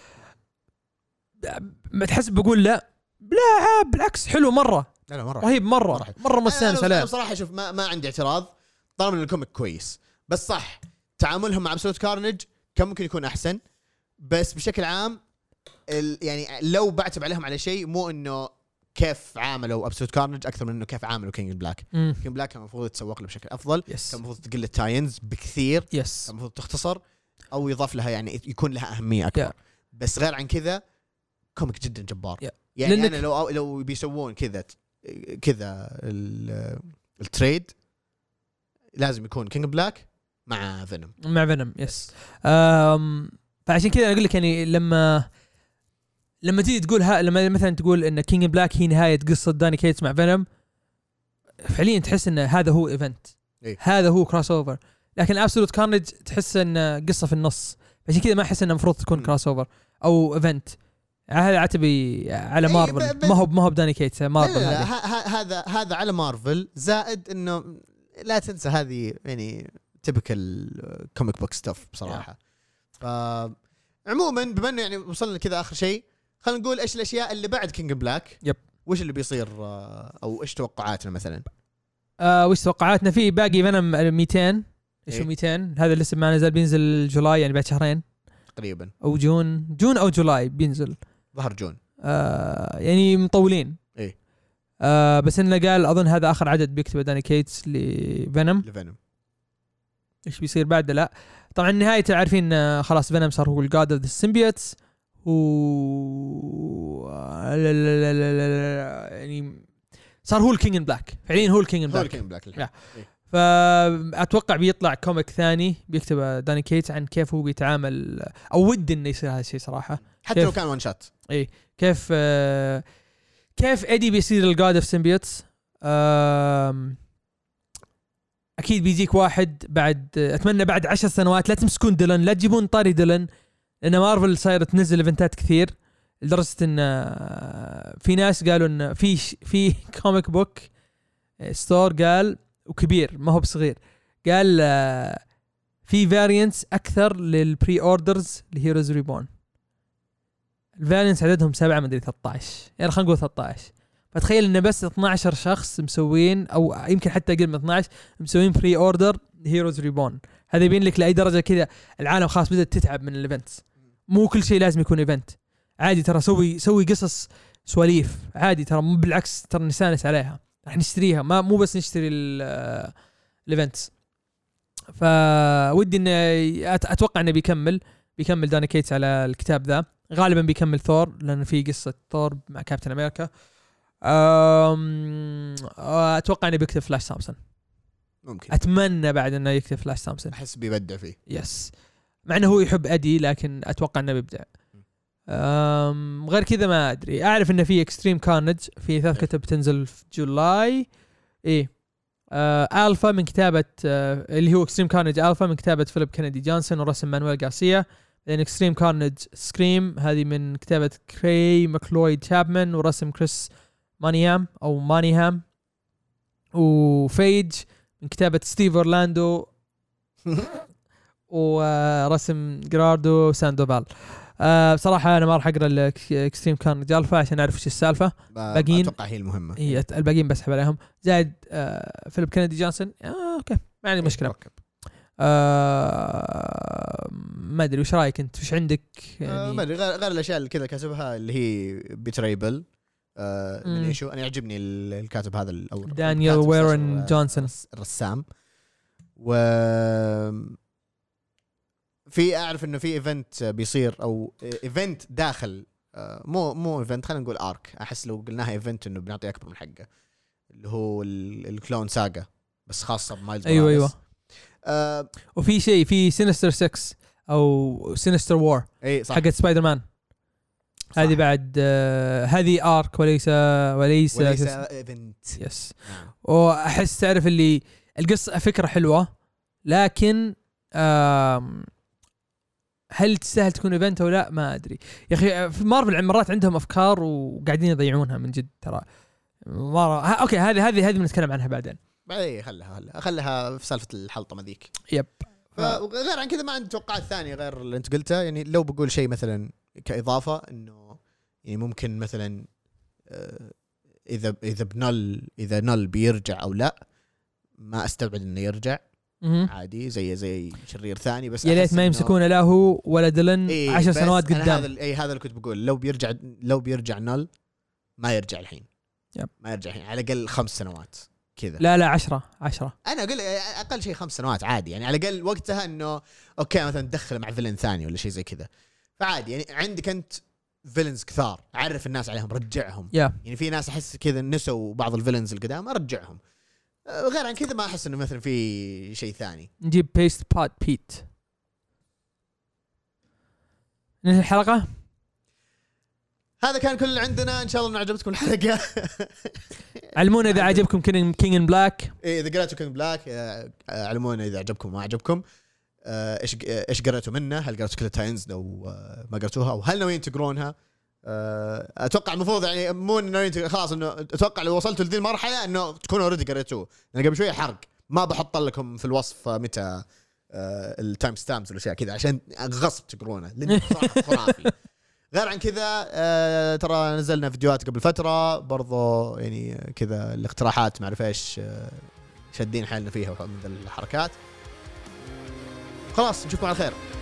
S2: ما تحس بقول لا لا بالعكس حلو مره
S1: لا لا مره
S2: رهيب
S1: مرة
S2: مره
S1: رهيب.
S2: مره
S1: أنا-
S2: مستانس
S1: أنا
S2: عليه
S1: بصراحه شوف ما, ما عندي اعتراض طالما ان الكوميك كويس بس صح تعاملهم مع ابسولوت كارنج كان ممكن يكون احسن بس بشكل عام ال يعني لو بعتب عليهم على شيء مو انه كيف عاملوا ابسولوت كارنج اكثر من انه كيف عاملوا كينج بلاك
S2: مم.
S1: كينج بلاك كان المفروض يتسوق له بشكل افضل كان
S2: يس
S1: المفروض تقل التاينز بكثير كان
S2: يس
S1: المفروض تختصر او يضاف لها يعني يكون لها اهميه اكبر
S2: يا.
S1: بس غير عن كذا كوميك جدا جبار
S2: Yeah.
S1: يعني
S2: لأنك-
S1: انا لو لو بيسوون كذا ت- كذا ال- التريد لازم يكون كينج بلاك مع فينوم
S2: مع فينوم يس أم فعشان كذا انا اقول لك يعني لما لما تيجي تقول ها لما مثلا تقول ان كينج بلاك هي نهايه قصه داني كيتس مع فينوم فعليا تحس ان هذا هو ايفنت
S1: إيه.
S2: هذا هو كراس اوفر لكن ابسولوت كارنج تحس ان قصه في النص عشان كذا ما احس انها المفروض تكون
S1: مم.
S2: كراس اوفر او ايفنت هذا عتبي على
S1: إيه،
S2: مارفل
S1: ب- ب-
S2: ما هو ما هو بداني كيتس مارفل
S1: لا، لا،
S2: هذه.
S1: إيه، ه- ه- هذا هذا على مارفل زائد انه لا تنسى هذه يعني تبكل كوميك بوك ستاف بصراحه ف عموما بما انه يعني وصلنا كذا اخر شيء خلينا نقول ايش الاشياء اللي بعد كينج بلاك
S2: يب.
S1: وش اللي بيصير آه، او ايش توقعاتنا مثلا
S2: آه وش توقعاتنا في باقي فينوم 200 ايش هو
S1: إيه.
S2: 200 هذا لسه ما نزل بينزل جولاي يعني بعد شهرين
S1: تقريبا
S2: او جون جون او جولاي بينزل
S1: ظهر جون
S2: آه يعني مطولين
S1: إيه.
S2: آه بس انه قال اظن هذا اخر عدد بيكتبه داني كيتس لفينوم
S1: لفينوم
S2: ايش بيصير بعده لا طبعا نهايته عارفين آه، خلاص فينوم صار هو الجاد اوف ذا سيمبيتس و لا- لا- لا- لا- لا- لا- يعني صار هو الكينج ان بلاك فعليا هو الكينج ان
S1: هو
S2: بلاك
S1: كينج بلاك الحين.
S2: لا. فاتوقع بيطلع كوميك ثاني بيكتبه داني كيتس عن كيف هو بيتعامل او ودي انه يصير هذا الشيء صراحه
S1: حتى لو
S2: كيف؟
S1: كان وان شات
S2: كيف آه كيف ايدي بيصير الجاد اوف سيمبيوتس اكيد بيجيك واحد بعد اتمنى بعد عشر سنوات لا تمسكون ديلن لا تجيبون طاري ديلن لان مارفل صايره تنزل ايفنتات كثير لدرجه ان آه، في ناس قالوا ان في ش- في كوميك بوك ستور قال وكبير ما هو بصغير قال آه، في فارينتس اكثر للبري اوردرز لهيروز ريبون الفالنس عددهم سبعة مدري 13 يعني خلينا نقول 13 فتخيل ان بس 12 شخص مسوين او يمكن حتى اقل من 12 مسوين بري اوردر هيروز ريبون هذا يبين لك لاي درجه كذا العالم خلاص بدات تتعب من الايفنتس مو كل شيء لازم يكون ايفنت عادي ترى سوي سوي قصص سواليف عادي ترى مو بالعكس ترى نستانس عليها راح نشتريها ما مو بس نشتري ال- الايفنتس فودي انه أت- اتوقع انه بيكمل بيكمل داني كيتس على الكتاب ذا غالبا بيكمل ثور لان في قصه ثور مع كابتن امريكا أم اتوقع انه بيكتب فلاش سامسون
S1: ممكن
S2: اتمنى بعد انه يكتب فلاش سامسون
S1: احس بيبدع فيه
S2: يس مع انه هو يحب ادي لكن اتوقع انه بيبدع أم غير كذا ما ادري اعرف انه في اكستريم كارنج في ثلاث
S1: إيه.
S2: كتب تنزل في جولاي ايه آه الفا من كتابه آه اللي هو اكستريم كارنج الفا من كتابه فيليب كندي جونسون ورسم مانويل غارسيا بعدين اكستريم كارنج سكريم هذه من كتابه كري ماكلويد تشابمان ورسم كريس مانيهام او مانيهام وفيج من كتابه ستيف اورلاندو ورسم جراردو ساندوفال أه بصراحه انا ما راح اقرا الاكستريم كارنج الفا عشان اعرف وش السالفه
S1: ب-
S2: باقيين؟
S1: اتوقع هي المهمه
S2: هي الباقيين بسحب عليهم زائد أه فيليب كندي جونسون آه اوكي ما عندي مشكله
S1: ركب.
S2: أه ما ادري وش رايك انت وش عندك
S1: آه، ما
S2: يعني
S1: ادري غير غير الاشياء اللي كذا كاتبها اللي هي بيتريبل آه
S2: مم.
S1: من ايشو انا يعجبني ال- الكاتب هذا الاول
S2: دانيال
S1: آه،
S2: ويرن جونسون
S1: الرسام و في اعرف انه في ايفنت بيصير او ايفنت داخل آه، مو مو ايفنت خلينا نقول ارك احس لو قلناها ايفنت انه بنعطي اكبر من حقه اللي هو ال- الكلون ساجا بس خاصه بمايلز
S2: أيوة،
S1: موراليس.
S2: أيوة.
S1: آه
S2: وفي شيء في سينستر 6 او سينستر وور
S1: اي إيه، صح
S2: حقت سبايدر مان
S1: صح.
S2: هذه بعد آه هذه ارك وليس وليس,
S1: وليس ايفنت
S2: يس
S1: نعم.
S2: واحس تعرف اللي القصه فكره حلوه لكن آم، هل تستاهل تكون ايفنت او لا ما ادري يا اخي في مارفل مرات عندهم افكار وقاعدين يضيعونها من جد ترى مرة ها- اوكي هذه هذه هذه بنتكلم عنها بعدين
S1: بعدين إيه، خلها خلها خلها في سالفه الحلطمه ذيك
S2: يب
S1: ف- وغير عن كذا ما عندي توقعات ثانيه غير اللي انت قلته يعني لو بقول شيء مثلا كاضافه انه يعني ممكن مثلا آه، اذا اذا بنل اذا نل بيرجع او لا ما استبعد انه يرجع
S2: مهم.
S1: عادي زي زي شرير ثاني بس
S2: يا
S1: أحس
S2: ليت ما
S1: إنه-
S2: يمسكون لا هو ولا دلن
S1: إيه،
S2: عشر
S1: بس
S2: سنوات
S1: أنا هذا
S2: قدام
S1: ال- اي هذا اللي كنت بقول لو بيرجع لو بيرجع نل ما يرجع الحين
S2: يب.
S1: ما يرجع الحين على الاقل خمس سنوات كذا
S2: لا لا عشرة عشرة
S1: انا اقول اقل شيء خمس سنوات عادي يعني على الاقل وقتها انه اوكي مثلا تدخله مع فيلن ثاني ولا شيء زي كذا فعادي يعني عندك انت فيلنز كثار عرف الناس عليهم رجعهم
S2: يا
S1: يعني في ناس احس كذا نسوا بعض الفيلنز القدام ارجعهم آه، غير عن كذا ما احس انه مثلا في شيء ثاني
S2: نجيب بيست باد بيت ننهي الحلقه
S1: هذا كان كل اللي عندنا ان شاء الله انه عجبتكم الحلقه
S2: علمونا اذا عجبكم كينج كينج ان بلاك
S1: إيه، اذا قرأتوا كينج بلاك آه، آه، علمونا اذا عجبكم ما عجبكم آه، ايش آه، ايش قرأتوا منه هل قرأتوا كل التاينز لو آه، ما قرأتوها وهل ناويين تقرونها آه، اتوقع المفروض يعني مو انه ناويين تق- خلاص انه اتوقع لو وصلتوا لذي المرحله انه تكونوا اوريدي قريتوه لان قبل شويه حرق ما بحط لكم في الوصف آه، متى التايم ستامبس والاشياء كذا عشان غصب تقرونه لانه صراحة خرافي غير عن كذا آه، ترى نزلنا فيديوهات قبل فتره برضو يعني كذا الاقتراحات ما اعرف ايش آه، شادين حالنا فيها من الحركات خلاص نشوفكم على خير